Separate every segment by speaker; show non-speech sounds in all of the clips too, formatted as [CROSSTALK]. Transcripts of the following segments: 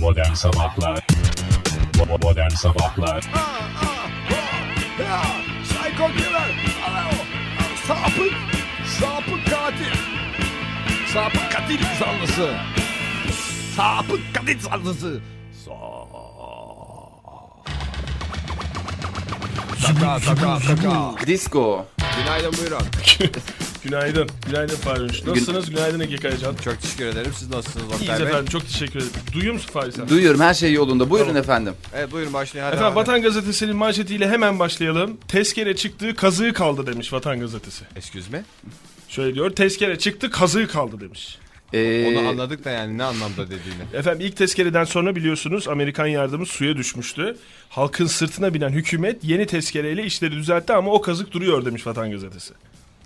Speaker 1: Modern Sabahlar Bo- Modern Sabahlar
Speaker 2: Ya Psycho Killer. Alo. Sapık. Sapık katil. Sapık katil zanlısı. Sapık katil zanlısı. Sa Taka taka taka.
Speaker 3: Disco.
Speaker 2: Günaydın buyurun.
Speaker 4: Günaydın. Günaydın Fahri. Nasılsınız? Günaydın Ege Kayacan.
Speaker 2: Çok teşekkür ederim. Siz nasılsınız
Speaker 4: İyiyiz
Speaker 2: Oktay Bey?
Speaker 4: efendim. Çok teşekkür ederim. Duyuyor musun Fahri sen?
Speaker 3: Duyuyorum her şey yolunda. Buyurun
Speaker 4: Tamam.
Speaker 3: efendim.
Speaker 2: Evet buyurun başlayın. Hadi
Speaker 4: Efendim
Speaker 2: abi.
Speaker 4: Vatan Gazetesi'nin manşetiyle hemen başlayalım. Tezkere çıktı, kazığı kaldı demiş Vatan Gazetesi.
Speaker 2: Excuse me.
Speaker 4: Şöyle diyor, tezkere çıktı, kazığı kaldı demiş.
Speaker 3: Ee,
Speaker 2: Onu anladık da yani ne anlamda dediğini.
Speaker 4: Efendim ilk tezkereden sonra biliyorsunuz Amerikan yardımı suya düşmüştü. Halkın sırtına binen hükümet yeni tezkereyle işleri düzeltti ama o kazık duruyor demiş Vatan Gazetesi.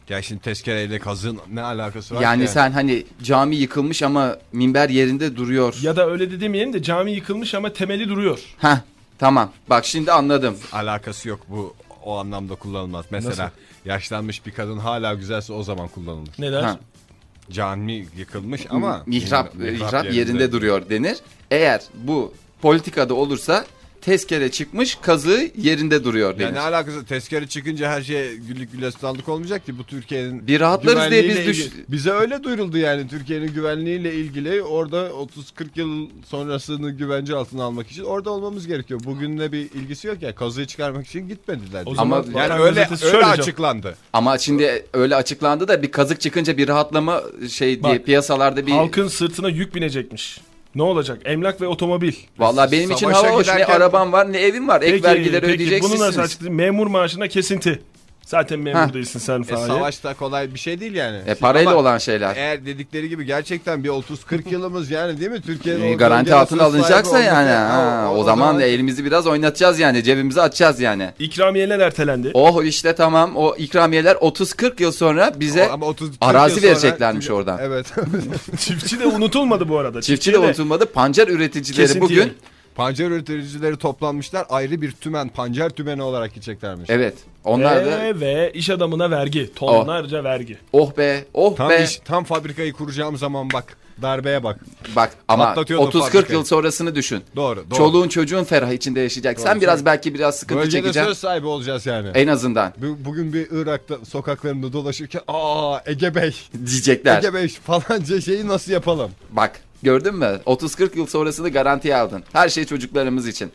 Speaker 2: Ya şimdi tezkereyle kazın ne alakası var
Speaker 3: yani
Speaker 2: ki?
Speaker 3: sen hani cami yıkılmış ama minber yerinde duruyor.
Speaker 4: Ya da öyle de demeyelim de cami yıkılmış ama temeli duruyor.
Speaker 3: Heh tamam. Bak şimdi anladım.
Speaker 2: alakası yok bu o anlamda kullanılmaz. Mesela
Speaker 4: Nasıl?
Speaker 2: yaşlanmış bir kadın hala güzelse o zaman kullanılır.
Speaker 4: Neden?
Speaker 3: Ha.
Speaker 2: Cami yıkılmış ama
Speaker 3: Mihrap, e, mihrap yerinde. duruyor denir. Eğer bu politikada olursa tezkere çıkmış kazığı yerinde duruyor denir.
Speaker 2: Yani ne alakası tezkere çıkınca her şeye güllük gülestanlık olmayacak ki bu Türkiye'nin
Speaker 3: Bir rahatlarız diye biz
Speaker 2: güvenliğiyle
Speaker 3: düş-
Speaker 2: ilgili- bize öyle duyuruldu yani Türkiye'nin güvenliğiyle ilgili orada 30-40 yıl sonrasını güvence altına almak için orada olmamız gerekiyor. Bugünle bir ilgisi yok ya kazıyı çıkarmak için gitmediler.
Speaker 4: O
Speaker 2: diye.
Speaker 4: zaman
Speaker 3: Ama-
Speaker 4: Vatan
Speaker 2: yani öyle,
Speaker 4: Gazetesi şöyle
Speaker 2: öyle
Speaker 4: cevap-
Speaker 2: açıklandı.
Speaker 3: Ama şimdi öyle açıklandı da bir kazık çıkınca bir rahatlama şey diye
Speaker 4: Bak,
Speaker 3: piyasalarda bir
Speaker 4: Halkın sırtına yük binecekmiş. Ne olacak? Emlak ve otomobil.
Speaker 3: Vallahi benim için
Speaker 2: Savaşa
Speaker 3: hava hoş. Ne
Speaker 2: giderken-
Speaker 3: arabam var ne evim var. Ek vergileri
Speaker 4: Bunu nasıl
Speaker 3: ödeyeceksiniz.
Speaker 4: açıklayayım? Memur maaşına kesinti. Zaten memur
Speaker 3: Ha.
Speaker 4: değilsin sen
Speaker 2: E,
Speaker 4: Fahri.
Speaker 2: savaş da kolay bir şey değil yani.
Speaker 3: E, parayla
Speaker 2: Ama
Speaker 3: olan şeyler.
Speaker 2: Eğer dedikleri gibi gerçekten bir 30-40
Speaker 3: [LAUGHS]
Speaker 2: yılımız yani değil mi? Türkiye'nin
Speaker 3: E,
Speaker 2: Ee, o
Speaker 3: garanti
Speaker 2: bölgede
Speaker 3: altına
Speaker 2: söz sahibi
Speaker 3: alınacaksa
Speaker 2: olması-
Speaker 3: yani.
Speaker 2: Ha,
Speaker 3: Ha, o, zaman, da elimizi biraz oynatacağız yani. Cebimizi açacağız yani.
Speaker 4: İkramiyeler ertelendi.
Speaker 3: Oh işte tamam o ikramiyeler 30-40 yıl sonra bize
Speaker 2: Ama 30
Speaker 3: arazi
Speaker 2: yıl sonra-
Speaker 3: vereceklermiş oradan. [LAUGHS]
Speaker 2: Evet.
Speaker 4: [LAUGHS] Çiftçi de unutulmadı bu arada.
Speaker 3: çiftçi de unutulmadı. Pancar üreticileri
Speaker 4: kesinti
Speaker 3: bugün
Speaker 4: yemek.
Speaker 2: pancar üreticileri toplanmışlar ayrı bir tümen pancar tümeni olarak gideceklermiş.
Speaker 3: evet onlar da
Speaker 4: Ve, E ve iş adamına vergi. Tonlarca vergi.
Speaker 3: oh be oh
Speaker 2: Tam
Speaker 3: be
Speaker 2: iş, tam fabrikayı kuracağım zaman bak darbeye bak.
Speaker 3: bak ama
Speaker 2: patlatıyordu
Speaker 3: 30-40
Speaker 2: fabrikayı.
Speaker 3: yıl sonrasını düşün.
Speaker 2: Doğru. doğru.
Speaker 3: Çoluğun çocuğun ferah içinde yaşayacak. Sen biraz belki biraz sıkıntı E-
Speaker 2: Bölgede
Speaker 3: çekeceksin
Speaker 2: söz sahibi olacağız yani. [LAUGHS]
Speaker 3: en azından
Speaker 2: Bu- Bugün bir Irak'ta sokaklarında dolaşırken aa Ege Bey,
Speaker 3: diyecekler.
Speaker 2: Ege Bey falanca şeyi nasıl yapalım?
Speaker 3: Bak gördün mü? 30-40 yıl sonrasını garantiye aldın. Her şey çocuklarımız için.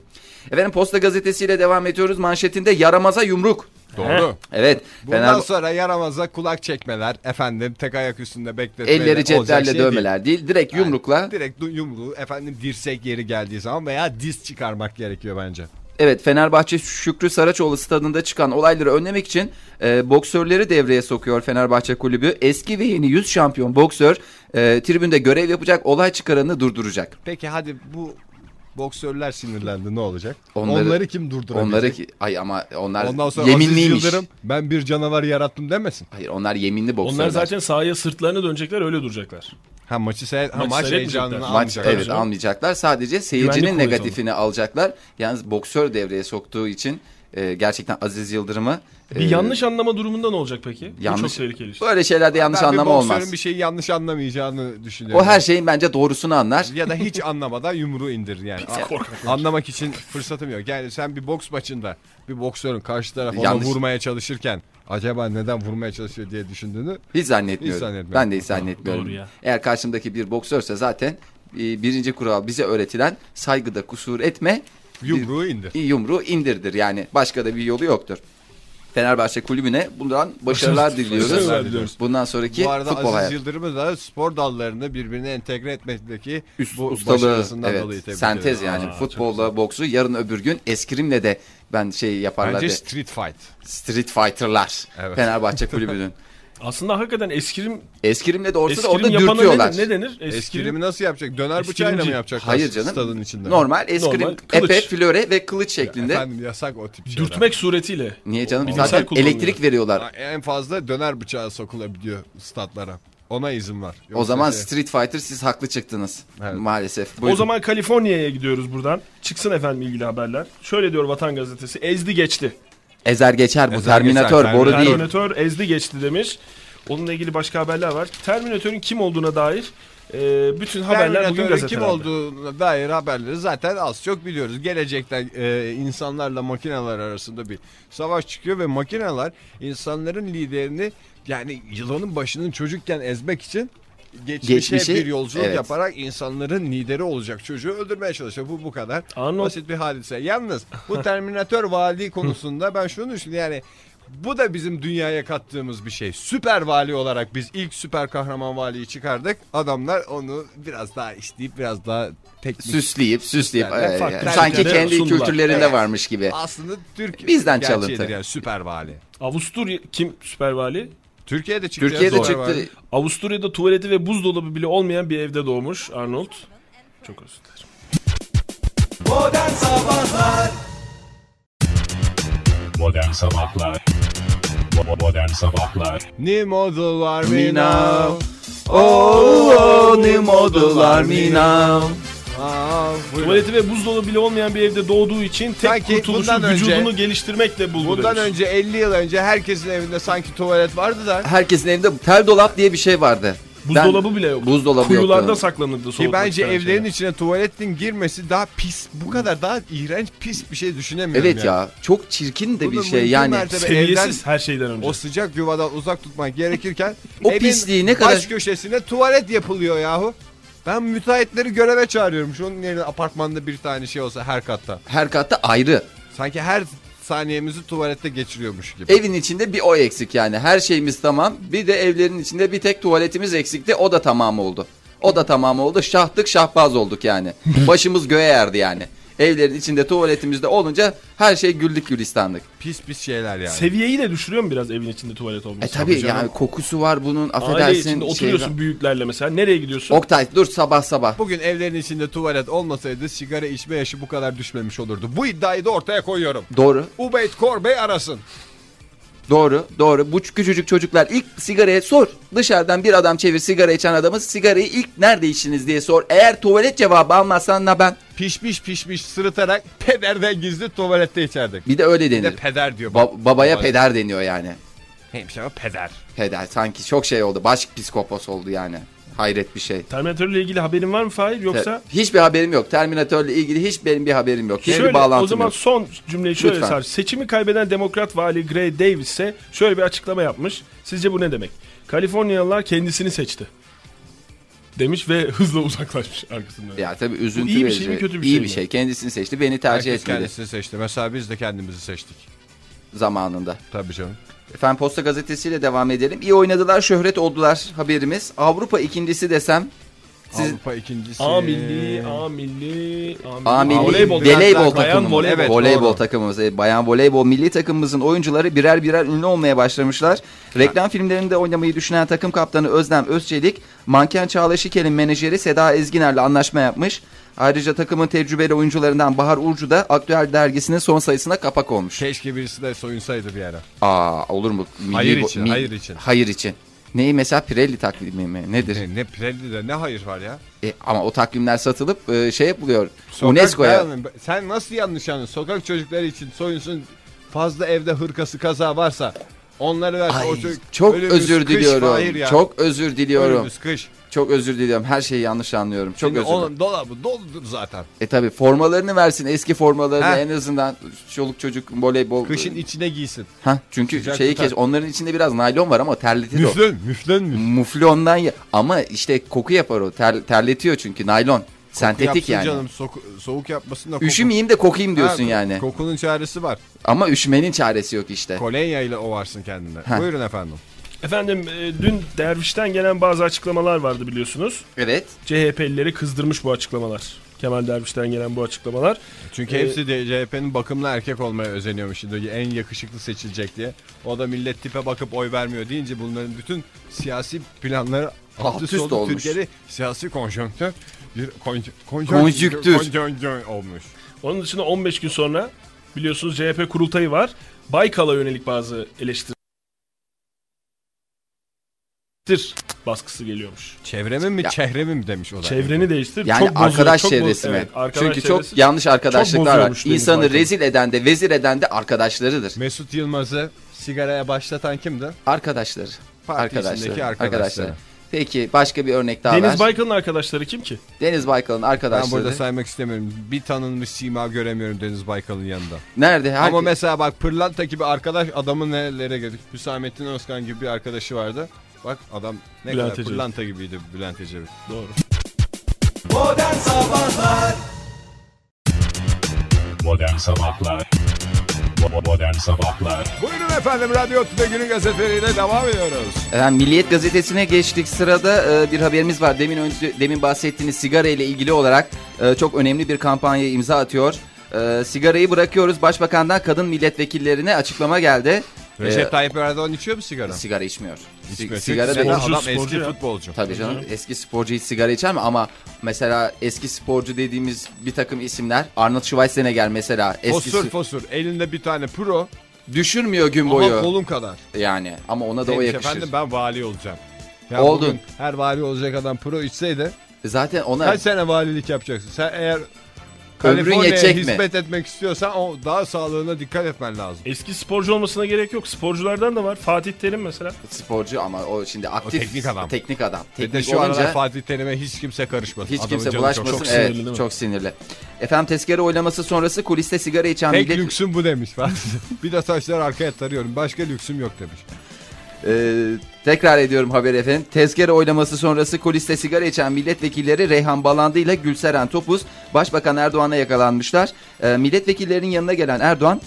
Speaker 3: Efendim Posta Gazetesi'yle devam ediyoruz. Manşetinde yaramaza yumruk.
Speaker 2: Doğru.
Speaker 3: Evet.
Speaker 2: Bundan
Speaker 3: Fener-
Speaker 2: sonra yaramaza kulak çekmeler, efendim tek ayak üstünde bekletmeler.
Speaker 3: elleri
Speaker 2: olacak
Speaker 3: ceplerle
Speaker 2: şey
Speaker 3: dövmeler değil. Direkt
Speaker 2: değil.
Speaker 3: yumrukla.
Speaker 2: Yani direkt du- yumruğu efendim dirsek yeri geldiği zaman veya diz çıkarmak gerekiyor bence.
Speaker 3: Evet Fenerbahçe Şükrü Saraçoğlu stadında çıkan olayları önlemek için e, boksörleri devreye sokuyor Fenerbahçe Kulübü. Eski ve yeni 100 şampiyon boksör e, tribünde görev yapacak olay çıkaranı durduracak.
Speaker 2: Peki hadi bu boksörler sinirlendi ne olacak?
Speaker 3: Onları-
Speaker 2: Onları, kim durdurabilecek?
Speaker 3: Onları ki ay ama onlar
Speaker 2: Ondan sonra
Speaker 3: yeminliymiş.
Speaker 2: Aziz Yıldırım ben bir canavar yarattım demesin.
Speaker 3: Hayır onlar yeminli boksörler.
Speaker 4: Onlar zaten sahaya sırtlarına dönecekler öyle duracaklar.
Speaker 2: Ha maçı seyret, ha,
Speaker 4: Maçı
Speaker 2: maç
Speaker 4: seyretmeyecekler.
Speaker 2: heyecanını
Speaker 4: Maç-
Speaker 3: Maç
Speaker 2: almayacak.
Speaker 3: evet
Speaker 4: canım.
Speaker 3: almayacaklar. Sadece seyircinin
Speaker 4: Güvenlik konusu
Speaker 3: negatifini alacaklar. Yalnız boksör devreye soktuğu için e, gerçekten Aziz Yıldırım'ı
Speaker 4: Bir
Speaker 3: e,
Speaker 4: yanlış anlama durumunda ne olacak peki? Bu
Speaker 3: yanlış-
Speaker 4: çok tehlikeli işte.
Speaker 3: böyle şeylerde yanlış
Speaker 2: Ben
Speaker 3: anlama
Speaker 2: bir boksörün
Speaker 3: olmaz.
Speaker 2: bir şeyi yanlış anlamayacağını düşünüyorum.
Speaker 3: O her şeyin bence doğrusunu anlar.
Speaker 2: ya da hiç anlamadan yumruğu indir yani. A- Anlamak için fırsatım yok. Yani sen bir boks maçında bir boksörün karşı tarafı ona
Speaker 3: Yanlış.
Speaker 2: vurmaya çalışırken acaba neden vurmaya çalışıyor diye düşündüğünü
Speaker 3: Hiç zannetmiyorum.
Speaker 2: Hiç zannetmiyorum.
Speaker 3: Ben de hiç zannetmiyorum.
Speaker 4: doğru ya.
Speaker 3: Eğer karşımdaki bir boksörse zaten e, birinci kural bize öğretilen saygıda kusur etme
Speaker 2: yumruğu indir.
Speaker 3: bir yumruğu indirdir. Yani başka da bir yolu yoktur. Fenerbahçe kulübüne bundan başarılar
Speaker 4: Başarılar
Speaker 3: diliyoruz.
Speaker 4: diliyoruz.
Speaker 3: Bundan sonraki
Speaker 2: Bu arada
Speaker 3: futbol
Speaker 2: Aziz
Speaker 3: hayatı.
Speaker 2: Yıldırım'ı da spor dallarını birbirine entegre etmekteki
Speaker 3: Üst,
Speaker 2: bu
Speaker 3: ustalığı,
Speaker 2: başarısından dolayı
Speaker 3: evet,
Speaker 2: tebrik
Speaker 3: sentez
Speaker 2: ederim.
Speaker 3: yani
Speaker 4: Aa,
Speaker 3: futbolla boksu yarın öbür gün eskrimle de ben şey yaparlar
Speaker 2: Bence
Speaker 3: de,
Speaker 2: street fight.
Speaker 3: Street Fighter'lar
Speaker 2: Evet. [LAUGHS]
Speaker 3: Fenerbahçe kulübünün.
Speaker 4: Aslında hakikaten eskrim,
Speaker 3: Eskrimle de olsa da
Speaker 4: eskrim
Speaker 3: orada
Speaker 4: yapana ne,
Speaker 3: dürtüyorlar.
Speaker 4: denir- ne denir? Eskrim,
Speaker 2: Eskrimi nasıl yapacak? Döner bıçağıyla
Speaker 4: Eskrimci.
Speaker 2: mı yapacak?
Speaker 3: Hayır canım.
Speaker 2: Stadın içinde.
Speaker 3: Normal eskrim,
Speaker 4: Normal, kılıç.
Speaker 3: epe, flöre ve kılıç şeklinde.
Speaker 2: Efendim yasak o tip şeyler.
Speaker 4: dürtmek suretiyle.
Speaker 3: Niye canım?
Speaker 4: Bilimsel
Speaker 3: Zaten
Speaker 4: kullanılıyor.
Speaker 3: elektrik veriyorlar.
Speaker 2: En fazla döner bıçağı sokulabiliyor statlara. Ona izin var.
Speaker 3: o
Speaker 2: Yoksa
Speaker 3: zaman
Speaker 2: şey-
Speaker 3: Street Fighter siz haklı çıktınız.
Speaker 2: Evet.
Speaker 3: Maalesef.
Speaker 4: O zaman Kaliforniya'ya gidiyoruz buradan. Çıksın efendim ilgili haberler. Şöyle diyor Vatan Gazetesi. Ezdi geçti.
Speaker 3: ezer geçer bu.
Speaker 2: Ezer
Speaker 3: Terminator
Speaker 2: geçer,
Speaker 3: boru değil.
Speaker 4: Terminator ezdi geçti demiş. Onunla ilgili başka haberler var. Terminator'ün kim olduğuna dair Ee, bütün haberler bugün
Speaker 2: Terminatörün
Speaker 4: gazetelerde.
Speaker 2: kim olduğuna dair haberleri zaten az çok biliyoruz. Gelecekte e, insanlarla makineler arasında bir savaş çıkıyor ve makineler insanların liderini yani yılanın başının çocukken ezmek için geçmişe
Speaker 3: Geçmişi,
Speaker 2: bir yolculuk
Speaker 3: evet.
Speaker 2: yaparak insanların lideri olacak çocuğu öldürmeye çalışıyor. Bu bu kadar
Speaker 4: Arnold-
Speaker 2: basit bir hadise. Yalnız bu Terminatör vali konusunda ben şunu düşünüyorum yani bu da bizim dünyaya kattığımız bir şey. Süper vali olarak biz ilk süper kahraman valiyi çıkardık. Adamlar onu biraz daha işleyip biraz daha teknik.
Speaker 3: Süsleyip süsleyip
Speaker 2: Yani
Speaker 3: e,
Speaker 4: farklı
Speaker 3: sanki
Speaker 4: ülkelere
Speaker 3: kendi
Speaker 4: sundular.
Speaker 3: kültürlerinde
Speaker 2: Evet.
Speaker 3: varmış gibi.
Speaker 2: Aslında Türk
Speaker 3: Bizden
Speaker 2: gerçeğidir
Speaker 3: çalıntı.
Speaker 2: Yani süper vali.
Speaker 4: Avusturya kim süper vali?
Speaker 2: Türkiye'de çıktı.
Speaker 3: Türkiye'de
Speaker 2: Süper
Speaker 3: çıktı.
Speaker 2: vali.
Speaker 4: Avusturya'da tuvaleti ve buzdolabı bile olmayan bir evde doğmuş Arnold. Çok özür dilerim.
Speaker 1: Modern Sabahlar Bo- Modern Sabahlar
Speaker 2: New model var
Speaker 3: Me
Speaker 2: me
Speaker 3: now.
Speaker 2: now.
Speaker 3: Oh, new modular me now.
Speaker 2: Aa, buyurun.
Speaker 4: Tuvaleti ve buzdolabı bile olmayan bir evde doğduğu için tek
Speaker 2: Sanki
Speaker 4: kurtuluşu
Speaker 2: bundan önce-
Speaker 4: vücudunu geliştirmekle buldu
Speaker 2: Bundan
Speaker 4: demiş.
Speaker 2: önce 50 yıl önce herkesin evinde sanki tuvalet vardı da
Speaker 3: Herkesin evinde tel dolap diye bir şey vardı. Ben-
Speaker 4: Buzdolabı bile yok.
Speaker 3: Buzdolabı
Speaker 4: Kuyularda
Speaker 3: yoktu.
Speaker 4: saklanırdı
Speaker 2: Ki
Speaker 4: soğutmak
Speaker 2: bence
Speaker 4: istenen
Speaker 2: evlerin
Speaker 4: şeyler.
Speaker 2: içine tuvaletin girmesi daha pis. Bu kadar daha iğrenç pis bir şey düşünemiyorum.
Speaker 3: Evet
Speaker 2: yani.
Speaker 3: ya çok çirkin de
Speaker 2: Bunu
Speaker 3: bir şey
Speaker 2: mümkün
Speaker 3: yani.
Speaker 2: mertebe
Speaker 4: Seviyesiz
Speaker 2: evden
Speaker 4: her şeyden önce.
Speaker 2: o sıcak yuvadan uzak tutmak gerekirken
Speaker 3: [LAUGHS] O
Speaker 2: evin
Speaker 3: pisliği ne
Speaker 2: baş
Speaker 3: kadar-
Speaker 2: köşesine tuvalet yapılıyor yahu. Ben müteahhitleri göreve çağırıyorum. Şunun yerine apartmanda bir tane şey olsa her katta.
Speaker 3: Her katta ayrı.
Speaker 2: Sanki her saniyemizi tuvalette geçiriyormuş gibi.
Speaker 3: Evin içinde bir o eksik yani. Her şeyimiz tamam. Bir de evlerin içinde bir tek tuvaletimiz eksikti. O da tamam oldu. O da tamam oldu. Şahtık şahbaz olduk
Speaker 4: [LAUGHS]
Speaker 3: yani. Başımız göğe erdi yani. Evlerin içinde tuvaletimizde olunca her şey güllük gülistanlık.
Speaker 2: Pis pis şeyler yani.
Speaker 4: Seviyeyi de düşürüyor mu biraz evin içinde tuvalet olması?
Speaker 3: E tabi
Speaker 4: canım.
Speaker 3: yani kokusu var bunun
Speaker 4: Aile
Speaker 3: affedersin.
Speaker 4: içinde
Speaker 3: şey
Speaker 4: oturuyorsun şey
Speaker 3: var.
Speaker 4: büyüklerle mesela. Nereye gidiyorsun?
Speaker 3: Oktay dur sabah sabah.
Speaker 2: Bugün evlerin içinde tuvalet olmasaydı sigara içme yaşı bu kadar düşmemiş olurdu. Bu iddiayı da ortaya koyuyorum.
Speaker 3: Doğru
Speaker 2: Ubeyd Korbey arasın.
Speaker 3: doğru doğru bu küçücük çocuklar ilk sigaraya sor dışarıdan bir adam çevir sigara içen adamı sigarayı ilk nerede içtiniz diye sor eğer tuvalet cevabı almazsan na ben
Speaker 2: pişmiş pişmiş sırıtarak pederden gizli tuvalette içerdik.
Speaker 3: bir de öyle
Speaker 2: Bir de
Speaker 3: denir
Speaker 2: peder diyor.
Speaker 3: Ba- babaya
Speaker 2: Baba-
Speaker 3: peder deniyor yani
Speaker 2: Neymiş ama peder.
Speaker 3: peder sanki çok şey oldu başk psikopos oldu yani hayret bir şey
Speaker 4: Terminatörle ilgili haberin var mı Fahir
Speaker 3: Te-
Speaker 4: yoksa?
Speaker 3: hiçbir haberim yok Terminatörle ilgili hiç benim bir haberim yok hiçbir bağlantım
Speaker 4: o zaman
Speaker 3: yok
Speaker 4: son cümleyi şöyle
Speaker 3: Lütfen.
Speaker 4: sar. Seçimi kaybeden demokrat vali Gray Davis ise şöyle bir açıklama yapmış. Sizce bu ne demek? Kaliforniyalılar kendisini seçti. Demiş ve [LAUGHS] hızla uzaklaşmış arkasından.
Speaker 3: ya tabii üzüntü
Speaker 4: iyi bir
Speaker 3: verici.
Speaker 4: şey mi, kötü bir
Speaker 3: İyi
Speaker 4: şey
Speaker 3: bir
Speaker 4: mi?
Speaker 3: şey. Kendisini seçti. Beni tercih
Speaker 2: Herkes
Speaker 3: etmedi
Speaker 2: kendisini seçti. Mesela biz de kendimizi seçtik.
Speaker 3: zamanında.
Speaker 2: Tabii canım.
Speaker 3: Efendim Posta Gazetesi'yle devam edelim. İyi oynadılar, şöhret oldular haberimiz. Avrupa ikincisi desem siz
Speaker 2: Avrupa ikincisi.
Speaker 4: A milli, A milli, A
Speaker 3: şey-
Speaker 4: milli.
Speaker 3: A milli
Speaker 4: Voleybol.
Speaker 3: voleybol
Speaker 4: Bayan
Speaker 3: takımımız.
Speaker 4: voleybol.
Speaker 2: Evet,
Speaker 3: voleybol
Speaker 2: doğru.
Speaker 3: takımımız. e, Bayan voleybol milli takımımızın oyuncuları birer birer ünlü olmaya başlamışlar. Reklam filmlerinde oynamayı düşünen takım kaptanı Özlem Özçelik, manken Çağla Şikel'in menajeri Seda Ezginer'le anlaşma yapmış. Ayrıca takımın tecrübeli oyuncularından Bahar Urcu da Aktüel dergisinin son sayısına kapak olmuş.
Speaker 2: Keşke birisi de soyunsaydı bir ara.
Speaker 3: Aa olur mu? Milli
Speaker 2: Hayır
Speaker 3: bo-
Speaker 2: için,
Speaker 3: mil-
Speaker 2: hayır için.
Speaker 3: Hayır için. Neyi mesela Pirelli takvimi mi? Nedir?
Speaker 2: Ne, ne Pirelli'de ne hayır var ya.
Speaker 3: E, ama o takvimler satılıp e, şey yapılıyor.
Speaker 2: Sokak-
Speaker 3: UNESCO'ya.
Speaker 2: Ben- Sen nasıl yanlış anlıyorsun? Sokak çocukları için soyunsun fazla evde hırkası kaza varsa onları versin.
Speaker 3: Ay,
Speaker 2: o çocuk-
Speaker 3: çok
Speaker 2: Önümüz
Speaker 3: özür
Speaker 2: kış, Fahir
Speaker 3: diliyorum.
Speaker 2: ya.
Speaker 3: Çok özür diliyorum.
Speaker 2: Önümüz kış.
Speaker 3: Çok özür diliyorum. Her şeyi yanlış anlıyorum. Çok
Speaker 2: Şimdi
Speaker 3: özür dilerim.
Speaker 2: onun dolabı doludur zaten.
Speaker 3: E tabi formalarını versin. Eski formalarını
Speaker 2: Heh.
Speaker 3: en azından çoluk çocuk voleybol.
Speaker 2: Kışın içine giysin.
Speaker 3: Heh, çünkü
Speaker 2: Sıcak
Speaker 3: şeyi
Speaker 2: tutar.
Speaker 3: kes. Onların içinde biraz naylon var ama terletir o.
Speaker 2: Müflön, müflön mü?
Speaker 3: Muflondan ya. Ama işte koku yapar o. Ter- terletiyor çünkü naylon. Sentetik
Speaker 2: Yapsın
Speaker 3: yani.
Speaker 2: canım soku- soğuk yapmasın da koku-
Speaker 3: Üşümeyeyim de kokayım diyorsun
Speaker 2: Ha,
Speaker 3: yani.
Speaker 2: Kokunun çaresi var.
Speaker 3: ama üşümenin çaresi yok işte.
Speaker 2: Kolonya ile ovarsın kendine.
Speaker 3: Ha.
Speaker 2: Buyurun efendim.
Speaker 4: Efendim e, dün Derviş'ten gelen bazı açıklamalar vardı biliyorsunuz.
Speaker 3: evet.
Speaker 4: CHP'lileri kızdırmış bu açıklamalar. Kemal Derviş'ten gelen bu açıklamalar.
Speaker 2: Çünkü
Speaker 4: Ee,
Speaker 2: hepsi de CHP'nin bakımlı erkek olmaya özeniyormuş. Şimdi en yakışıklı seçilecek diye. O da millet tipe bakıp oy vermiyor deyince bunların bütün siyasi planları alt üst oldu.
Speaker 3: olmuş.
Speaker 2: Türkiye'de siyasi konjonktür bir konj-
Speaker 3: Konjüktür.
Speaker 2: konjonktür olmuş.
Speaker 4: Onun dışında 15 gün sonra biliyorsunuz CHP kurultayı var. Baykal'a yönelik bazı eleştiriler baskısı geliyormuş.
Speaker 2: Çevremin mi
Speaker 3: Ya.
Speaker 2: çevremin mi demiş o da.
Speaker 4: Çevreni değiştir.
Speaker 3: Yani
Speaker 4: çok bozuyor,
Speaker 3: arkadaş
Speaker 4: çok bozuyor.
Speaker 3: çevresi mi?
Speaker 4: Evet, arkadaş
Speaker 3: Çünkü
Speaker 4: çevresi.
Speaker 3: çok yanlış arkadaşlıklar var.
Speaker 4: bozuyormuş Deniz
Speaker 3: İnsanı
Speaker 4: Baykal'ın.
Speaker 3: rezil eden de vezir eden de arkadaşlarıdır.
Speaker 2: Mesut Yılmaz'ı sigaraya başlatan kimdi?
Speaker 3: Arkadaşlar.
Speaker 2: Parti içindeki arkadaşları.
Speaker 3: Arkadaşlar. Peki başka bir örnek daha
Speaker 4: Deniz
Speaker 3: ver.
Speaker 4: Baykal'ın arkadaşları kim ki?
Speaker 3: Deniz Baykal'ın
Speaker 2: Ben
Speaker 3: arkadaşları.
Speaker 2: burada saymak istemiyorum. Bir tanınmış sima göremiyorum Deniz Baykal'ın yanında.
Speaker 3: Nerede? Herke-
Speaker 2: Ama mesela bak Pırlanta gibi arkadaş adamın nerelere geldik. Hüsamettin Özkan gibi bir arkadaşı vardı. Bak adam ne
Speaker 4: Bülent
Speaker 2: kadar
Speaker 4: Ecevit.
Speaker 2: Pırlanta gibiydi Bülent Ecevit.
Speaker 4: Doğru.
Speaker 1: Modern Sabahlar Bo- Modern Sabahlar
Speaker 2: Buyurun efendim Radyo Tüde Günü gazeteleriyle devam ediyoruz.
Speaker 3: Efendim, Milliyet Gazetesi'ne geçtik. Sırada e, bir haberimiz var. Demin önce, demin bahsettiğiniz sigara ile ilgili olarak e, çok önemli bir kampanyaya imza atıyor. E, sigarayı bırakıyoruz. Başbakan'dan kadın milletvekillerine açıklama geldi.
Speaker 2: Recep
Speaker 3: E,
Speaker 2: Tayyip Erdoğan içiyor mu sigara?
Speaker 3: sigara içmiyor. Si-
Speaker 2: İçmiyor.
Speaker 3: sigara
Speaker 2: Çünkü
Speaker 3: değil.
Speaker 2: zaten
Speaker 4: Sporcu,
Speaker 2: adam eski
Speaker 4: sporcu ya.
Speaker 2: futbolcu.
Speaker 3: Tabii canım eski sporcu hiç sigara içer mi? Ama mesela eski sporcu dediğimiz bir takım isimler Arnold Schwarzenegger mesela eskisi
Speaker 2: Fosur fosur elinde bir tane pro
Speaker 3: düşürmüyor gün
Speaker 2: ama
Speaker 3: boyu
Speaker 2: kolun kadar.
Speaker 3: yani ama ona da o
Speaker 2: Demiş
Speaker 3: yakışır.
Speaker 2: efendim ben vali olacağım. Ya
Speaker 3: Oldun.
Speaker 2: bugün Her vali olacak adam pro içseydi
Speaker 3: E Zaten ona
Speaker 2: kaç sene valilik yapacaksın? Sen eğer
Speaker 3: ömrün
Speaker 2: Kaliforniya'ya
Speaker 3: yetecek mi?
Speaker 2: hizmet etmek istiyorsan o daha sağlığına dikkat etmen lazım.
Speaker 4: Eski sporcu olmasına gerek yok. Sporculardan da var. Fatih Terim mesela.
Speaker 3: Sporcu ama o şimdi aktif
Speaker 2: teknik adam.
Speaker 3: Teknik adam.
Speaker 2: Bir de
Speaker 3: Teknik
Speaker 2: şu
Speaker 3: olunca
Speaker 2: aralar Fatih Terim'e hiç kimse karışmasın.
Speaker 3: hiç
Speaker 2: Adamın
Speaker 3: kimse
Speaker 2: canı
Speaker 3: bulaşmasın.
Speaker 2: Çok, çok
Speaker 3: evet,
Speaker 4: sinirli değil mi?
Speaker 3: çok sinirli. Efendim tezkere oylaması sonrası kuliste sigara içen
Speaker 2: Tek
Speaker 3: millet-
Speaker 2: lüksüm bu demiş. Fatih. [LAUGHS] bir de saçları arkaya tarıyorum. Başka lüksüm yok demiş.
Speaker 3: Ee, tekrar ediyorum haberi efendim. Tezkere oylaması sonrası kuliste sigara içen milletvekilleri Reyhan Balandı ile Gülseren Topuz Başbakan Erdoğan'a yakalanmışlar. Ee, milletvekillerinin yanına gelen Erdoğan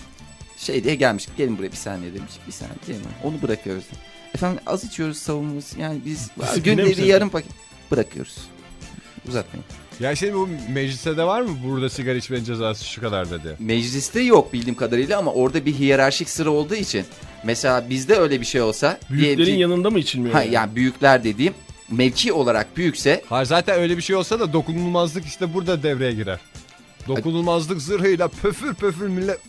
Speaker 3: şey diye gelmiş. Gelin buraya bir saniye demiş. Bir saniye gelin buraya. Onu bırakıyoruz. Efendim az içiyoruz savunmamız. Yani biz
Speaker 4: Disipline mi
Speaker 3: günde bir
Speaker 4: sevdin?
Speaker 3: yarım paket bırakıyoruz. Uzatmayın.
Speaker 2: Ya şimdi bu mecliste de var mı? Burada sigara içmenin cezası şu kadar dedi.
Speaker 3: Mecliste yok bildiğim kadarıyla ama orada bir hiyerarşik sıra olduğu için. Mesela bizde öyle bir şey olsa.
Speaker 4: Büyüklerin
Speaker 3: diyelim ki-
Speaker 4: yanında mı
Speaker 2: Ee,
Speaker 4: içilmiyor?
Speaker 3: Ha,
Speaker 4: yani?
Speaker 3: yani büyükler dediğim mevki olarak büyükse
Speaker 2: Ha zaten öyle bir şey olsa da dokunulmazlık işte burada devreye girer. Dokunulmazlık zırhıyla pöfür pöfür millet...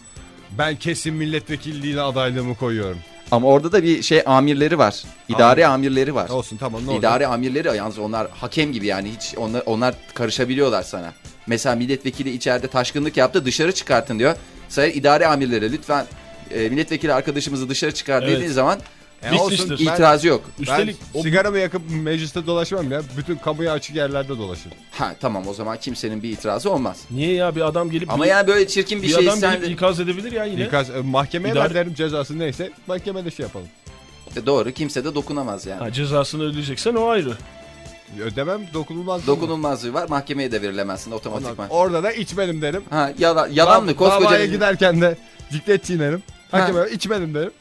Speaker 2: Ben kesin milletvekilliğine adaylığımı koyuyorum.
Speaker 3: Ama orada da bir şey amirleri var. İdari amirleri var.
Speaker 2: Olsun tamam ne olacak?
Speaker 3: İdari amirleri yalnız onlar hakem gibi yani hiç onlar onlar karışabiliyorlar sana. Mesela milletvekili içeride taşkınlık yaptı dışarı çıkartın diyor. Sayın idari amirlere lütfen e, milletvekili arkadaşımızı dışarı çıkar
Speaker 4: Evet.
Speaker 3: dediğin zaman
Speaker 2: E,
Speaker 4: Bitmiştir.
Speaker 2: olsun, ben-
Speaker 3: itirazı yok.
Speaker 4: Üstelik
Speaker 2: ben
Speaker 4: o
Speaker 2: sigaramı yakıp mecliste dolaşmam ya. Bütün kamuya açık yerlerde dolaşırım.
Speaker 3: Ha tamam o zaman kimsenin bir itirazı olmaz.
Speaker 4: niye ya bir adam gelip
Speaker 3: Ama
Speaker 4: bir,
Speaker 3: yani böyle çirkin bir,
Speaker 4: bir
Speaker 3: şey
Speaker 4: adam
Speaker 3: sen
Speaker 4: gelip ikaz edebilir ya yine.
Speaker 2: İkaz, e, mahkemeye
Speaker 4: İdare-
Speaker 2: ver derim cezası neyse mahkemede şey yapalım.
Speaker 3: E, doğru kimse de dokunamaz yani.
Speaker 4: Ha, cezasını ödeyeceksen o ayrı.
Speaker 2: Ödemem dokunulmaz.
Speaker 3: Dokunulmazlığı var mahkemeye de verilemezsin
Speaker 2: Ondan-
Speaker 3: otomatikman.
Speaker 2: Orada da içmedim derim.
Speaker 3: Ha yalan, yalan mı
Speaker 2: Dav-
Speaker 3: koskoca
Speaker 2: Davaya
Speaker 3: bir-
Speaker 2: giderken de ciklet çiğnerim.
Speaker 3: Ha.
Speaker 2: Hakime içmedim derim.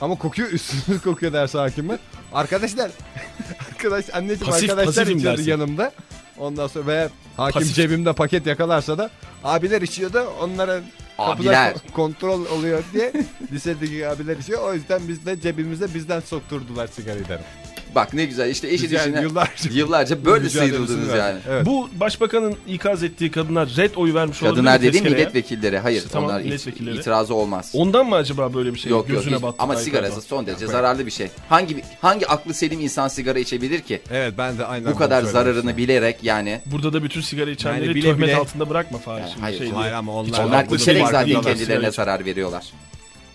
Speaker 2: Ama kokuyor üstünüz kokuyor derse hakime. Arkadaşlar. [LAUGHS] Arkadaş anneciğim
Speaker 4: Pasif-
Speaker 2: arkadaşlar
Speaker 4: pasifim
Speaker 2: içiyordu
Speaker 4: dersin.
Speaker 2: yanımda. Ondan sonra ve hakim
Speaker 4: Pasif.
Speaker 2: cebimde paket yakalarsa da abiler içiyordu. Onlara kapıda
Speaker 3: Abiler.
Speaker 2: ko- kontrol oluyor diye lisedeki abiler içiyor. O yüzden biz de cebimizde bizden sokturdular sigarayı derim.
Speaker 3: Bak ne güzel işte eşi
Speaker 2: Biz yani
Speaker 3: düşünen-
Speaker 2: yıllarca,
Speaker 3: şey Yıllarca böyle
Speaker 2: mücadelesini
Speaker 3: sıyrıldınız
Speaker 2: verdik.
Speaker 3: yani.
Speaker 2: Evet.
Speaker 4: Bu başbakanın ikaz ettiği kadınlar red oyu vermiş
Speaker 3: Kadınlar
Speaker 4: olabilir mi
Speaker 3: dediğim
Speaker 4: tezkereye?
Speaker 3: milletvekilleri. Hayır
Speaker 4: İşte tamam,
Speaker 3: onlar it-
Speaker 4: milletvekilleri.
Speaker 3: itirazı olmaz.
Speaker 4: Ondan mı acaba böyle bir şey
Speaker 3: yok yok.
Speaker 4: gözüne
Speaker 3: hiç-
Speaker 4: battı?
Speaker 3: Ama
Speaker 4: Tayyip
Speaker 3: sigara
Speaker 4: Erdoğan?
Speaker 3: son derece zararlı bir şey. Hangi hangi aklı selim insan sigara içebilir ki?
Speaker 2: Evet ben de aynen
Speaker 3: Bu kadar
Speaker 2: bunu
Speaker 3: zararını bilerek yani.
Speaker 4: Burada da bütün sigara içenleri
Speaker 2: Yani bile
Speaker 4: töhmet
Speaker 2: bile-
Speaker 4: altında bırakma Fahri.
Speaker 3: Yani
Speaker 4: şimdi
Speaker 3: hayır,
Speaker 4: şey
Speaker 2: Hayır
Speaker 4: diye.
Speaker 2: ama onlar,
Speaker 3: Onlar
Speaker 4: aklı
Speaker 3: içerek
Speaker 4: selim
Speaker 3: zaten
Speaker 4: farkındalar.
Speaker 3: kendilerine
Speaker 4: Sigara
Speaker 3: zarar veriyorlar.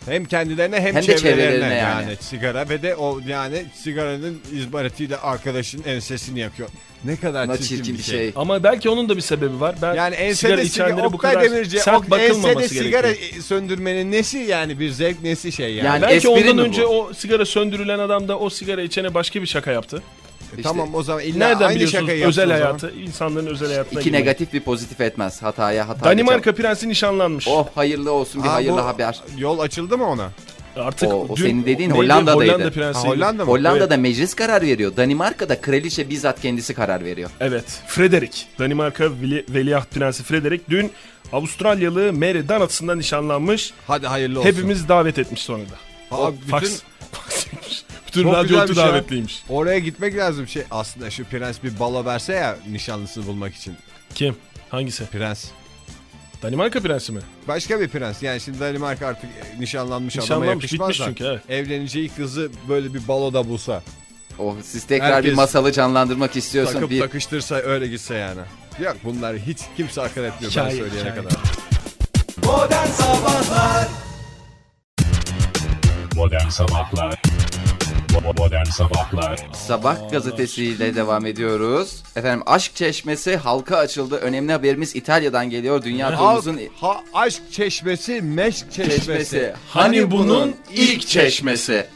Speaker 2: Hem kendilerine hem,
Speaker 3: Hem de
Speaker 2: çevrelerine,
Speaker 3: çevrelerine
Speaker 2: yani.
Speaker 3: yani.
Speaker 2: sigara ve de o yani sigaranın izmaritiyle arkadaşın ensesini yakıyor. Ne kadar
Speaker 3: Buna
Speaker 2: çirkin, bir şey.
Speaker 4: Ama belki onun da bir sebebi var. Ben
Speaker 2: Yani
Speaker 4: sigara
Speaker 2: ensede sigara,
Speaker 4: içenlere bu
Speaker 2: Oktay
Speaker 4: kadar
Speaker 2: Demirci,
Speaker 4: sert
Speaker 2: ok- ensede
Speaker 4: bakılmaması
Speaker 2: sigara
Speaker 4: gerekiyor.
Speaker 2: söndürmenin nesi yani bir zevk nesi şey yani.
Speaker 3: Yani-
Speaker 4: Belki
Speaker 3: Espri mi
Speaker 4: ondan
Speaker 3: bu?
Speaker 4: önce o sigara söndürülen adam da o sigara içene başka bir şaka yaptı.
Speaker 2: E tamam o zaman illa
Speaker 4: Nereden
Speaker 2: aynı
Speaker 4: biliyorsunuz
Speaker 2: şakayı
Speaker 4: özel
Speaker 2: yaptı o zaman.
Speaker 4: hayatı, insanların özel hayatına
Speaker 3: İki
Speaker 4: girmeyi?
Speaker 3: negatif bir pozitif etmez. Hataya hata. geçer.
Speaker 4: Danimarka prensi nişanlanmış.
Speaker 3: Oh hayırlı olsun bir
Speaker 2: Aa,
Speaker 3: hayırlı
Speaker 2: bu
Speaker 3: haber.
Speaker 2: Yol açıldı mı ona?
Speaker 4: Artık
Speaker 3: oh, O- o
Speaker 4: dün-
Speaker 3: senin dediğin
Speaker 4: neydi?
Speaker 3: Hollanda'daydı.
Speaker 4: Hollanda
Speaker 2: Ha,
Speaker 4: prensi.
Speaker 2: Hollanda mı?
Speaker 3: Hollanda'da meclis karar veriyor. Danimarka'da kraliçe bizzat kendisi karar veriyor.
Speaker 4: Evet. Frederik. Danimarka Veli, Veliaht Prensi Frederik dün Avustralyalı Mary Donaldson'la nişanlanmış.
Speaker 2: Hadi hayırlı olsun.
Speaker 4: Hepimiz davet etmiş sonra da.
Speaker 2: Aa,
Speaker 4: O
Speaker 2: bütün-
Speaker 4: fax, [LAUGHS] fax yapmış. bütün
Speaker 2: Çok
Speaker 4: radyo
Speaker 2: güzelmiş
Speaker 4: otu
Speaker 2: ya.
Speaker 4: davetliymiş.
Speaker 2: Oraya gitmek lazım şey. Aslında şu prens bir balo verse ya nişanlısını bulmak için.
Speaker 4: Kim? Hangisi?
Speaker 2: Prens.
Speaker 4: Danimarka prensi mi?
Speaker 2: Başka bir prens. Yani şimdi Danimarka artık e, nişanlanmış, adama
Speaker 4: Nişanlanmış,
Speaker 2: yakışmaz
Speaker 4: bitmiş
Speaker 2: da.
Speaker 4: çünkü, evet.
Speaker 2: Evleneceği kızı böyle bir baloda bulsa.
Speaker 3: Oh siz tekrar
Speaker 2: Herkes-
Speaker 3: bir masalı canlandırmak istiyorsan
Speaker 2: Takıp
Speaker 3: bir
Speaker 2: takıştırsa öyle gitse yani. Yok bunlar hiç kimse akıl etmiyor ben
Speaker 4: Hikaye,
Speaker 2: söyleyene
Speaker 4: hikaye.
Speaker 2: kadar.
Speaker 1: Modern Sabahlar Modern Sabahlar
Speaker 3: Sabah gazetesiyle devam ediyoruz. Efendim aşk çeşmesi halka açıldı. Önemli haberimiz İtalya'dan geliyor. Dünya turumuzun
Speaker 2: Halk, ha, aşk çeşmesi, meşk çeşmesi.
Speaker 3: çeşmesi. Hani bunun ilk çeşmesi.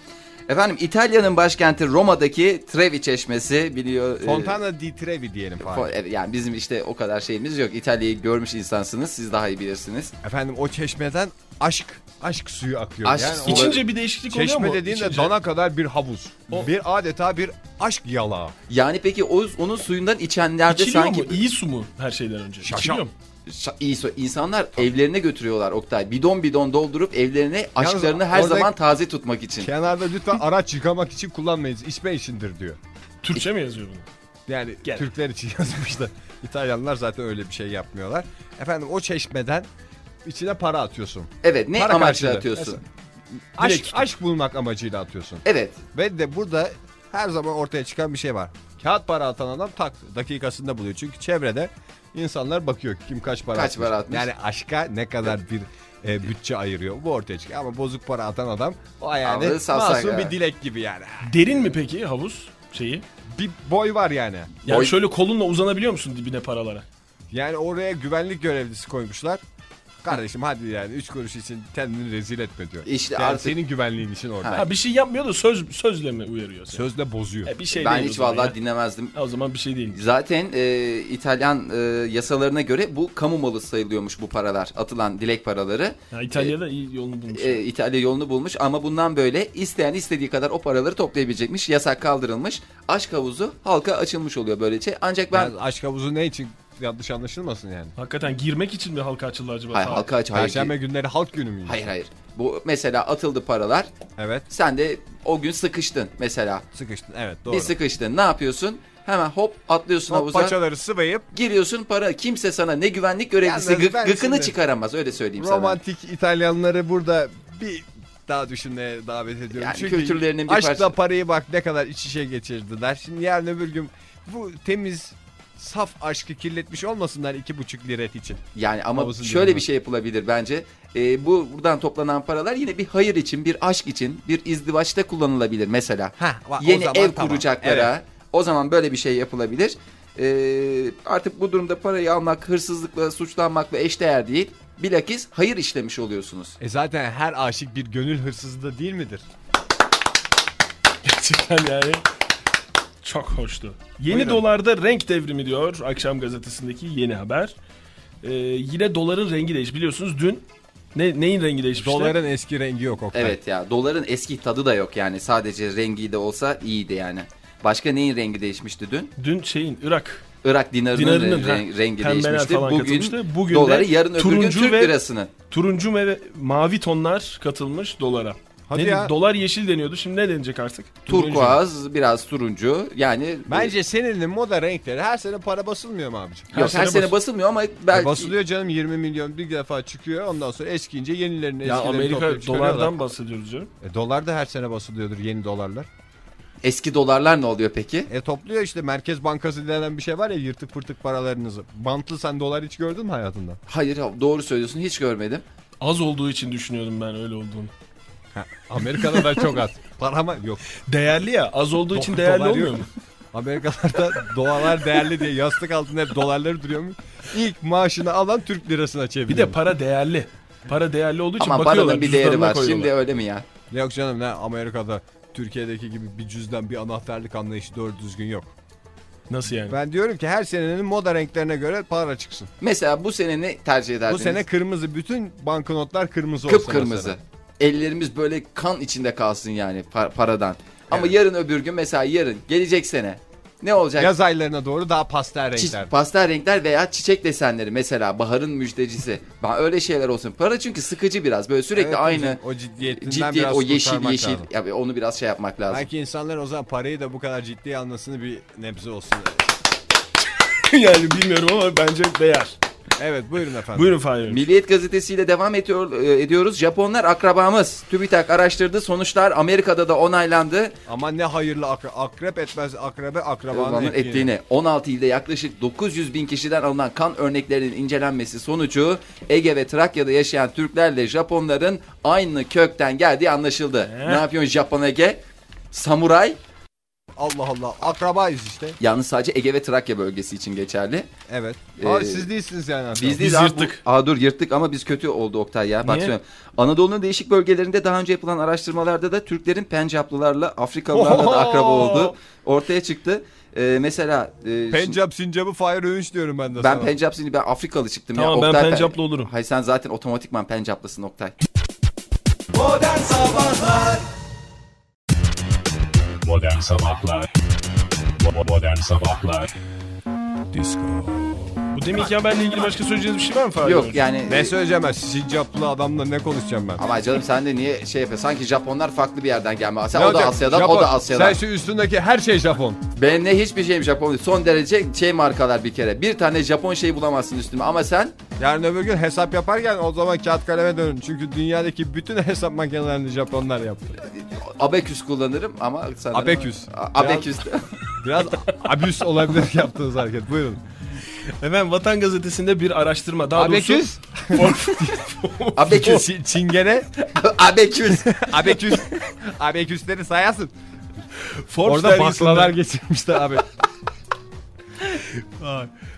Speaker 3: Efendim İtalya'nın başkenti Roma'daki Trevi çeşmesi biliyor. e,
Speaker 2: Fontana di Trevi diyelim falan.
Speaker 3: fo- evet, yani bizim işte o kadar şeyimiz yok. İtalya'yı görmüş insansınız. Siz daha iyi bilirsiniz.
Speaker 2: Efendim o çeşmeden aşk, aşk suyu akıyor.
Speaker 3: Aşk
Speaker 2: yani
Speaker 3: suyu.
Speaker 2: o-
Speaker 4: İçince bir değişiklik oluyor mu?
Speaker 2: Çeşme dediğin de
Speaker 4: İçince.
Speaker 2: dana kadar bir havuz.
Speaker 4: O-
Speaker 2: Bir adeta bir aşk yalağı.
Speaker 3: Yani peki o, onun suyundan içenlerde
Speaker 4: İçiliyor
Speaker 3: sanki
Speaker 4: mu? İyi su mu her şeyden önce?
Speaker 2: Şaşa.
Speaker 4: İçiliyor mu?
Speaker 3: Şa- iyi so- insanlar evlerine götürüyorlar Oktay. Bidon bidon doldurup evlerine aşklarını her
Speaker 2: orada-
Speaker 3: zaman taze tutmak için.
Speaker 2: Kenarda
Speaker 3: [LAUGHS]
Speaker 2: lütfen araç yıkamak için kullanmayınız. İçme işindir diyor.
Speaker 4: Türkçe mi yazıyor bunu?
Speaker 2: Yani
Speaker 4: Gel.
Speaker 2: Türkler için [LAUGHS] yazmışlar. İtalyanlar zaten öyle bir şey yapmıyorlar. Efendim o çeşmeden içine para atıyorsun.
Speaker 3: Evet ne
Speaker 2: Para
Speaker 3: amaçla
Speaker 2: karşılığı.
Speaker 3: atıyorsun?
Speaker 2: Mesela. Aşk,
Speaker 4: tutup.
Speaker 2: aşk bulmak amacıyla atıyorsun.
Speaker 3: Evet.
Speaker 2: Ve de burada her zaman ortaya çıkan bir şey var. Kağıt para atan adam tak dakikasında buluyor. Çünkü çevrede insanlar bakıyor kim kaç para
Speaker 3: Kaç
Speaker 2: atmış.
Speaker 3: para atmış.
Speaker 2: Yani aşka ne kadar bir e, bütçe ayırıyor. Bu ortaya çıkıyor. Ama bozuk para atan adam o yani
Speaker 3: Aldı, sapsakal.
Speaker 2: masum bir dilek gibi yani.
Speaker 4: Derin mi peki havuz şeyi?
Speaker 2: Bir boy var yani.
Speaker 4: Yani
Speaker 3: Oy.
Speaker 4: şöyle kolunla uzanabiliyor musun dibine paralara?
Speaker 2: Yani oraya güvenlik görevlisi koymuşlar. Kardeşim hadi yani 3 kuruş için kendini rezil etme diyor.
Speaker 3: İşte
Speaker 2: yani
Speaker 3: artık-
Speaker 2: senin güvenliğin için orada.
Speaker 3: Ha.
Speaker 4: Ha bir şey yapmıyor da söz sözle mi uyarıyor seni?
Speaker 2: Sözle bozuyor.
Speaker 4: E, bir şey
Speaker 3: ben
Speaker 4: değil o
Speaker 3: hiç
Speaker 4: zaman
Speaker 3: vallahi
Speaker 4: ya.
Speaker 3: dinlemezdim.
Speaker 4: O zaman bir şey değil.
Speaker 3: Zaten e, İtalyan e, yasalarına göre bu kamu malı sayılıyormuş bu paralar. Atılan dilek paraları.
Speaker 4: Ya İtalya'da iyi yolunu bulmuş.
Speaker 3: E, İtalya yolunu bulmuş ama bundan böyle isteyen istediği kadar o paraları toplayabilecekmiş. Yasak kaldırılmış. Aşk havuzu halka açılmış oluyor böylece. Ancak ben
Speaker 2: Yani aşk havuzu ne için yanlış anlaşılmasın yani.
Speaker 4: Hakikaten girmek için mi halka açıldı acaba?
Speaker 3: hayır
Speaker 4: Tamam.
Speaker 3: halka aç hayır.
Speaker 2: Perşembe günleri halk günü müyüz?
Speaker 3: Hayır hayır. Bu mesela atıldı paralar.
Speaker 2: Evet.
Speaker 3: Sen de o gün sıkıştın mesela.
Speaker 2: Sıkıştın. Evet doğru.
Speaker 3: Bir sıkıştın. Ne yapıyorsun? Hemen hop atlıyorsun
Speaker 2: Hop,
Speaker 3: havuza.
Speaker 2: paçaları sıvayıp
Speaker 3: Giriyorsun para. Kimse sana ne güvenlik görevlisi
Speaker 2: Yalnız
Speaker 3: gık-
Speaker 2: ben
Speaker 3: gıkını
Speaker 2: şimdi-
Speaker 3: çıkaramaz öyle söyleyeyim sana.
Speaker 2: romantik İtalyanları burada bir daha düşünmeye davet ediyorum.
Speaker 3: Yani
Speaker 2: Çünkü
Speaker 3: kültürlerinin bir
Speaker 2: aşkla
Speaker 3: parçası.
Speaker 2: parayı bak ne kadar iç içe geçirdiler. Şimdi yarın öbür gün bu temiz saf aşkı kirletmiş olmasınlar iki buçuk liret için.
Speaker 3: Yani ama
Speaker 2: Havuzun
Speaker 3: şöyle bir
Speaker 2: yanına.
Speaker 3: şey yapılabilir bence. Ee, bu buradan toplanan paralar yine bir hayır için, bir aşk için, bir izdivaçta kullanılabilir mesela.
Speaker 2: Hah, va- o
Speaker 3: Yeni
Speaker 2: zaman
Speaker 3: ev
Speaker 2: tamam.
Speaker 3: kuracaklara. O zaman böyle bir şey yapılabilir. Ee, artık bu durumda parayı almak, hırsızlıkla suçlanmakla eşdeğer değil. Bilakis hayır işlemiş oluyorsunuz.
Speaker 2: E zaten her aşık bir gönül hırsızı da değil midir?
Speaker 4: Gerçekten yani çok hoştu. Yeni
Speaker 2: Buyurun.
Speaker 4: dolarda renk devrimi diyor akşam gazetesindeki yeni haber. Ee, yine doların rengi değiş. Biliyorsunuz dün ne, neyin rengi değişmişti?
Speaker 2: Doların eski rengi yok Oktay.
Speaker 3: Evet ya doların eski tadı da yok yani sadece rengi de olsa iyiydi yani. Başka neyin rengi değişmişti dün?
Speaker 4: Dün şeyin Irak.
Speaker 3: Irak dinarının,
Speaker 4: Dinarının,
Speaker 3: re- rengi,
Speaker 4: ha, pembeler
Speaker 3: değişmişti.
Speaker 4: falan
Speaker 3: Bugün,
Speaker 4: katılmıştı. Bugün de
Speaker 3: doları yarın öbür gün
Speaker 4: turuncu
Speaker 3: Türk
Speaker 4: ve-
Speaker 3: lirasını.
Speaker 4: Turuncu ve mavi tonlar katılmış dolara.
Speaker 2: Hadi
Speaker 4: Ne-
Speaker 2: ya.
Speaker 4: Dolar yeşil deniyordu. Şimdi ne denecek artık? Turuncu.
Speaker 3: Turkuaz biraz turuncu yani
Speaker 2: Bence seninle moda renkleri her sene para basılmıyor mu abicim?
Speaker 3: yok, her,
Speaker 4: sene
Speaker 3: sene
Speaker 4: bas-
Speaker 3: basılmıyor ama belki
Speaker 2: Basılıyor canım 20 milyon bir defa çıkıyor ondan sonra eskiyince yenilerini
Speaker 4: Ya
Speaker 2: eskilerini
Speaker 4: Amerika
Speaker 2: toplayıp çıkarıyorlar.
Speaker 4: dolardan bahsediyoruz canım.
Speaker 2: E, dolar da her sene basılıyordur yeni dolarlar.
Speaker 3: eski dolarlar ne oluyor peki?
Speaker 2: E topluyor işte Merkez Bankası denen bir şey var ya yırtık pırtık paralarınızı. Bantlı sen dolar hiç gördün mü hayatında?
Speaker 3: Hayır ya, doğru söylüyorsun hiç görmedim.
Speaker 4: Az olduğu için düşünüyordum ben öyle olduğunu.
Speaker 2: Amerika'da da çok az. [LAUGHS] Para mı? Yok.
Speaker 4: Değerli ya. Az olduğu için
Speaker 2: Do-
Speaker 4: değerli
Speaker 2: dolar yok.
Speaker 4: olmuyor mu?
Speaker 2: Amerikalarda dolar değerli diye yastık altında hep dolarları duruyor mu? İlk maaşını alan Türk lirasına
Speaker 4: Bir
Speaker 2: çeviriyor.
Speaker 4: de para değerli. Para değerli olduğu için
Speaker 3: Ama paranın
Speaker 4: bakıyorlar.
Speaker 3: bir değeri
Speaker 4: cüzdanına
Speaker 3: var.
Speaker 4: koyuyorlar.
Speaker 3: Şimdi öyle mi ya?
Speaker 2: Yok canım ne Amerika'da Türkiye'deki gibi bir cüzdan bir anahtarlık anlayışı doğru düzgün yok.
Speaker 4: Nasıl yani?
Speaker 2: Ben diyorum ki her senenin moda renklerine göre para çıksın.
Speaker 3: Mesela bu sene ne tercih
Speaker 2: Bu
Speaker 3: ederdiniz?
Speaker 2: sene kırmızı bütün banknotlar kırmızı olsun.
Speaker 3: kıpkırmızı.
Speaker 2: mesela.
Speaker 3: Ellerimiz böyle kan içinde kalsın yani par- paradan. Ama
Speaker 2: Evet.
Speaker 3: yarın öbür gün mesela yarın gelecek sene ne olacak?
Speaker 2: Yaz aylarına doğru daha pastel
Speaker 3: Çi-
Speaker 2: renkler.
Speaker 3: pastel renkler veya çiçek desenleri mesela baharın müjdecisi. Ben öyle şeyler olsun. Para çünkü sıkıcı biraz böyle sürekli
Speaker 2: Evet,
Speaker 3: aynı
Speaker 2: O ciddiyetinden
Speaker 3: ciddi
Speaker 2: biraz
Speaker 3: o yeşil
Speaker 2: kurtarmak
Speaker 3: yeşil
Speaker 2: lazım.
Speaker 3: ya onu biraz şey yapmak lazım.
Speaker 2: Belki insanlar o zaman parayı da bu kadar ciddiye almasını bir nebze olsun.
Speaker 4: [LAUGHS] yani bilmiyorum ama bence değer.
Speaker 2: Evet buyurun efendim.
Speaker 4: Buyurun Fahir. Bey.
Speaker 3: Milliyet gazetesiyle devam ediyor, e, ediyoruz. Japonlar akrabamız. TÜBİTAK araştırdı. Sonuçlar Amerika'da da onaylandı.
Speaker 2: Ama ne hayırlı akre- akrep etmez akrebe akrabanın
Speaker 3: Babanın
Speaker 2: ettiğini.
Speaker 3: ettiğini 16 ilde yaklaşık 900 bin kişiden alınan kan örneklerinin incelenmesi sonucu Ege ve Trakya'da yaşayan
Speaker 4: Eh.
Speaker 3: Türklerle Japonların aynı kökten geldiği anlaşıldı. Ne yapıyorsun Japon Ege? samuray
Speaker 2: Allah Allah akrabayız işte.
Speaker 3: yalnız sadece Ege ve Trakya bölgesi için geçerli.
Speaker 2: Evet. Aa,
Speaker 3: Ee,
Speaker 2: siz değilsiniz yani. akraba.
Speaker 3: Biz, değil
Speaker 4: Biz
Speaker 3: abi,
Speaker 4: yırttık.
Speaker 3: bu- Aa, dur yırttık ama biz kötü oldu Oktay ya. Bak
Speaker 4: Niye?
Speaker 3: söyleyeyim. Anadolu'nun değişik bölgelerinde daha önce yapılan araştırmalarda da Türklerin Pencaplılarla, Afrikalılarla da akraba
Speaker 4: Oho!
Speaker 3: olduğu ortaya çıktı. Ee, mesela e, şimdi-
Speaker 2: Pencap sincabı Fahir Öğünç diyorum ben de
Speaker 3: ben
Speaker 2: sana.
Speaker 3: Pencap sini ben Afrikalı çıktım ya.
Speaker 4: Tamam, ben
Speaker 3: Oktay,
Speaker 4: Pencaplı olurum.
Speaker 3: Hayır sen zaten otomatikman Pencaplısın Oktay.
Speaker 1: Modern Sabahlar Bo- Modern Sabahlar
Speaker 4: Bu deminki haberle ilgili başka söyleyeceğiniz bir şey var mı Fahri
Speaker 3: Yok
Speaker 4: Hocam?
Speaker 3: yani
Speaker 2: Ne söyleyeceğim ben sincaplı adamla ne konuşacağım ben?
Speaker 3: ama canım sen de niye şey yapıyorsun? Sanki Japonlar farklı bir yerden gelme. Sen
Speaker 2: Ne
Speaker 3: o da
Speaker 2: olacak?
Speaker 3: Asya'dan,
Speaker 2: Japon.
Speaker 3: o da Asya'dan.
Speaker 2: Sen şu üstündeki her şey Japon.
Speaker 3: Benim ne hiçbir şeyim Japon değil. Son derece şey markalar bir kere. Bir tane Japon şey bulamazsın üstüme ama sen
Speaker 2: Yarın öbür gün hesap yaparken o zaman kağıt kaleme dönün. Çünkü dünyadaki bütün hesap makinelerini Japonlar yaptı.
Speaker 3: Abeküs kullanırım ama sanırım...
Speaker 2: Abeküs.
Speaker 3: A- Abeküs. [LAUGHS]
Speaker 2: Biraz abüs olabilir [LAUGHS] yaptığınız hareket. Buyurun.
Speaker 4: Efendim Vatan Gazetesi'nde bir araştırma daha
Speaker 2: Abeküs.
Speaker 3: [LAUGHS]
Speaker 4: doğrusu
Speaker 3: Abeküs.
Speaker 2: Çi- Çingene.
Speaker 3: [LAUGHS] Abeküs. [LAUGHS]
Speaker 2: Abeküs. Abeküsleri sayasın.
Speaker 4: Forbes
Speaker 2: Orada
Speaker 4: dergisinde-
Speaker 2: baklalar geçirmişti [LAUGHS] abi.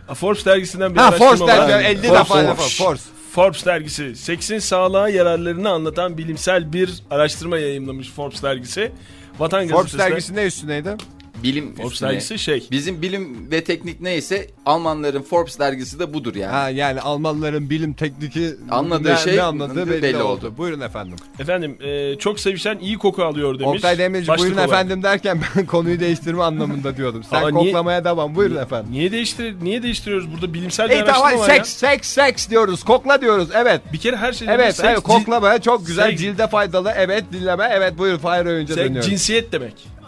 Speaker 4: Aa, Forbes dergisinden bir
Speaker 2: ha
Speaker 4: araştırma
Speaker 2: force
Speaker 4: var.
Speaker 2: der. 50 defa defa. Force.
Speaker 4: Forbes dergisi seksin sağlığa yararlarını anlatan bilimsel bir araştırma yayımlamış Forbes dergisi. Vatan
Speaker 2: Forbes
Speaker 4: gazetesinde-
Speaker 2: dergisi ne üstüneydi?
Speaker 3: Bilim
Speaker 4: Forbes
Speaker 3: üstüne.
Speaker 4: dergisi şey.
Speaker 3: Bizim bilim ve teknik neyse Almanların Forbes dergisi de budur yani.
Speaker 2: Ha yani Almanların bilim tekniki
Speaker 3: Anladığı
Speaker 2: ne,
Speaker 3: şey
Speaker 2: ne anladığı belli,
Speaker 3: belli
Speaker 2: oldu.
Speaker 3: oldu.
Speaker 2: Buyurun efendim.
Speaker 4: Efendim e, çok sevişen iyi koku alıyor demiş.
Speaker 2: Oktay Demirci
Speaker 4: Başlık
Speaker 2: buyurun
Speaker 4: olarak.
Speaker 2: efendim derken ben [LAUGHS] konuyu değiştirme anlamında diyordum. Sen
Speaker 4: Ama niye-
Speaker 2: koklamaya devam buyurun efendim.
Speaker 4: Niye değiştir niye değiştiriyoruz burada bilimsel bir
Speaker 2: İyi tamam
Speaker 4: araştırma
Speaker 2: hayır,
Speaker 4: var
Speaker 2: seks
Speaker 4: ya.
Speaker 2: seks seks diyoruz kokla diyoruz evet.
Speaker 4: Bir kere her şeyden bir
Speaker 2: Evet
Speaker 4: seks,
Speaker 2: evet koklama çok güzel
Speaker 4: seks-
Speaker 2: cilde faydalı evet dinleme evet buyurun Fahir Öğünce
Speaker 4: cin- seks
Speaker 2: dönüyorum.
Speaker 4: cinsiyet demek.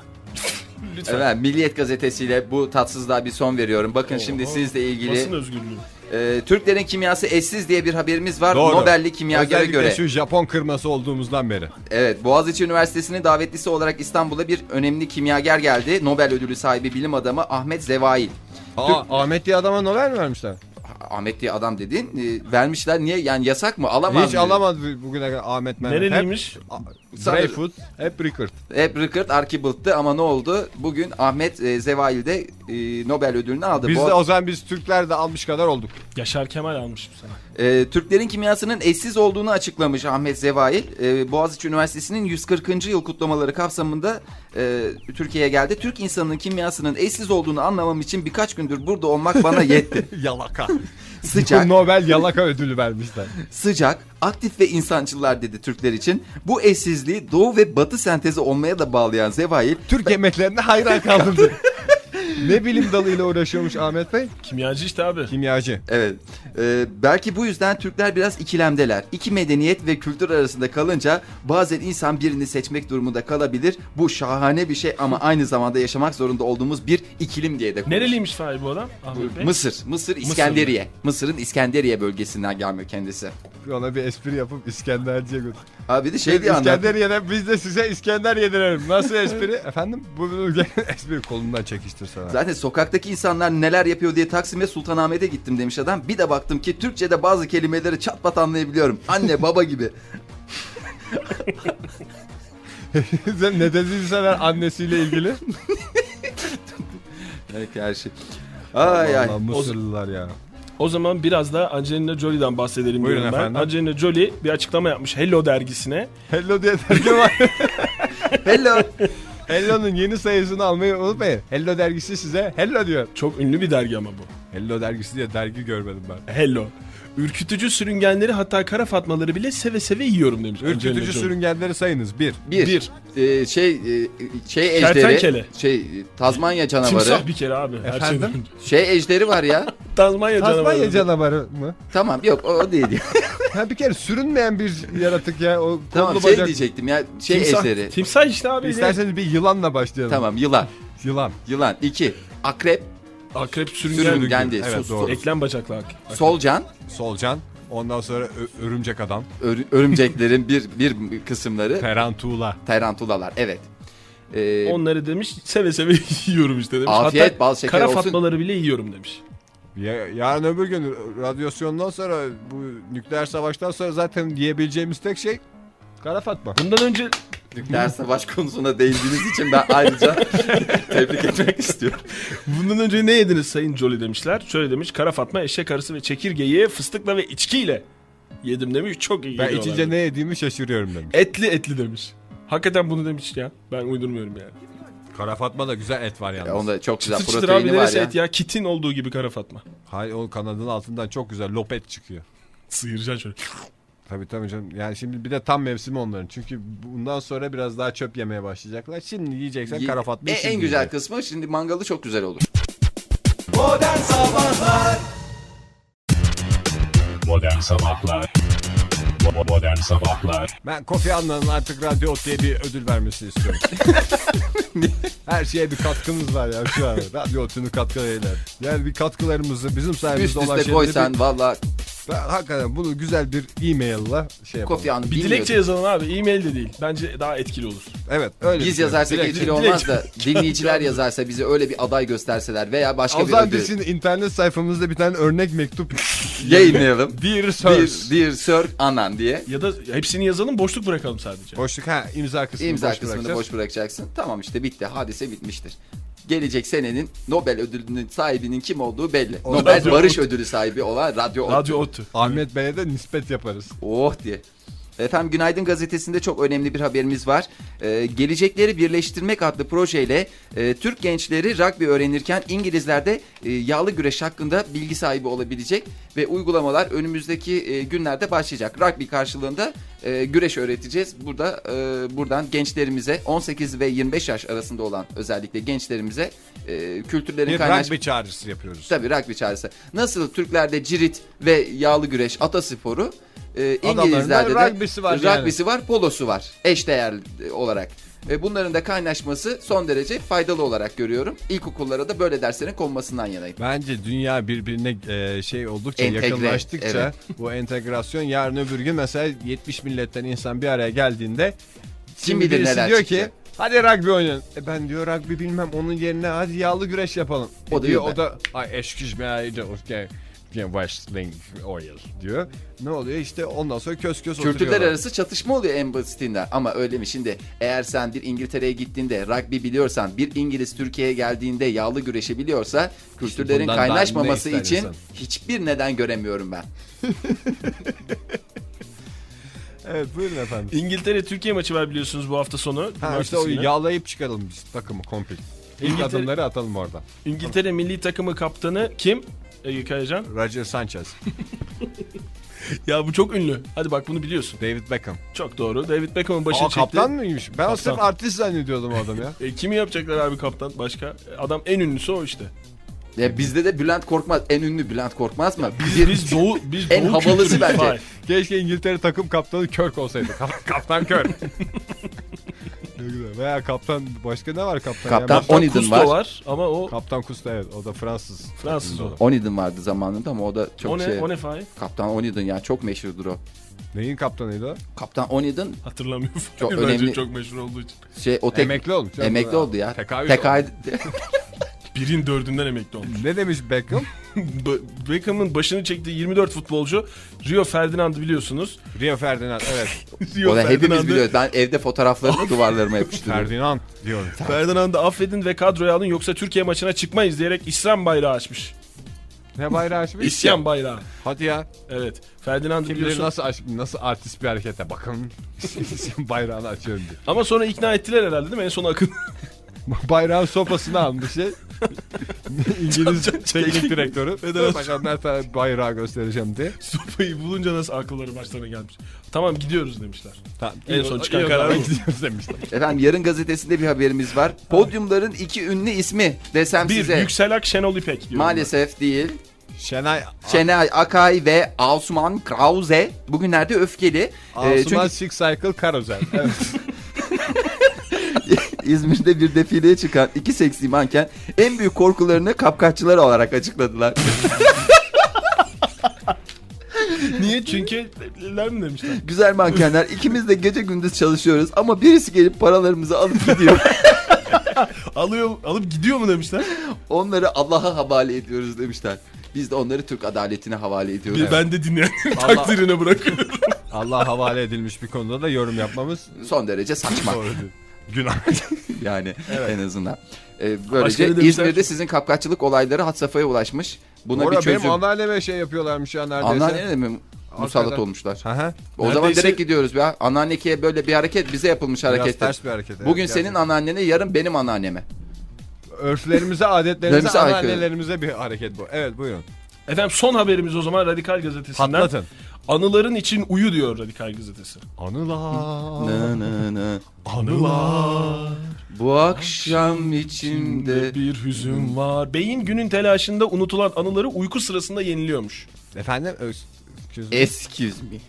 Speaker 4: Lütfen.
Speaker 3: Evet, Milliyet gazetesiyle bu tatsızlığa bir son veriyorum. Bakın şimdi
Speaker 4: Oho,
Speaker 3: sizle
Speaker 4: Basın
Speaker 3: ilgili
Speaker 4: özgürlüğü.
Speaker 3: e, Türklerin kimyası eşsiz diye bir haberimiz var.
Speaker 2: Doğru.
Speaker 3: Nobel'li kimyagere
Speaker 2: Özellikle
Speaker 3: göre.
Speaker 2: şu Japon kırması olduğumuzdan beri.
Speaker 3: Evet, Boğaziçi Üniversitesi'nin davetlisi olarak İstanbul'a bir önemli kimyager geldi. Nobel ödülü sahibi bilim adamı Ahmet Zevail.
Speaker 2: Aa, Ahmet diye adama Nobel mi vermişler?
Speaker 3: Ahmet diye adam dediğin e, vermişler niye yani yasak mı alamaz
Speaker 2: Hiç
Speaker 3: mı?
Speaker 2: alamadı bugüne kadar Ahmet Mehmet. Hep-
Speaker 4: Nereliymiş?
Speaker 2: A- Dreyfus hep Rickert.
Speaker 3: Hep Rıkırt Arkibılt'tı ama ne oldu? Bugün Ahmet e, Zevail de e, Nobel ödülünü aldı.
Speaker 2: Biz
Speaker 3: Bu-
Speaker 2: de o zaman biz Türkler de almış kadar olduk.
Speaker 4: Yaşar Kemal almış bu sana.
Speaker 3: E, Türklerin kimyasının eşsiz olduğunu açıklamış Ahmet Zevail. E, Boğaziçi Üniversitesi'nin 140. yıl kutlamaları kapsamında e, Türkiye'ye geldi. Türk insanının kimyasının eşsiz olduğunu anlamam için birkaç gündür burada olmak bana yetti.
Speaker 2: Yalaka.
Speaker 3: Sıcak,
Speaker 2: Nobel yalaka ödülü vermişler.
Speaker 3: sıcak, aktif ve insancılar dedi Türkler için. Bu eşsizliği doğu ve batı sentezi olmaya da bağlayan Zevail
Speaker 2: Türk yemeklerine hayran kaldım. diyor. ne bilim dalıyla uğraşıyormuş Ahmet Bey?
Speaker 4: Kimyacı işte abi.
Speaker 2: Kimyacı.
Speaker 3: Evet. Ee, belki bu yüzden Türkler biraz ikilemdeler. İki medeniyet ve kültür arasında kalınca bazen insan birini seçmek durumunda kalabilir. Bu şahane bir şey ama aynı zamanda yaşamak zorunda olduğumuz bir ikilim diye de konuşuyor.
Speaker 4: Nereliymiş Fahri bu adam? Ahmet Bey.
Speaker 3: Mısır. Mısır İskenderiye. Mısır'ın İskenderiye bölgesinden gelmiyor kendisi.
Speaker 2: Ona bir espri yapıp İskenderci'ye götür.
Speaker 3: Abi bir de şey diye anlat.
Speaker 2: İskenderiye'den biz de size İskender yedirelim. Nasıl espri? [LAUGHS] Efendim? Bu bu- [LAUGHS] espri kolundan çekiştir sana.
Speaker 3: Zaten sokaktaki insanlar neler yapıyor diye Taksim'e Sultanahmet'e gittim demiş adam. Bir de baktım ki Türkçe'de bazı kelimeleri çat pat anlayabiliyorum. Anne baba gibi.
Speaker 2: Sen ne dediysen ben annesiyle ilgili.
Speaker 3: Evet her şey. Ay ay.
Speaker 2: Vallahi Mısırlılar ya.
Speaker 4: O zaman biraz da Angelina Jolie'den bahsedelim
Speaker 2: Buyurun
Speaker 4: diyorum ben.
Speaker 2: efendim.
Speaker 4: Angelina Jolie bir açıklama yapmış Hello dergisine.
Speaker 2: Hello diye dergi var.
Speaker 3: Hello.
Speaker 2: Hello'nun yeni sayısını almayı unutmayın. Hello dergisi size hello diyor.
Speaker 4: Çok ünlü bir dergi ama bu.
Speaker 2: Hello dergisi diye dergi görmedim ben.
Speaker 4: Hello. Ürkütücü sürüngenleri hatta kara fatmaları bile seve seve yiyorum demiş. Angelina
Speaker 2: Ürkütücü
Speaker 4: Jolie.
Speaker 2: sürüngenleri sayınız. Bir.
Speaker 3: Bir. Ee, şey e, şey ejderi.
Speaker 4: Kertenkele.
Speaker 3: Şey e, Tazmanya canavarı.
Speaker 4: Timsah bir kere abi. Her
Speaker 2: Efendim?
Speaker 4: şeyden önce.
Speaker 3: Şey ejderi var
Speaker 4: [LAUGHS]
Speaker 3: ya.
Speaker 4: Tazmanya canavarı.
Speaker 2: Tasmanya canavarı mı?
Speaker 3: tamam yok o, o değil. ya.
Speaker 2: Ha bir kere sürünmeyen bir yaratık ya. O kollu
Speaker 3: tamam şey
Speaker 2: bacak.
Speaker 3: diyecektim ya. Şey
Speaker 4: Timsah,
Speaker 3: ejderi.
Speaker 4: timsah işte abi.
Speaker 2: İsterseniz bir yılanla başlayalım.
Speaker 3: Tamam yılan.
Speaker 2: Yılan.
Speaker 3: Yılan. iki Akrep.
Speaker 4: Akrep sürüngen.
Speaker 3: Sürüngen değil.
Speaker 2: Evet,
Speaker 3: sus,
Speaker 2: doğru.
Speaker 3: sus.
Speaker 4: Eklem bacaklı ak- akrep.
Speaker 3: Solcan.
Speaker 2: Solcan. Ondan sonra ö- örümcek adam.
Speaker 3: ör- örümceklerin bir bir kısımları.
Speaker 2: Tarantula.
Speaker 3: Tarantulalar. Evet. Ee,
Speaker 4: Onları demiş seve seve [LAUGHS] yiyorum işte demiş.
Speaker 3: Afiyet,
Speaker 4: Hatta
Speaker 3: bal şeker
Speaker 4: kara
Speaker 3: olsun.
Speaker 4: fatmaları bile yiyorum demiş.
Speaker 2: Ya, yarın öbür gün radyasyondan sonra bu nükleer savaştan sonra zaten yiyebileceğimiz tek şey Kara Fatma.
Speaker 4: Bundan önce [LAUGHS]
Speaker 3: nükleer savaş konusuna değindiğiniz için ben
Speaker 4: [LAUGHS]
Speaker 3: ayrıca tebrik etmek istiyorum.
Speaker 4: Bundan önce ne yediniz Sayın Jolly demişler. Şöyle demiş kara fatma eşek arısı ve çekirgeyi fıstıkla ve içkiyle yedim demiş. Çok iyi
Speaker 2: Ben
Speaker 4: geliyorlar
Speaker 2: içince ne yediğimi şaşırıyorum demiş.
Speaker 4: Etli etli demiş. Hakikaten bunu demiş ya. Ben uydurmuyorum yani.
Speaker 2: Kara Fatma da güzel et var yalnız.
Speaker 3: Ya onda çok güzel
Speaker 4: Çıtır çıtır abi
Speaker 3: proteini var
Speaker 4: neresi
Speaker 3: ya.
Speaker 4: et ya? Kitin olduğu gibi kara fatma.
Speaker 2: Hayır o kanadının altından çok güzel lopet çıkıyor.
Speaker 4: Sıyıracaksın şöyle.
Speaker 2: Tabii tabii canım. Yani şimdi bir de tam mevsimi onların. Çünkü bundan sonra biraz daha çöp yemeye başlayacaklar. Şimdi yiyeceksen
Speaker 3: Ye-
Speaker 2: Kara Fatma
Speaker 3: E,
Speaker 2: şimdi
Speaker 3: en güzel
Speaker 2: yiyecek.
Speaker 3: kısmı şimdi mangalı çok güzel olur.
Speaker 1: Modern Sabahlar Bo- Modern Sabahlar
Speaker 2: Ben Kofi Anna'nın artık Radyo Ot diye bir ödül vermesini
Speaker 3: [LAUGHS]
Speaker 2: istiyorum. Her şeye bir katkımız var ya şu an. Radyo Ot'un katkılarıyla. Yani bir katkılarımızı bizim
Speaker 3: Üst
Speaker 2: sayemizde olan
Speaker 3: üste
Speaker 2: şeyleri...
Speaker 3: koysan
Speaker 2: bir-
Speaker 3: valla
Speaker 2: Ben hakikaten bunu güzel bir e-mail'la şey yapalım.
Speaker 3: Kofi Anı
Speaker 4: Bir dilekçe yazalım abi. E-mail de değil. Bence daha etkili olur.
Speaker 2: Evet öyle. şey.
Speaker 3: Biz yazarsak
Speaker 2: Direkt-
Speaker 3: etkili olmaz da dinleyiciler yazarsa bize öyle bir aday gösterseler veya başka
Speaker 2: O
Speaker 3: bir
Speaker 2: zaman
Speaker 3: ödül
Speaker 2: biz şimdi internet sayfamızda bir tane örnek mektup.
Speaker 3: yayınlayalım.
Speaker 2: Dear
Speaker 3: Dear,
Speaker 2: Sirs.
Speaker 3: dear Sir Anan diye
Speaker 4: Ya da hepsini yazalım boşluk bırakalım sadece.
Speaker 2: Boşluk ha imza kısmını
Speaker 3: imza
Speaker 2: boş
Speaker 3: kısmını
Speaker 2: bırakacağız.
Speaker 3: boş bırakacaksın. Tamam işte bitti hadise bitmiştir. Gelecek senenin Nobel ödülünün sahibinin kim olduğu belli. Nobel
Speaker 4: Radyo
Speaker 3: Barış
Speaker 4: Ot.
Speaker 3: Ödülü sahibi olan Radyo, Ot.
Speaker 4: Radyo Otu.
Speaker 2: Ahmet Bey'e de nispet yaparız.
Speaker 3: Oh diye. Efendim Günaydın Gazetesi'nde çok önemli bir haberimiz var. Ee, Gelecekleri Birleştirmek adlı projeyle e, Türk gençleri rugby öğrenirken İngilizler de e, yağlı güreş hakkında bilgi sahibi olabilecek ve uygulamalar önümüzdeki e, günlerde başlayacak. Rugby karşılığında e, güreş öğreteceğiz. Burada e, buradan gençlerimize 18 ve 25 yaş arasında olan özellikle gençlerimize e, kültürlerin
Speaker 2: Bir
Speaker 3: kaynaş
Speaker 2: rugby çağrısı yapıyoruz.
Speaker 3: Tabii rugby çağrısı. Nasıl Türklerde cirit ve yağlı güreş atasporu e,
Speaker 2: Adamların
Speaker 3: İngilizlerde
Speaker 2: da
Speaker 3: de
Speaker 2: rugby'si var
Speaker 3: rugby'si var, polosu var eşdeğer olarak. E, bunların da kaynaşması son derece faydalı olarak görüyorum. İlkokullara da böyle derslerin konmasından yanayım.
Speaker 2: Bence dünya birbirine e, şey oldukça
Speaker 3: Entegre,
Speaker 2: yakınlaştıkça
Speaker 3: evet.
Speaker 2: [LAUGHS] bu entegrasyon yarın öbür gün mesela 70 milletten insan bir araya geldiğinde
Speaker 3: Kim
Speaker 2: şimdi
Speaker 3: bilir
Speaker 2: birisi
Speaker 3: neler
Speaker 2: diyor
Speaker 3: çıkacak.
Speaker 2: ki hadi rugby oynayın. E ben diyor rugby bilmem onun yerine hadi yağlı güreş yapalım. E
Speaker 3: O da
Speaker 2: diyor,
Speaker 3: yok
Speaker 2: o da ay excuse me I don't get- get wrestling oil diyor. Ne oluyor işte ondan sonra kös kös
Speaker 3: Kültürler
Speaker 2: oturuyorlar.
Speaker 3: arası çatışma oluyor en basitinden. Ama öyle mi şimdi eğer sen bir İngiltere'ye gittiğinde rugby biliyorsan bir İngiliz Türkiye'ye geldiğinde yağlı güreşi biliyorsa kültürlerin
Speaker 2: bundan daha
Speaker 3: kaynaşmaması
Speaker 2: ne ister
Speaker 3: için
Speaker 2: insan?
Speaker 3: hiçbir neden göremiyorum ben.
Speaker 2: Evet buyurun efendim.
Speaker 4: İngiltere Türkiye maçı var biliyorsunuz bu hafta sonu.
Speaker 2: Ha
Speaker 4: Cumartesi
Speaker 2: işte o
Speaker 4: günü.
Speaker 2: yağlayıp çıkaralım biz takımı komple. İlk
Speaker 4: İngiltere-
Speaker 2: adımları atalım orada.
Speaker 4: İngiltere milli takımı kaptanı kim? E, Ege Kayacan.
Speaker 2: Roger
Speaker 4: [LAUGHS]
Speaker 2: Sanchez,
Speaker 4: Ya bu çok ünlü. Hadi bak bunu biliyorsun.
Speaker 2: David Beckham.
Speaker 4: Çok doğru. David Beckham'ın başı
Speaker 2: Aa,
Speaker 4: çekti.
Speaker 2: kaptan mıymış? Ben
Speaker 4: Kaptan.
Speaker 2: sırf artist zannediyordum o adamı
Speaker 4: [LAUGHS]
Speaker 2: ya.
Speaker 4: E, kimi yapacaklar abi kaptan başka? E, Adam en ünlüsü o işte.
Speaker 3: Ya E, bizde de Bülent Korkmaz en ünlü Bülent Korkmaz mı?
Speaker 4: Biz,
Speaker 3: Bir-
Speaker 4: biz doğu biz
Speaker 3: En
Speaker 4: doğu
Speaker 3: havalısı
Speaker 4: kültürüyüz.
Speaker 3: bence.
Speaker 4: Hayır.
Speaker 2: Keşke İngiltere takım kaptanı Körk olsaydı.
Speaker 4: [LAUGHS]
Speaker 2: Kap- kaptan Körk. Ne güzel. Veya kaptan başka ne var kaptan? ya?
Speaker 3: Kaptan
Speaker 2: Ben-
Speaker 3: Onidon
Speaker 4: Kusto
Speaker 3: var.
Speaker 4: var. ama o
Speaker 2: Kaptan Kusta evet o da Fransız.
Speaker 4: Fransız o.
Speaker 3: Onidon vardı zamanında ama o da çok
Speaker 4: o ne,
Speaker 3: şey.
Speaker 4: o ne Fahir?
Speaker 3: Kaptan Onidon ya çok meşhurdur o.
Speaker 2: Neyin kaptanıydı o?
Speaker 3: Kaptan Onidon
Speaker 4: Hatırlamıyorum.
Speaker 3: Çok
Speaker 4: [LAUGHS] Çok
Speaker 3: önemli.
Speaker 4: çok meşhur olduğu için.
Speaker 3: şey o tek
Speaker 2: Emekli olmuş. ya.
Speaker 3: emekli oldu ya.
Speaker 2: Tekahüt
Speaker 3: Tekahüt-
Speaker 4: Birin dördünden emekli olmuş.
Speaker 2: Ne demiş Beckham?
Speaker 4: Be- Beckham'ın başını çektiği 24 futbolcu Rio Ferdinand biliyorsunuz.
Speaker 2: Rio Ferdinand evet.
Speaker 4: [LAUGHS]
Speaker 3: [LAUGHS]
Speaker 4: Rio
Speaker 3: o da hepimiz
Speaker 4: Ferdinand'ı-
Speaker 3: biliyoruz. Ben evde fotoğraflarını duvarlarıma yapıştırıyorum.
Speaker 2: Ferdinand
Speaker 3: [LAUGHS]
Speaker 2: diyor.
Speaker 4: Ferdinand'ı affedin ve kadroya alın yoksa Türkiye maçına çıkmayız diyerek İslam bayrağı açmış.
Speaker 2: Ne bayrağı açmış?
Speaker 4: İsyan bayrağı.
Speaker 2: Hadi ya.
Speaker 4: Evet. Ferdinand
Speaker 2: Kim bilir
Speaker 4: biliyorsun.
Speaker 2: nasıl aşk, nasıl artist bir harekete bakın. [LAUGHS] bayrağını açıyorum diye.
Speaker 4: Ama sonra ikna ettiler herhalde değil mi? En son akıl.
Speaker 2: Bayrağın sopasını almış şey. [LAUGHS] İngiliz teknik direktörü.
Speaker 4: Federasyon.
Speaker 2: Bakalım her tane bayrağı göstereceğim diye.
Speaker 4: Sopayı bulunca nasıl akılları başlarına gelmiş. Tamam gidiyoruz demişler.
Speaker 2: Tamam.
Speaker 4: En son çıkan karar bu.
Speaker 2: gidiyoruz [LAUGHS] demişler.
Speaker 3: Efendim yarın gazetesinde bir haberimiz var. Podyumların iki ünlü ismi desem
Speaker 4: Bir
Speaker 3: size.
Speaker 4: yükselak Şenol İpek. diyorum
Speaker 3: Maalesef değil. Ee,
Speaker 2: Şenay
Speaker 3: Şenay Akay ve Asuman Krause bugünlerde öfkeli.
Speaker 2: Asuman
Speaker 3: Ee, çünkü
Speaker 2: Six Cycle Karozel. Evet.
Speaker 3: İzmir'de bir defileye çıkan iki seksi manken en büyük korkularını kapkaççılar olarak açıkladılar.
Speaker 4: ben. Niye? Çünkü ler mi demişler?
Speaker 3: Güzel mankenler ikimiz de gece gündüz çalışıyoruz ama birisi gelip paralarımızı alıp
Speaker 2: [LAUGHS]
Speaker 3: gidiyor.
Speaker 4: Alıyor, alıp gidiyor mu demişler?
Speaker 3: onları Allah'a havale ediyoruz demişler. Biz de onları Türk adaletine havale ediyoruz.
Speaker 4: Ben de dinleyenlerin
Speaker 2: Allah-
Speaker 4: takdirine bırakıyorum.
Speaker 2: Allah'a havale edilmiş bir konuda da yorum yapmamız
Speaker 3: Son derece saçma
Speaker 2: doğru değil. Günah.
Speaker 3: yani en azından. Ee,
Speaker 4: Başka
Speaker 3: böylece
Speaker 4: ne demişler?
Speaker 3: İzmir'de sizin kapkaççılık olayları had safhaya ulaşmış. Buna
Speaker 2: Orada
Speaker 3: bir çözüm.
Speaker 2: benim anneanneme şey yapıyorlarmış ya neredeyse.
Speaker 3: Anneanneye mi musallat
Speaker 2: Hakikaten.
Speaker 3: olmuşlar?
Speaker 2: Hı hı.
Speaker 3: O zaman
Speaker 4: Neredeyse-
Speaker 3: direkt gidiyoruz ya. Anneannekeye böyle bir hareket bize yapılmış
Speaker 2: Biraz
Speaker 3: harekettir.
Speaker 2: ters bir hareket. evet,
Speaker 3: Bugün
Speaker 2: gerçekten.
Speaker 3: senin anneannene, yarın benim anneanneme. [LAUGHS]
Speaker 2: Örflerimize,
Speaker 3: Örflerimize
Speaker 2: adetlerimize,
Speaker 3: aykırı.
Speaker 2: anneannelerimize bir hareket bu. Evet buyurun.
Speaker 4: Efendim son haberimiz o zaman Radikal Gazetesi'nden.
Speaker 2: Patlatın.
Speaker 4: Anıların için uyu diyor Radikal Gazetesi.
Speaker 2: Anılar,
Speaker 3: Nı nı nı.
Speaker 2: anılar.
Speaker 3: Bu akşam içimde
Speaker 4: bir hüzün var. Beyin günün telaşında unutulan anıları uyku sırasında yeniliyormuş. [LAUGHS]
Speaker 2: Efendim? Öz- Excuse me.
Speaker 3: excuse me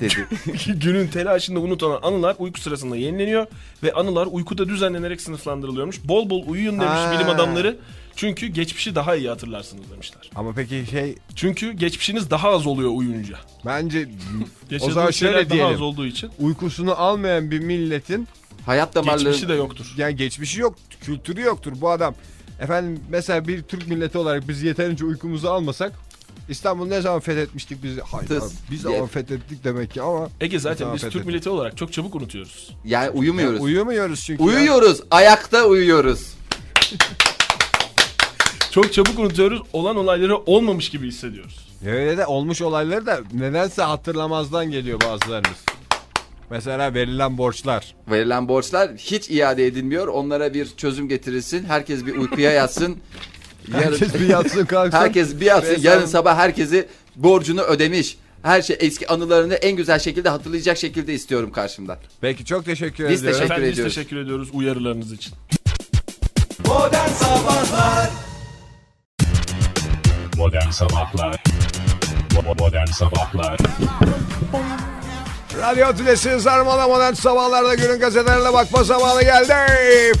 Speaker 3: dedi.
Speaker 4: günün telaşında unutulan anılar uyku sırasında yenileniyor ve anılar uykuda düzenlenerek sınıflandırılıyormuş. Bol bol uyuyun demiş
Speaker 2: Ha.
Speaker 4: bilim adamları. Çünkü geçmişi daha iyi hatırlarsınız demişler.
Speaker 2: Ama peki şey
Speaker 4: Çünkü geçmişiniz daha az oluyor uyuyunca.
Speaker 2: bence o
Speaker 4: Geçirdiğiniz
Speaker 2: zaman
Speaker 4: şeyler
Speaker 2: şöyle
Speaker 4: Daha az
Speaker 2: diyelim.
Speaker 4: olduğu için
Speaker 2: Uykusunu almayan bir milletin
Speaker 3: Hayat damarları
Speaker 4: geçmişi de yoktur.
Speaker 2: yani geçmişi yok, kültürü yoktur. Bu adam efendim mesela bir Türk milleti olarak biz yeterince uykumuzu almasak İstanbul ne zaman fethetmiştik biz? Hayır
Speaker 3: Tıs.
Speaker 2: abi, biz
Speaker 3: Yep.
Speaker 2: zaman fethettik demek ki ama
Speaker 4: Ege zaten
Speaker 2: Tamam,
Speaker 4: biz Türk
Speaker 2: affedin.
Speaker 4: milleti olarak çok çabuk unutuyoruz.
Speaker 3: yani uyumuyoruz.
Speaker 2: uyumuyoruz çünkü. ya.
Speaker 3: uyuyoruz. Ayakta uyuyoruz.
Speaker 4: Çok çabuk unutuyoruz. Olan olayları olmamış gibi hissediyoruz.
Speaker 2: Öyle de olmuş olayları da nedense hatırlamazdan geliyor bazılarımız. Mesela verilen borçlar.
Speaker 3: Verilen borçlar hiç iade edilmiyor. Onlara bir çözüm getirilsin. Herkes bir uykuya yatsın. Yarın-
Speaker 2: Herkes bir yatsın kalksın.
Speaker 3: herkes bir yatsın.
Speaker 2: Resmen-
Speaker 3: Yarın sabah herkesi borcunu ödemiş. Her şey eski anılarını en güzel şekilde hatırlayacak şekilde istiyorum karşımda.
Speaker 2: Peki çok teşekkür
Speaker 3: Biz
Speaker 2: ediyorum.
Speaker 3: Teşekkür
Speaker 4: Efendim
Speaker 3: ediyoruz.
Speaker 4: biz teşekkür ediyoruz uyarılarınız için.
Speaker 1: Modern Sabahlar Bo- Modern Sabahlar
Speaker 2: Radyo Tülesi Sarmala Modern Sabahlar'da günün gazetelerine bakma zamanı geldi.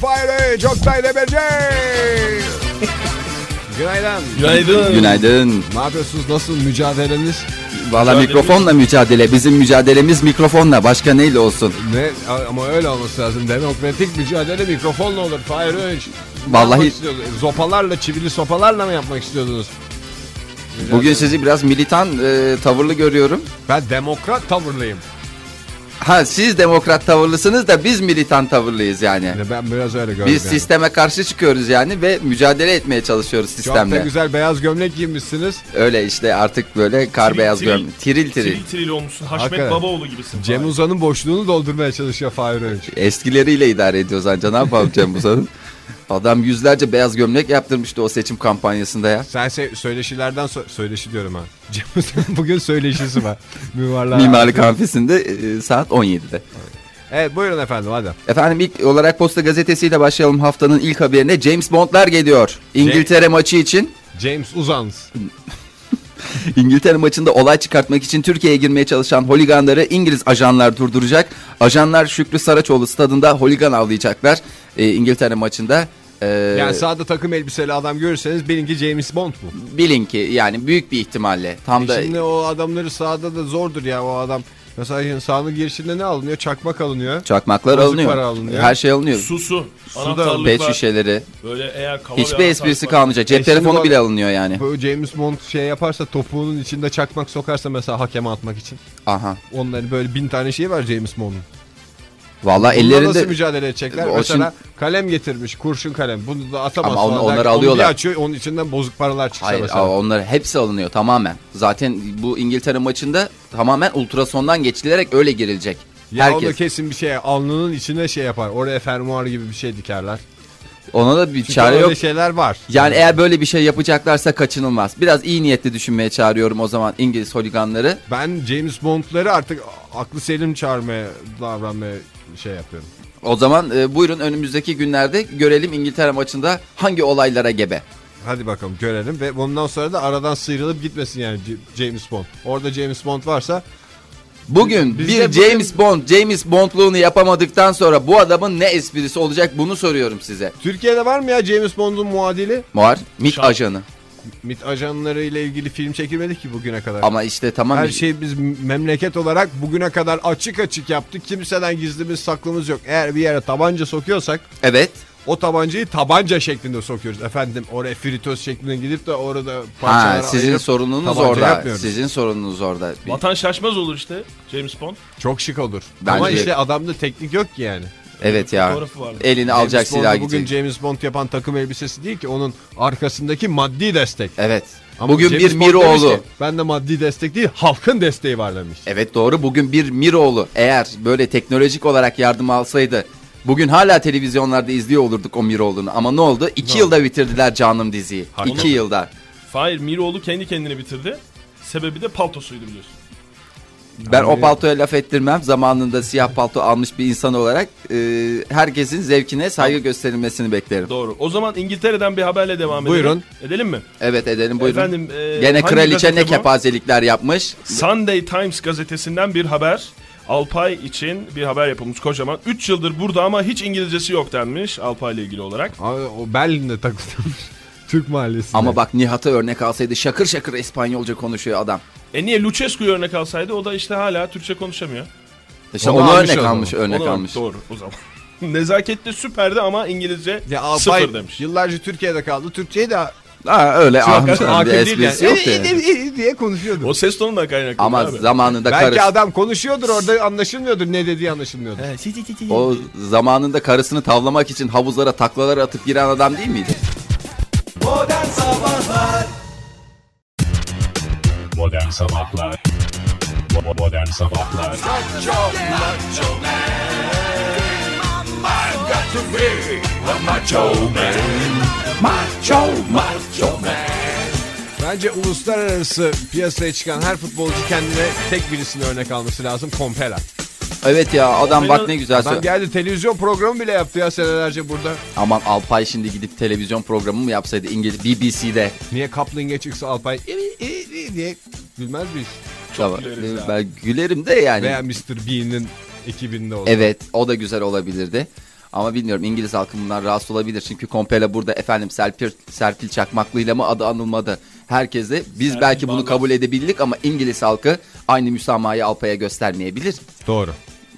Speaker 2: Fahri Çoktay Demirci. Günaydın.
Speaker 4: Günaydın.
Speaker 3: Günaydın.
Speaker 2: Ne yapıyorsunuz? Nasıl mücadeleniz?
Speaker 3: Valla mikrofonla mücadele. Bizim mücadelemiz mikrofonla. Başka neyle olsun?
Speaker 2: Ne? Ama öyle olması lazım. Demokratik mücadele mikrofonla olur Fahri Öğünç. Ne
Speaker 3: Vallahi-
Speaker 2: yapmak istiyordunuz? Zopalarla, çivili sopalarla mı yapmak istiyordunuz?
Speaker 3: Bugün sizi biraz militan e, tavırlı görüyorum.
Speaker 2: Ben demokrat tavırlıyım.
Speaker 3: Ha siz demokrat tavırlısınız da biz militan tavırlıyız yani.
Speaker 2: Yani ben biraz öyle gördüm.
Speaker 3: Biz
Speaker 2: yani.
Speaker 3: sisteme karşı çıkıyoruz yani ve mücadele etmeye çalışıyoruz
Speaker 2: Çok da
Speaker 3: sistemle.
Speaker 2: güzel beyaz gömlek giymişsiniz.
Speaker 3: Öyle işte artık böyle kar
Speaker 4: Tril,
Speaker 3: beyaz
Speaker 4: tril.
Speaker 3: gömlek. Tiril tiril.
Speaker 4: Tril tril olmuşsun. Haşmet
Speaker 2: Hakikaten.
Speaker 4: Babaoğlu gibisin.
Speaker 2: Cem
Speaker 4: Vay.
Speaker 2: Uzan'ın boşluğunu doldurmaya çalışıyor Fahri Öğünç.
Speaker 3: Eskileriyle idare ediyoruz anca ne yapalım Cem Uzan'ın. Adam yüzlerce beyaz gömlek yaptırmıştı o seçim kampanyasında ya.
Speaker 2: Sen se- söyleşilerden so- söyleşi diyorum ha. [LAUGHS] Cem Uzan'ın bugün söyleşisi
Speaker 3: [LAUGHS]
Speaker 2: var. Mimarlar.
Speaker 3: Mimarlık Hanfesi'nde e, saat 17'de.
Speaker 2: Evet buyurun efendim hadi.
Speaker 3: Efendim ilk olarak Posta Gazetesi'yle başlayalım haftanın ilk haberine. James Bond'lar geliyor. İngiltere maçı için.
Speaker 2: James Uzans.
Speaker 3: İngiltere maçında olay çıkartmak için Türkiye'ye girmeye çalışan holiganları İngiliz ajanlar durduracak. Ajanlar Şükrü Saraçoğlu stadında holigan avlayacaklar. Ee, İngiltere maçında e,
Speaker 2: Yani sahada takım elbiseli adam görürseniz bilin ki James Bond bu.
Speaker 3: bilin ki yani büyük bir ihtimalle tam
Speaker 2: E
Speaker 3: da
Speaker 2: Şimdi o adamları sahada da zordur ya o adam. Mesela şimdi sahanın girişinde ne alınıyor? Çakmak alınıyor.
Speaker 3: çakmaklar
Speaker 2: Bozuk
Speaker 3: alınıyor.
Speaker 2: para alınıyor.
Speaker 3: Her şey alınıyor.
Speaker 4: Susu, Su
Speaker 3: Pet
Speaker 4: anahtarlıklar,
Speaker 3: şişeleri.
Speaker 4: böyle eğer kaba
Speaker 3: şey- Hiçbir
Speaker 4: bir
Speaker 3: esprisi
Speaker 4: anahtarlık var-
Speaker 3: kalmayacak. Cep
Speaker 2: E şimdi
Speaker 3: telefonu
Speaker 2: bak-
Speaker 3: bile alınıyor yani.
Speaker 2: Böyle James Bond şey yaparsa topuğunun içinde çakmak sokarsa mesela hakeme atmak için.
Speaker 3: Aha.
Speaker 2: Onların böyle bin tane şeyi var James Bond'un.
Speaker 3: Vallahi
Speaker 2: Bununla nasıl
Speaker 3: ellerinde
Speaker 2: mücadele edecekler?
Speaker 3: O
Speaker 2: Mesela kalem getirmiş, kurşun kalem. Bunu da atamaz.
Speaker 3: Ama onu-
Speaker 2: falan
Speaker 3: onları
Speaker 2: derken
Speaker 3: alıyorlar.
Speaker 2: Onu bir açıyor, onun içinden bozuk paralar çıksa
Speaker 3: Hayır
Speaker 2: mesela.
Speaker 3: aa, onları hepsi alınıyor tamamen. Zaten bu İngiltere maçında tamamen ultrasondan geçilerek öyle girilecek.
Speaker 2: ya onu
Speaker 3: Herkes.
Speaker 2: kesin bir şey, alnının içine şey yapar. Oraya fermuar gibi bir şey dikerler.
Speaker 3: Ona da bir
Speaker 2: Çünkü şey-
Speaker 3: çare
Speaker 2: öyle
Speaker 3: yok.
Speaker 2: şeyler var.
Speaker 3: Yani eğer böyle bir şey yapacaklarsa kaçınılmaz. Biraz iyi niyetli düşünmeye çağırıyorum o zaman İngiliz holiganları.
Speaker 2: Ben James Bond'ları artık aklı selim çağırmaya, davranmaya şey yapıyorum.
Speaker 3: O zaman e, buyurun önümüzdeki günlerde görelim İngiltere maçında hangi olaylara gebe.
Speaker 2: Hadi bakalım görelim ve bundan sonra da aradan sıyrılıp gitmesin yani C- James Bond. Orada James Bond varsa
Speaker 3: Bugün
Speaker 2: Biz
Speaker 3: bir
Speaker 2: de bugün-
Speaker 3: James Bond, James Bond'luğunu yapamadıktan sonra bu adamın ne esprisi olacak bunu soruyorum size.
Speaker 2: Türkiye'de var mı ya James Bond'un muadili?
Speaker 3: Muar, MIT
Speaker 4: Şan-
Speaker 3: ajanı.
Speaker 2: MIT ajanları ile ilgili film çekilmedi ki bugüne kadar.
Speaker 3: Ama işte tamam.
Speaker 2: Her şey- şeyi biz memleket olarak bugüne kadar açık açık yaptık. Kimseden gizlimiz saklımız yok. Eğer bir yere tabanca sokuyorsak
Speaker 3: Evet.
Speaker 2: O tabancayı tabanca şeklinde sokuyoruz. Efendim oraya fritöz şeklinde gidip de orada parçalara
Speaker 3: Ha, sizin
Speaker 2: ayırıp
Speaker 3: sorununuz
Speaker 2: tabanca
Speaker 3: orada.
Speaker 2: yapmıyoruz.
Speaker 3: Sizin sorununuz orada. Bir-
Speaker 4: Vatan şaşmaz olur işte James Bond.
Speaker 2: Çok şık olur.
Speaker 3: Bence-
Speaker 2: Ama işte adamda teknik yok ki yani.
Speaker 3: Evet ya.
Speaker 4: Fotoğrafı vardı.
Speaker 3: Elini alacak
Speaker 2: James Bond'u
Speaker 3: silah
Speaker 2: Bugün
Speaker 3: gidecek.
Speaker 2: James Bond yapan takım elbisesi değil ki onun arkasındaki maddi destek.
Speaker 3: Evet.
Speaker 2: Ama
Speaker 3: bugün
Speaker 2: James
Speaker 3: bir
Speaker 2: Bond demiş
Speaker 3: Miroğlu.
Speaker 2: ki, Ben de maddi destek değil halkın desteği var demiş.
Speaker 3: Evet doğru. Bugün bir Miroğlu eğer böyle teknolojik olarak yardım alsaydı bugün hala televizyonlarda izliyor olurduk o Miroğlu'nu. Ama ne oldu? İki yılda bitirdiler canım diziyi.
Speaker 2: Haklı.
Speaker 3: İki yılda.
Speaker 4: Fahir Miroğlu kendi kendini bitirdi. Sebebi de paltosuydu biliyorsun.
Speaker 3: Ben o paltoya laf ettirmem. Zamanında siyah palto almış bir insan olarak e, herkesin zevkine saygı gösterilmesini beklerim.
Speaker 4: Doğru. O zaman İngiltere'den bir haberle devam edelim.
Speaker 2: Buyurun.
Speaker 4: Edelim mi?
Speaker 3: Evet edelim buyurun.
Speaker 4: Efendim, e,
Speaker 3: Gene
Speaker 4: hangi
Speaker 3: kraliçe ne
Speaker 4: gazete bu?
Speaker 3: kepazelikler yapmış.
Speaker 4: Sunday Times gazetesinden bir haber. Alpay için bir haber yapılmış kocaman. 3 yıldır burada ama hiç İngilizcesi yok denmiş Alpay ile ilgili olarak.
Speaker 2: Abi o Berlin'de takılmış. [LAUGHS] Türk mahallesinde.
Speaker 3: Ama bak Nihat'a örnek alsaydı şakır şakır İspanyolca konuşuyor adam.
Speaker 4: E niye Lucescu'yu örnek alsaydı o da işte hala Türkçe konuşamıyor.
Speaker 3: İşte
Speaker 2: Onu
Speaker 3: onu,
Speaker 2: almış
Speaker 3: örnek
Speaker 2: o zaman.
Speaker 3: almış, örnek
Speaker 4: Ona-
Speaker 3: almış.
Speaker 4: Doğru o zaman. [LAUGHS] Nezaketli süperdi ama İngilizce
Speaker 2: ya Alpay
Speaker 4: sıfır demiş.
Speaker 2: yıllarca Türkiye'de kaldı. Türkçeyi de
Speaker 3: Ha öyle ahmış
Speaker 4: hakikaten
Speaker 3: bir
Speaker 4: hakim değil
Speaker 3: esprisi
Speaker 2: "İyi,
Speaker 3: yok da
Speaker 2: iyi,
Speaker 3: yani.
Speaker 2: iyi, iyi" diye konuşuyordu.
Speaker 4: O ses tonundan kaynaklı
Speaker 3: Ama
Speaker 4: abi.
Speaker 3: zamanında
Speaker 2: Belki
Speaker 3: karısı
Speaker 2: adam konuşuyordur orada anlaşılmıyordur ne dediği anlaşılmıyordur.
Speaker 3: o zamanında karısını tavlamak için havuzlara taklalar atıp giren adam değil miydi?
Speaker 1: Modern Sabahlar Bo- Modern Sabahlar
Speaker 2: Bence uluslararası piyasaya çıkan her futbolcu kendine tek birisini örnek alması lazım. Kompera.
Speaker 3: Evet ya adam bak ne güzel
Speaker 2: Adam
Speaker 3: söylüyor.
Speaker 2: geldi televizyon programı bile yaptı ya senelerce burada.
Speaker 3: Aman Alpay şimdi gidip televizyon programı mı yapsaydı İngiliz BBC'de?
Speaker 2: Niye Kapling'e çıksa Alpay "İyi, iyi, iyi" diye gülmez miyiz?
Speaker 3: Tamam.
Speaker 4: güleriz ya.
Speaker 3: Ben gülerim de yani.
Speaker 2: Veya Mr. Bean'in ekibinde oldu.
Speaker 3: Evet o da güzel olabilirdi. Ama bilmiyorum İngiliz halkı bundan rahatsız olabilir. Çünkü Kompela burada efendim Serpil, Serpil Çakmaklı'yla mı adı anılmadı? Herkese biz belki bunu
Speaker 4: Bağlar.
Speaker 3: kabul edebildik ama İngiliz halkı aynı müsamahayı Alpay'a göstermeyebilir.
Speaker 2: Doğru.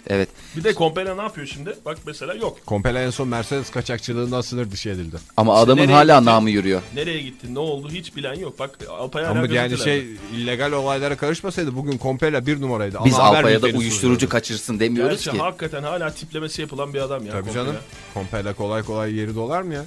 Speaker 3: Evet.
Speaker 4: Bir de Kompera ne yapıyor şimdi? Bak mesela yok.
Speaker 2: Kompela en son Mercedes kaçakçılığından sınır dışı edildi.
Speaker 3: Ama adamın
Speaker 4: nereye
Speaker 3: hala
Speaker 4: gidecek?
Speaker 3: namı yürüyor.
Speaker 4: Nereye gitti? Ne oldu? Hiç bilen yok. Bak Alpay hala
Speaker 2: Ama yani
Speaker 4: gazetelerde.
Speaker 2: şey illegal olaylara karışmasaydı bugün Kompela bir numaraydı.
Speaker 3: Biz
Speaker 2: Ana haber
Speaker 3: Alpay'a da
Speaker 2: bülteni
Speaker 3: uyuşturucu
Speaker 2: sunuyordu.
Speaker 3: kaçırsın demiyoruz
Speaker 4: Gerçi
Speaker 3: ki.
Speaker 4: hakikaten hala tiplemesi yapılan bir adam ya.
Speaker 2: Tabii
Speaker 4: Kompera.
Speaker 2: canım. Kompela kolay kolay yeri dolar mı ya?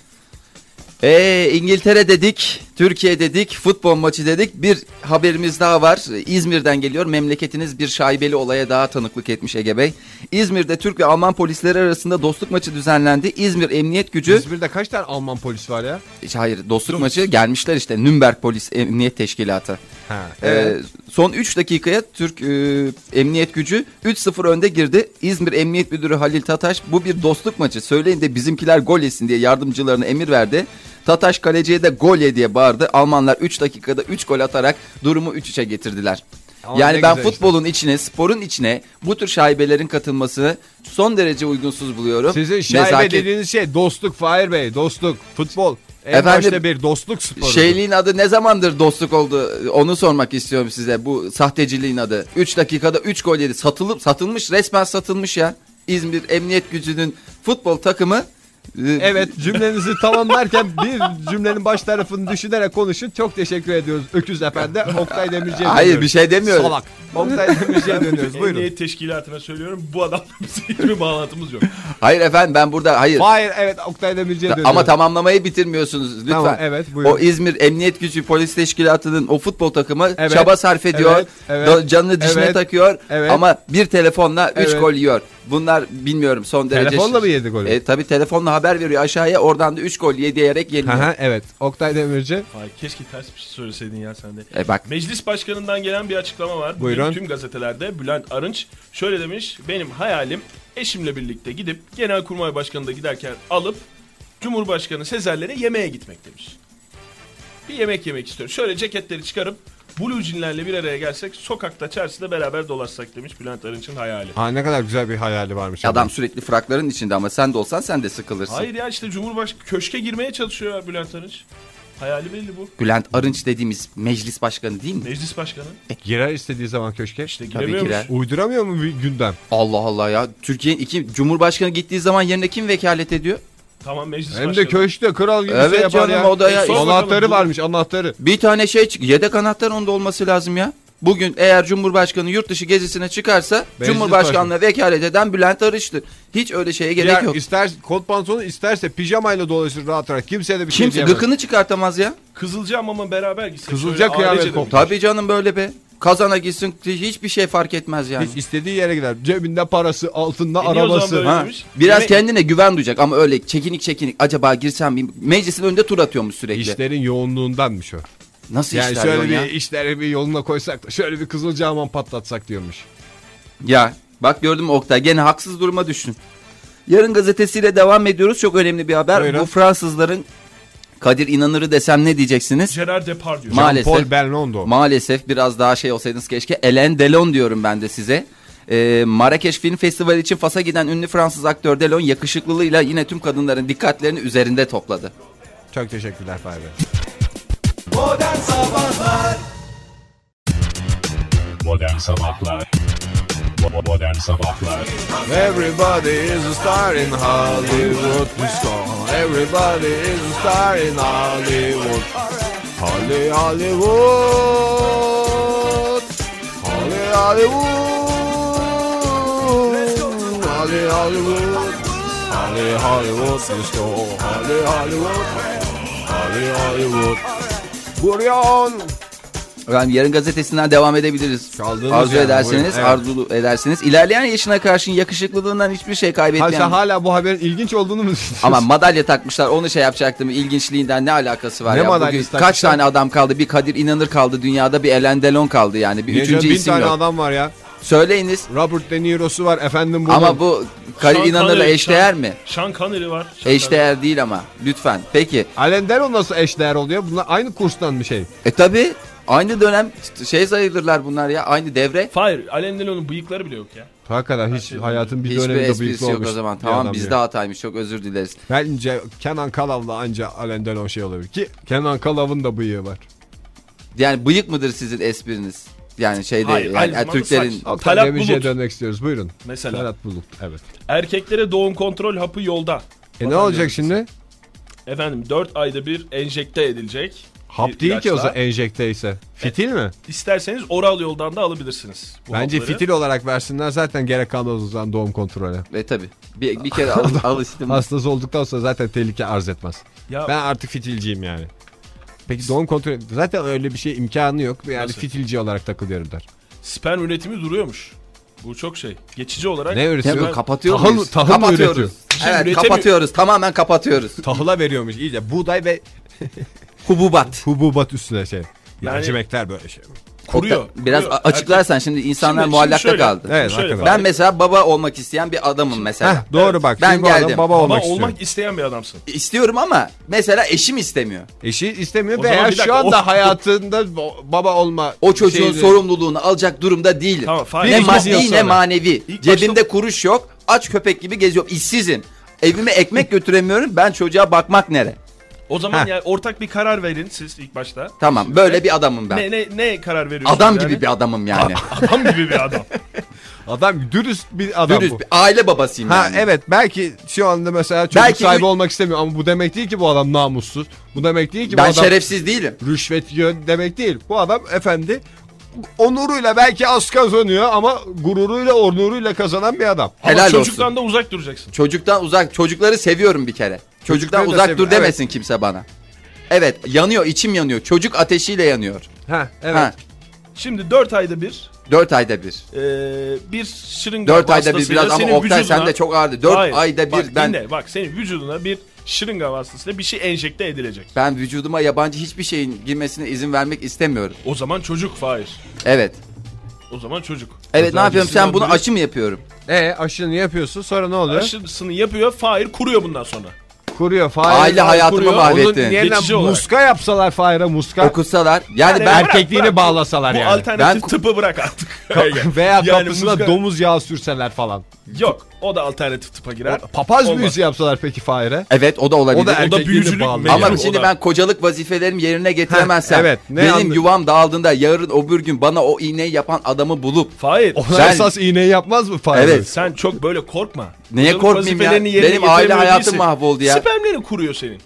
Speaker 3: Ee, İngiltere dedik, Türkiye dedik, futbol maçı dedik. Bir haberimiz daha var. İzmir'den geliyor. Memleketiniz bir şaibeli olaya daha tanıklık etmiş Ege Bey. İzmir'de Türk ve Alman polisleri arasında dostluk maçı düzenlendi. İzmir Emniyet Gücü...
Speaker 2: İzmir'de kaç tane Alman polis var ya?
Speaker 3: Hayır, dostluk maçı gelmişler işte. Nürnberg Polis Emniyet Teşkilatı.
Speaker 2: Ha.
Speaker 3: Ee, son 3 dakikaya Türk e, Emniyet Gücü 3-0 önde girdi. İzmir Emniyet Müdürü Halil Tataş bu bir dostluk maçı söyleyin de bizimkiler gol yesin diye yardımcılarına emir verdi. Tataş kaleciye de gol ye diye bağırdı. Almanlar 3 dakikada 3 gol atarak durumu 3-3'e getirdiler.
Speaker 2: Ama ne
Speaker 3: yani ben
Speaker 2: güzel işte.
Speaker 3: futbolun içine, sporun içine bu tür şaibelerin katılmasını son derece uygunsuz buluyorum.
Speaker 2: Sizin şaibe
Speaker 3: Nezaket-
Speaker 2: dediğiniz şey dostluk Fahir Bey. Dostluk, futbol. En
Speaker 3: Efendim,
Speaker 2: başta bir dostluk sporu.
Speaker 3: Şeyliğin adı ne zamandır dostluk oldu? Onu sormak istiyorum size. Bu sahteciliğin adı. 3 dakikada 3 gol yedi. Satılıp satılmış, resmen satılmış ya. İzmir Emniyet Gücü'nün futbol takımı e,
Speaker 2: Evet cümlenizi tamamlarken bir cümlenin baş tarafını düşünerek konuşun. Çok teşekkür ediyoruz Öküz Efendi. Oktay Demirci'ye
Speaker 3: Hayır,
Speaker 2: dönüyoruz.
Speaker 3: bir şey demiyorum.
Speaker 2: Salak. Oktay
Speaker 3: [LAUGHS]
Speaker 2: Demirci'ye dönüyoruz buyurun.
Speaker 4: Emniyet teşkilatına söylüyorum. Bu adamla [LAUGHS] bizim hiçbir bağlantımız yok.
Speaker 3: Hayır efendim ben burada hayır.
Speaker 2: Hayır evet Oktay Demirci'ye dönüyoruz.
Speaker 3: Ama tamamlamayı bitirmiyorsunuz lütfen.
Speaker 2: Tamam, evet, buyurun.
Speaker 3: o İzmir Emniyet Gücü Polis Teşkilatı'nın o futbol takımı
Speaker 2: Evet,
Speaker 3: çaba sarf ediyor.
Speaker 2: evet, evet,
Speaker 3: do- canını dişine
Speaker 2: evet,
Speaker 3: takıyor
Speaker 2: evet.
Speaker 3: ama bir telefonla 3
Speaker 2: Evet.
Speaker 3: gol yiyor. Bunlar bilmiyorum son derece.
Speaker 2: Telefonla mı yedi golü?
Speaker 3: E, tabii telefonla haber veriyor aşağıya oradan da 3 gol yediyerek yeniliyor.
Speaker 2: Aha, evet Oktay Demirci.
Speaker 4: Ay, keşke ters bir şey söyleseydin ya sen de.
Speaker 3: E bak
Speaker 4: Meclis başkanından gelen bir açıklama var. Bugün
Speaker 2: Buyurun.
Speaker 4: Tüm gazetelerde Bülent Arınç şöyle demiş. Benim hayalim eşimle birlikte gidip Genelkurmay Başkanı da giderken alıp Cumhurbaşkanı Sezer'lere yemeğe gitmek demiş. Bir yemek yemek istiyorum. Şöyle ceketleri çıkarıp Blue Jean'lerle bir araya gelsek sokakta çarşıda beraber dolaşsak demiş Bülent Arınç'ın hayali.
Speaker 2: Ha, ne kadar güzel bir hayali varmış.
Speaker 3: adam sürekli frakların içinde ama sen de olsan sen de sıkılırsın.
Speaker 4: Hayır ya işte Cumhurbaşkanı köşke girmeye çalışıyor ya Bülent Arınç. Hayali belli bu.
Speaker 3: Bülent Arınç dediğimiz meclis başkanı değil mi?
Speaker 4: Meclis başkanı.
Speaker 2: Girer istediği zaman köşke.
Speaker 4: İşte
Speaker 3: Tabii
Speaker 4: giremiyor
Speaker 3: ki de.
Speaker 2: Uyduramıyor mu bir gündem?
Speaker 3: Allah Allah ya. Türkiye'nin iki Cumhurbaşkanı gittiği zaman yerine kim vekalet ediyor?
Speaker 4: Tamam meclis
Speaker 2: Hem de
Speaker 4: başkanı.
Speaker 2: köşkte kral gibi
Speaker 3: Evet
Speaker 2: şey yapar
Speaker 3: canım,
Speaker 2: ya.
Speaker 3: o da ya-
Speaker 2: Anahtarı
Speaker 4: Bakalım, bu-
Speaker 2: varmış anahtarı.
Speaker 3: Bir tane şey çık- yedek anahtar onda olması lazım ya. Bugün eğer Cumhurbaşkanı yurt dışı gezisine çıkarsa
Speaker 2: Meclis
Speaker 3: Cumhurbaşkanlığı vekalet eden Bülent Arış'tır. Hiç öyle şeye gerek
Speaker 2: Ya
Speaker 3: yok.
Speaker 2: ister kot pantolonu isterse pijamayla dolaşır rahat rahat. Kimseye de bir şey
Speaker 3: Kimse
Speaker 2: diyemez.
Speaker 3: gıkını çıkartamaz ya.
Speaker 4: Kızılcam ama beraber gitsek.
Speaker 2: Kızılca
Speaker 4: şöyle
Speaker 2: kıyamet
Speaker 4: ailece de-
Speaker 2: koptu.
Speaker 3: Tabii canım böyle be. Kazana gitsin hiçbir şey fark etmez yani.
Speaker 2: Hiç istediği yere gider. Cebinde parası, altında
Speaker 4: E niye o zaman
Speaker 2: arabası.
Speaker 4: böyle-
Speaker 3: Ha,
Speaker 4: Öyleymiş.
Speaker 3: biraz
Speaker 4: Yemek-
Speaker 3: kendine güven duyacak ama öyle çekinik çekinik acaba girsem mi? Meclisin önünde tur atıyormuş sürekli.
Speaker 2: İşlerin yoğunluğundanmış o.
Speaker 3: Nasıl
Speaker 2: Yani
Speaker 3: işler
Speaker 2: şöyle bir
Speaker 3: ya?
Speaker 2: işleri bir yoluna koysak da şöyle bir kızılcahamam patlatsak diyormuş.
Speaker 3: Ya bak gördün mü Oktay gene haksız duruma düştün. Yarın gazetesiyle devam ediyoruz. Çok önemli bir haber.
Speaker 2: Buyurun.
Speaker 3: Bu Fransızların Kadir İnanır'ı desem ne diyeceksiniz?
Speaker 4: Gerard Depardieu.
Speaker 3: Ma- Maalesef.
Speaker 2: Jean-Paul Belmondo.
Speaker 3: Maalesef biraz daha şey olsaydınız keşke. Ellen Delon diyorum ben de size. Ee, Marrakeş Film Festivali için Fas'a giden ünlü Fransız aktör Delon yakışıklılığıyla yine tüm kadınların dikkatlerini üzerinde topladı.
Speaker 2: Çok teşekkürler Fahri.
Speaker 1: Modern Sabahlar Bo- Modern Sabahlar
Speaker 2: Everybody is a star in Hollywood. We saw Everybody is a star in Hollywood. Holly Hollywood. Holly Hollywood. Holly Hollywood. Holly Hollywood. We saw Holly Hollywood. Holly Hollywood. Buryon.
Speaker 3: Efendim yarın gazetesinden devam edebiliriz.
Speaker 2: Çaldığınız
Speaker 3: Arzu
Speaker 2: yani,
Speaker 3: ederseniz,
Speaker 2: buyurun, evet.
Speaker 3: arzulu edersiniz. İlerleyen yaşına karşın yakışıklılığından hiçbir şey
Speaker 2: Ha, sen
Speaker 3: kaybetmeyen...
Speaker 2: hala bu haberin ilginç olduğunu mu düşünüyorsun?
Speaker 3: Ama madalya takmışlar onu şey yapacaktım ilginçliğinden ne alakası var
Speaker 2: Ne
Speaker 3: ya
Speaker 2: madalyası
Speaker 3: bugün kaç
Speaker 2: takmışlar?
Speaker 3: tane adam kaldı bir Kadir İnanır kaldı dünyada bir Ellen Delon kaldı yani bir
Speaker 2: Niye canım?
Speaker 3: üçüncü
Speaker 2: bin
Speaker 3: isim
Speaker 2: tane
Speaker 3: yok.
Speaker 2: adam var ya.
Speaker 3: Söyleyiniz
Speaker 2: Robert De Niro'su var efendim bunun.
Speaker 3: ama bu Kadir
Speaker 4: Sean
Speaker 3: İnanır'la
Speaker 4: Connery,
Speaker 3: eşdeğer
Speaker 4: Sean-
Speaker 3: mi?
Speaker 4: Sean Connery var. Sean Connery.
Speaker 3: Eşdeğer değil ama lütfen peki
Speaker 2: Alain Delon nasıl eşdeğer oluyor? Bunlar aynı kurstan bir şey.
Speaker 3: e tabi aynı dönem t- şey sayılırlar bunlar ya aynı devre.
Speaker 4: Hayır, Alain Delon'un bıyıkları bile yok ya.
Speaker 2: Hakikaten hiç hayatın bir
Speaker 3: Hiçbir
Speaker 2: döneminde
Speaker 3: esprisi
Speaker 2: büyük
Speaker 3: yok
Speaker 2: olmuş.
Speaker 3: o zaman
Speaker 2: bir
Speaker 3: tamam
Speaker 2: adam
Speaker 3: bizde
Speaker 2: diyor.
Speaker 3: hataymış çok özür dileriz.
Speaker 2: Bence Kenan Kalav'la anca Alain Delon şey olabilir ki Kenan Kalav'ın da bıyığı var.
Speaker 3: Yani bıyık mıdır sizin espriniz? Yani şeyde
Speaker 4: Hayır,
Speaker 3: yani,
Speaker 4: aynı
Speaker 3: yani
Speaker 4: zamanda
Speaker 3: Türklerin
Speaker 4: saç.
Speaker 2: Oktay
Speaker 4: Talat
Speaker 2: Demirci'ye
Speaker 4: Bulut.
Speaker 2: dönmek istiyoruz buyurun.
Speaker 4: Mesela.
Speaker 2: Talat Bulut evet.
Speaker 4: Erkeklere doğum kontrol hapı yolda.
Speaker 2: E ne olacak şimdi?
Speaker 4: Efendim 4 ayda bir enjekte edilecek.
Speaker 2: Hap
Speaker 4: Bir
Speaker 2: değil ki o
Speaker 4: ilaçla.
Speaker 2: zaman enjekte ise. Fitil mi?
Speaker 4: İsterseniz oral yoldan da alabilirsiniz. bu
Speaker 2: Bence
Speaker 4: hapları.
Speaker 2: fitil olarak versinler zaten gerek kalmaz o zaman doğum kontrole.
Speaker 3: ve tabi bir, bir kere al, alıştım.
Speaker 2: Hastası olduktan sonra zaten tehlike arz etmez.
Speaker 4: Ya
Speaker 2: Ben artık fitilciyim yani. Peki doğum kontrolü zaten öyle bir şey imkanı yok. Yani
Speaker 4: Nasıl?
Speaker 2: fitilci olarak takılıyorum der.
Speaker 4: sperm üretimi duruyormuş. Bu çok şey. Geçici olarak.
Speaker 2: Ne şey
Speaker 3: Ya
Speaker 2: öğretiyor?
Speaker 3: böyle kapatıyor
Speaker 2: Tahıl-
Speaker 3: muyuz?
Speaker 2: tahıl mı üretiyor?
Speaker 3: kapatıyoruz.
Speaker 4: şey
Speaker 3: evet
Speaker 4: üretemiyor.
Speaker 3: kapatıyoruz. Tamamen kapatıyoruz.
Speaker 2: Tahıla veriyormuş iyice buğday ve
Speaker 3: Hububat.
Speaker 2: hububat üstüne şey.
Speaker 4: Yani-
Speaker 2: Mercimekler böyle şey.
Speaker 4: Kuruyor.
Speaker 3: Oktay, Biraz
Speaker 4: kuruyor.
Speaker 3: açıklarsan şimdi insanlar
Speaker 4: Şimdi-
Speaker 3: muallakta
Speaker 4: şimdi şöyle.
Speaker 3: kaldı.
Speaker 2: Evet,
Speaker 4: Şöyle
Speaker 2: hakikaten.
Speaker 3: Ben mesela baba olmak isteyen bir adamım mesela.
Speaker 2: Heh, doğru bak.
Speaker 3: Ben
Speaker 2: Ben bu adam
Speaker 3: geldim.
Speaker 2: baba
Speaker 4: Ama
Speaker 2: olmak istiyor.
Speaker 4: olmak isteyen bir adamsın.
Speaker 3: İstiyorum ama mesela eşim istemiyor.
Speaker 2: Eşi istemiyor
Speaker 4: O
Speaker 2: veya
Speaker 4: zaman bir
Speaker 2: şu
Speaker 4: dakika,
Speaker 2: anda
Speaker 4: o-
Speaker 2: hayatında bo- baba olma
Speaker 3: O çocuğun
Speaker 2: şeyini-
Speaker 3: sorumluluğunu alacak durumda değilim.
Speaker 4: Tamam, Fahir,
Speaker 3: ne
Speaker 4: ilk
Speaker 2: başta-
Speaker 3: maddi ne manevi.
Speaker 4: İlk
Speaker 3: Cebimde
Speaker 4: başta-
Speaker 3: kuruş yok. Aç köpek gibi geziyorum. İşsizim. Evime
Speaker 4: [LAUGHS]
Speaker 3: ekmek götüremiyorum. Ben çocuğa bakmak nere?
Speaker 4: O zaman
Speaker 2: Heh.
Speaker 4: yani ortak bir karar verin siz ilk başta.
Speaker 3: Tamam böyle bir adamım ben.
Speaker 4: Ne ne ne karar veriyorsunuz?
Speaker 3: Adam
Speaker 4: yani?
Speaker 3: gibi bir adamım
Speaker 4: [LAUGHS]
Speaker 3: yani.
Speaker 4: adam gibi bir
Speaker 3: [LAUGHS]
Speaker 4: adam.
Speaker 2: Adam dürüst bir adam
Speaker 3: Dürüst
Speaker 2: bu.
Speaker 3: bir aile babasıyım
Speaker 2: Ha
Speaker 3: yani.
Speaker 2: evet belki şu anda mesela çocuk
Speaker 3: Belki
Speaker 2: sahibi
Speaker 3: bu-
Speaker 2: olmak istemiyor ama bu demek değil ki bu adam namussuz. Bu demek değil ki bu
Speaker 3: Ben
Speaker 2: adam
Speaker 3: şerefsiz değilim.
Speaker 2: rüşvet yiyor demek değil. Bu adam efendi onuruyla belki az kazanıyor ama gururuyla onuruyla kazanan bir adam.
Speaker 4: Ama
Speaker 3: Helal
Speaker 4: çocuktan
Speaker 3: olsun.
Speaker 4: da uzak duracaksın.
Speaker 3: Çocuktan uzak, çocukları seviyorum bir kere. Çocuktan
Speaker 2: da
Speaker 3: uzak
Speaker 2: seviyor,
Speaker 3: dur demesin kimse bana. Evet, yanıyor, içim yanıyor. Çocuk ateşiyle yanıyor.
Speaker 2: Ha evet.
Speaker 3: Ha,
Speaker 4: Şimdi 4 ayda bir
Speaker 3: 4 ayda bir.
Speaker 4: e, bir şırınga
Speaker 3: 4 ayda bir
Speaker 4: vasıtasıyla
Speaker 3: biraz ama
Speaker 4: senin
Speaker 3: Oktay
Speaker 4: vücuduna-
Speaker 3: sen de çok ağırdı. 4
Speaker 4: Hayır,
Speaker 3: ayda bir
Speaker 4: bak,
Speaker 3: ben
Speaker 4: dinle, bak senin vücuduna bir şırınga vasıtasıyla bir şey enjekte edilecek.
Speaker 3: ben vücuduma yabancı hiçbir şeyin girmesine izin vermek istemiyorum.
Speaker 4: O zaman çocuk Fahir.
Speaker 3: Evet.
Speaker 4: O zaman çocuk.
Speaker 3: Evet ne yapıyorum?
Speaker 4: cinsinden
Speaker 3: Sen bunu
Speaker 4: duruyor.
Speaker 3: aşı mı yapıyorum?
Speaker 2: E aşını yapıyorsun sonra ne oluyor?
Speaker 4: Aşısını yapıyor Fahir kuruyor bundan sonra.
Speaker 2: Kuruyor fire.
Speaker 3: Aile hayatımı
Speaker 4: kuruyor,
Speaker 2: Onun
Speaker 3: mahvettin.
Speaker 2: yerine
Speaker 4: Geçici olarak.
Speaker 2: muska yapsalar fire'a muska.
Speaker 3: Okusalar. Yani ben
Speaker 4: Yani bırak,
Speaker 2: erkekliğini
Speaker 4: bırak.
Speaker 2: bağlasalar
Speaker 4: Bu
Speaker 2: yani.
Speaker 4: alternatif
Speaker 3: Ben-
Speaker 4: tıpı bırak artık.
Speaker 2: [LAUGHS] Veya
Speaker 4: Yani
Speaker 2: kapısına
Speaker 4: muska-
Speaker 2: domuz yağı sürseler falan.
Speaker 4: [LAUGHS] Yok o da alternatif tıpa girer.
Speaker 2: Papaz
Speaker 4: Olmaz.
Speaker 2: büyüsü yapsalar peki fire'a.
Speaker 3: Evet o da olabilir.
Speaker 2: O da
Speaker 4: O da
Speaker 2: erkekliğini
Speaker 4: büyücülük
Speaker 2: bağlı.
Speaker 4: mecbur.
Speaker 2: Ama
Speaker 3: Ama
Speaker 4: Yani
Speaker 3: şimdi
Speaker 4: o da-
Speaker 3: ben kocalık vazifelerimi yerine getiremezsem
Speaker 2: Heh, evet, ne
Speaker 3: benim
Speaker 2: anlı-
Speaker 3: yuvam dağıldığında yarın öbür gün bana o iğneyi yapan adamı bulup
Speaker 4: Fahir
Speaker 2: Ona
Speaker 3: Ben-
Speaker 2: esas iğneyi yapmaz mı fire?
Speaker 3: Evet.
Speaker 4: sen çok böyle korkma.
Speaker 3: Neye
Speaker 4: Kocalık
Speaker 3: korkmayayım ya?
Speaker 4: vazifelerini yerine
Speaker 3: Benim aile
Speaker 4: getiremiyor
Speaker 3: hayatım
Speaker 4: değilsin.
Speaker 3: mahvoldu ya.
Speaker 4: spermlerin kuruyor senin.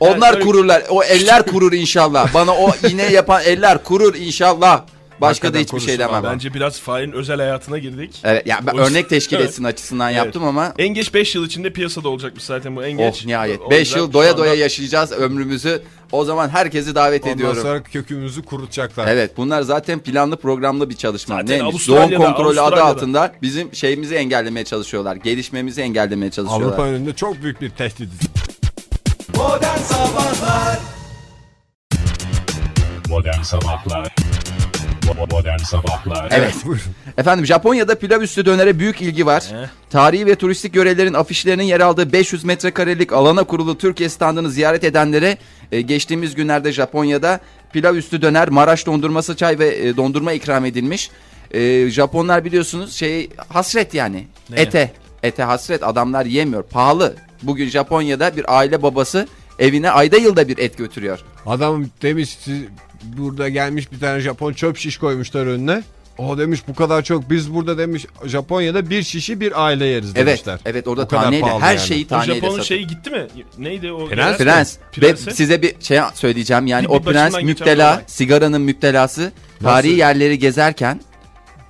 Speaker 3: Onlar
Speaker 4: öyle-
Speaker 3: kururlar. O eller kurur inşallah. Bana o iğne yapan eller kurur inşallah. Başka da
Speaker 2: Hakikaten
Speaker 3: hiçbir şey
Speaker 2: kurursun
Speaker 3: demem.
Speaker 4: Bence biraz Fahir'in özel hayatına girdik.
Speaker 3: Evet, ya ben
Speaker 4: O yüzden-
Speaker 3: örnek teşkil
Speaker 4: Evet.
Speaker 3: etsin açısından
Speaker 4: Evet.
Speaker 3: yaptım ama
Speaker 4: En geç 5 yıl içinde piyasada olacakmış zaten bu en geç.
Speaker 3: oh nihayet.
Speaker 4: O
Speaker 3: 5
Speaker 4: yüzden
Speaker 3: yıl
Speaker 4: şu
Speaker 3: doya
Speaker 4: anda-
Speaker 3: doya yaşayacağız ömrümüzü. O zaman herkesi davet
Speaker 2: Ondan
Speaker 3: ediyorum.
Speaker 2: sonra kökümüzü kurutacaklar.
Speaker 3: Evet bunlar zaten planlı programlı bir çalışma.
Speaker 4: Zaten
Speaker 3: Neymiş? Doğum
Speaker 4: Avustralya'da,
Speaker 3: kontrolü adı
Speaker 4: Avustralya'da.
Speaker 3: altında bizim şeyimizi engellemeye çalışıyorlar. Gelişmemizi engellemeye çalışıyorlar.
Speaker 2: Avrupa önünde çok büyük bir tehdit. [LAUGHS]
Speaker 1: Modern Sabahlar Bo- Modern Sabahlar
Speaker 3: Evet.
Speaker 2: Buyurun.
Speaker 3: Efendim Japonya'da pilav üstü dönere büyük ilgi var.
Speaker 4: Eh.
Speaker 3: Tarihi ve turistik görevlerin afişlerinin yer aldığı 500 metrekarelik alana kurulu Türkiye standını ziyaret edenlere e, geçtiğimiz günlerde Japonya'da pilav üstü döner, Maraş dondurması çay ve e, dondurma ikram edilmiş. E, Japonlar biliyorsunuz şey hasret yani
Speaker 4: Neye?
Speaker 3: ete. Ete hasret adamlar yemiyor pahalı. Bugün Japonya'da bir aile babası evine ayda yılda bir et götürüyor.
Speaker 2: Adam demiş siz- burada gelmiş bir tane Japon çöp şiş koymuşlar önüne. O demiş bu kadar çok biz burada demiş Japonya'da bir şişi bir aile yeriz
Speaker 3: Evet,
Speaker 2: demişler.
Speaker 3: evet orada
Speaker 2: O kadar
Speaker 3: taneyle
Speaker 2: pahalı
Speaker 3: her
Speaker 2: yani.
Speaker 3: şeyi
Speaker 4: O şey
Speaker 3: taneyle
Speaker 4: Japon'un
Speaker 3: satıyor.
Speaker 4: şeyi gitti mi? Neydi o?
Speaker 2: Prens
Speaker 4: genel-
Speaker 3: Prens. Ve
Speaker 4: Prensi?
Speaker 3: size bir şey söyleyeceğim. Yani
Speaker 4: Bir-
Speaker 3: o
Speaker 4: bir
Speaker 3: prens
Speaker 4: başından geçen bir
Speaker 3: müptela,
Speaker 4: olay.
Speaker 3: sigaranın müptelası. Tarihi
Speaker 2: Nasıl?
Speaker 3: yerleri gezerken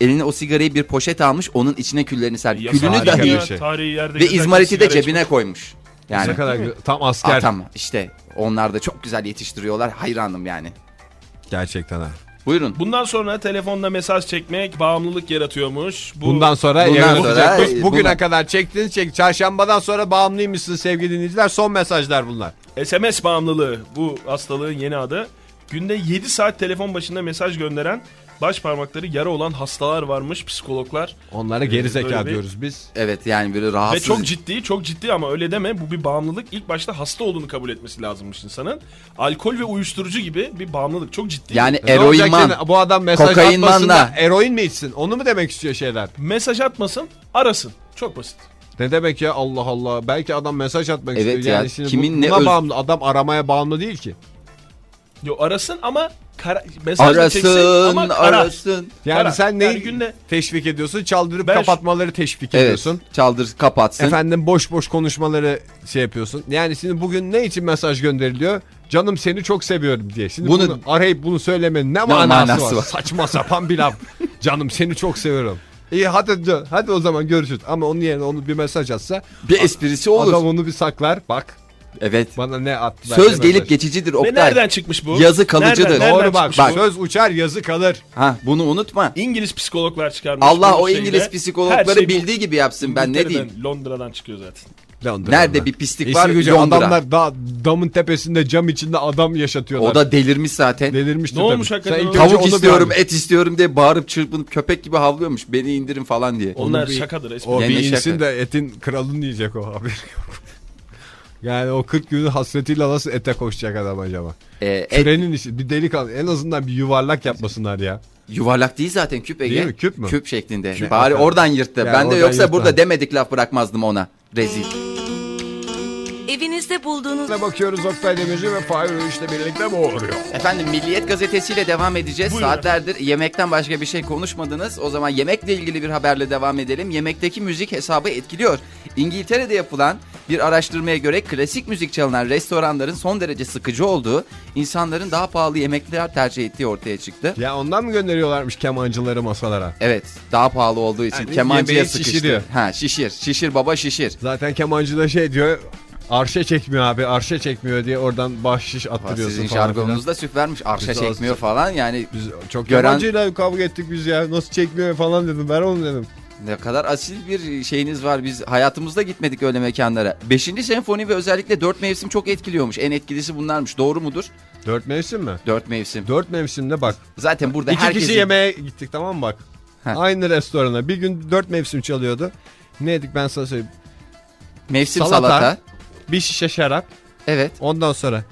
Speaker 3: eline o sigarayı bir poşet almış, onun içine küllerini sermiş.
Speaker 4: Ya
Speaker 3: Külünü
Speaker 4: tarihi
Speaker 2: harika
Speaker 3: dahi
Speaker 2: bir
Speaker 4: yer-
Speaker 2: şey.
Speaker 4: tarihi yerde
Speaker 3: ve
Speaker 4: gezerken
Speaker 3: izmariti de
Speaker 4: sigara
Speaker 3: cebine koymuş.
Speaker 2: Ne
Speaker 3: Yani
Speaker 2: kadar tam asker
Speaker 3: atam işte onlar da çok güzel yetiştiriyorlar. Hayranım yani.
Speaker 2: gerçekten ha.
Speaker 3: Buyurun.
Speaker 4: Bundan sonra telefonla mesaj çekmek bağımlılık yaratıyormuş. Bu
Speaker 2: Bundan sonra
Speaker 3: Bundan
Speaker 2: yarın
Speaker 3: sonra-
Speaker 2: olacak.
Speaker 3: e,
Speaker 2: bugüne
Speaker 3: bundan-
Speaker 2: kadar çektiniz çek. Çarşambadan sonra bağımlıymışsın sevgili dinleyiciler. Son mesajlar bunlar.
Speaker 4: SMS bağımlılığı bu hastalığın yeni adı. Günde 7 saat telefon başında mesaj gönderen baş parmakları yara olan hastalar varmış psikologlar.
Speaker 2: Onlara geri
Speaker 4: Ee, böyle
Speaker 2: zeka
Speaker 4: bir-
Speaker 2: diyoruz biz.
Speaker 3: Evet yani böyle
Speaker 4: Ve
Speaker 3: rahatsız.
Speaker 4: çok ciddi çok ciddi ama öyle deme bu bir bağımlılık. İlk başta hasta olduğunu kabul etmesi lazımmış insanın. Alkol ve uyuşturucu gibi bir bağımlılık çok ciddi.
Speaker 3: yani
Speaker 2: Ne olacak
Speaker 3: eroinman.
Speaker 2: yani? Bu adam mesaj
Speaker 3: kokainman
Speaker 2: atmasın da
Speaker 3: da.
Speaker 2: eroin mi içsin? Onu mu demek istiyor şeyler?
Speaker 4: Mesaj atmasın arasın. Çok basit.
Speaker 2: Ne demek ya Allah Allah. Belki adam mesaj atmak
Speaker 3: Evet
Speaker 2: istiyor.
Speaker 3: ya,
Speaker 2: Yani şimdi
Speaker 3: kimin
Speaker 2: bu-
Speaker 3: ne
Speaker 2: buna
Speaker 3: öz-
Speaker 2: bağımlı. Adam aramaya bağımlı değil ki.
Speaker 4: Yo arasın ama kara- mesaj da çeksin
Speaker 3: Arasın,
Speaker 4: ama karar.
Speaker 3: arasın.
Speaker 2: Yani
Speaker 4: Karar.
Speaker 2: sen neyi
Speaker 4: Yani günde-
Speaker 2: teşvik ediyorsun? Çaldırıp
Speaker 4: Ben şu-
Speaker 2: kapatmaları teşvik
Speaker 3: Evet.
Speaker 2: ediyorsun.
Speaker 3: Çaldır kapatsın.
Speaker 2: Efendim boş boş konuşmaları şey yapıyorsun. Yani şimdi bugün ne için mesaj gönderiliyor? Canım seni çok seviyorum diye. Şimdi bunu,
Speaker 3: Bunu-
Speaker 2: arayıp bunu söylemenin ne, manası,
Speaker 3: manası
Speaker 2: var?
Speaker 3: var?
Speaker 2: Saçma sapan
Speaker 3: [LAUGHS]
Speaker 2: bir laf. Canım seni çok seviyorum. İyi hadi can- hadi o zaman görüşürüz. Ama onun yerine onu bir mesaj atsa
Speaker 3: Bir esprisi olur.
Speaker 2: adam onu bir saklar. Bak
Speaker 3: Evet.
Speaker 2: bana ne attılar. ne
Speaker 3: Söz
Speaker 2: mesaj.
Speaker 3: gelip geçicidir
Speaker 4: Ve
Speaker 3: Oktay.
Speaker 4: nereden çıkmış bu?
Speaker 3: Yazı kalıcıdır.
Speaker 4: Nereden- nereden
Speaker 2: Doğru bak,
Speaker 4: çıkmış
Speaker 3: bak.
Speaker 4: bu?
Speaker 2: Söz uçar yazı kalır.
Speaker 3: Ha bunu unutma.
Speaker 4: İngiliz psikologlar çıkarmış.
Speaker 3: Allah
Speaker 4: bu
Speaker 3: o
Speaker 4: şeyi
Speaker 3: İngiliz
Speaker 4: de. Her
Speaker 3: psikologları
Speaker 4: şey bu
Speaker 3: bildiği gibi yapsın ben ne
Speaker 4: İngiltere'den,
Speaker 3: diyeyim.
Speaker 4: Londra'dan çıkıyor zaten.
Speaker 3: Nerede bir pislik var
Speaker 2: var
Speaker 3: Londra.
Speaker 2: Adamlar daha damın tepesinde cam içinde adam yaşatıyorlar.
Speaker 3: O da delirmiş zaten.
Speaker 2: delirmiştir
Speaker 4: Ne
Speaker 2: tabii.
Speaker 4: olmuş hakikaten
Speaker 2: Sen
Speaker 4: o?
Speaker 2: ilk önce onu
Speaker 3: Tavuk
Speaker 2: bir
Speaker 3: istiyorum,
Speaker 2: anla.
Speaker 3: et istiyorum diye bağırıp çırpınıp köpek gibi havlıyormuş. Beni indirin falan diye.
Speaker 4: Onlar
Speaker 2: bir-
Speaker 4: şakadır. espri.
Speaker 2: O
Speaker 3: Gene
Speaker 2: bir insin
Speaker 3: şaka.
Speaker 2: de etin kralını yiyecek o haberi yok. [LAUGHS] Yani o 40 günün hasretiyle nasıl ete koşacak adam acaba?
Speaker 3: Ee, et
Speaker 2: Kürenin işi bir delikanlı en azından bir yuvarlak yapmasınlar ya.
Speaker 3: yuvarlak değil zaten küp Ege.
Speaker 2: Değil mi? Küp mü?
Speaker 3: Küp şeklinde.
Speaker 2: Küp.
Speaker 3: Bari oradan yırttı.
Speaker 2: Yani
Speaker 3: ben de
Speaker 2: oradan
Speaker 3: yoksa
Speaker 2: yırttı.
Speaker 3: burada demedik laf bırakmazdım ona. Rezil.
Speaker 5: Evinizde bulduğunuz
Speaker 2: Ne bakıyoruz Oktay Demirci ve Fahir işte birlikte boğuruyor.
Speaker 3: Efendim Milliyet gazetesiyle devam edeceğiz.
Speaker 4: Buyurun.
Speaker 3: Saatlerdir yemekten başka bir şey konuşmadınız. O zaman yemekle ilgili bir haberle devam edelim. Yemekteki müzik hesabı etkiliyor. İngiltere'de yapılan bir araştırmaya göre klasik müzik çalınan restoranların son derece sıkıcı olduğu, insanların daha pahalı yemekler tercih ettiği ortaya çıktı.
Speaker 2: Ya ondan mı gönderiyorlarmış kemancıları masalara?
Speaker 3: Evet, daha pahalı olduğu için
Speaker 2: Yani
Speaker 3: kemancıya
Speaker 2: yemeği
Speaker 3: sıkıştı.
Speaker 2: şişiriyor.
Speaker 3: Ha, şişir. Şişir baba şişir.
Speaker 2: Zaten kemancı da şey diyor arşa çekmiyor abi arşa çekmiyor diye oradan bahşiş attırıyorsun
Speaker 3: Sizin
Speaker 2: falan filan.
Speaker 3: jargonunuzda süp vermiş. Arşa
Speaker 2: Biz
Speaker 3: çekmiyor falan. Yani
Speaker 2: Biz çok
Speaker 3: Gören-
Speaker 2: kemancıyla kavga ettik biz ya nasıl çekmiyor falan dedim ben onu dedim.
Speaker 3: Ne kadar asil bir şeyiniz var. Biz hayatımızda gitmedik öyle mekanlara. Beşinci senfoni ve özellikle dört mevsim çok etkiliyormuş. En etkilisi bunlarmış. Doğru mudur?
Speaker 2: Dört mevsim mi?
Speaker 3: Dört mevsim.
Speaker 2: Dört mevsimde bak
Speaker 3: Zaten burada
Speaker 2: İki
Speaker 3: herkesin...
Speaker 2: kişi yemeğe gittik tamam mı bak.
Speaker 3: Heh.
Speaker 2: Aynı restorana. Bir gün dört mevsim çalıyordu. Ne yedik ben sana söyleyeyim.
Speaker 3: Mevsim
Speaker 2: Salata.
Speaker 3: salata.
Speaker 2: Bir şişe şarap.
Speaker 3: Evet.
Speaker 2: Ondan sonra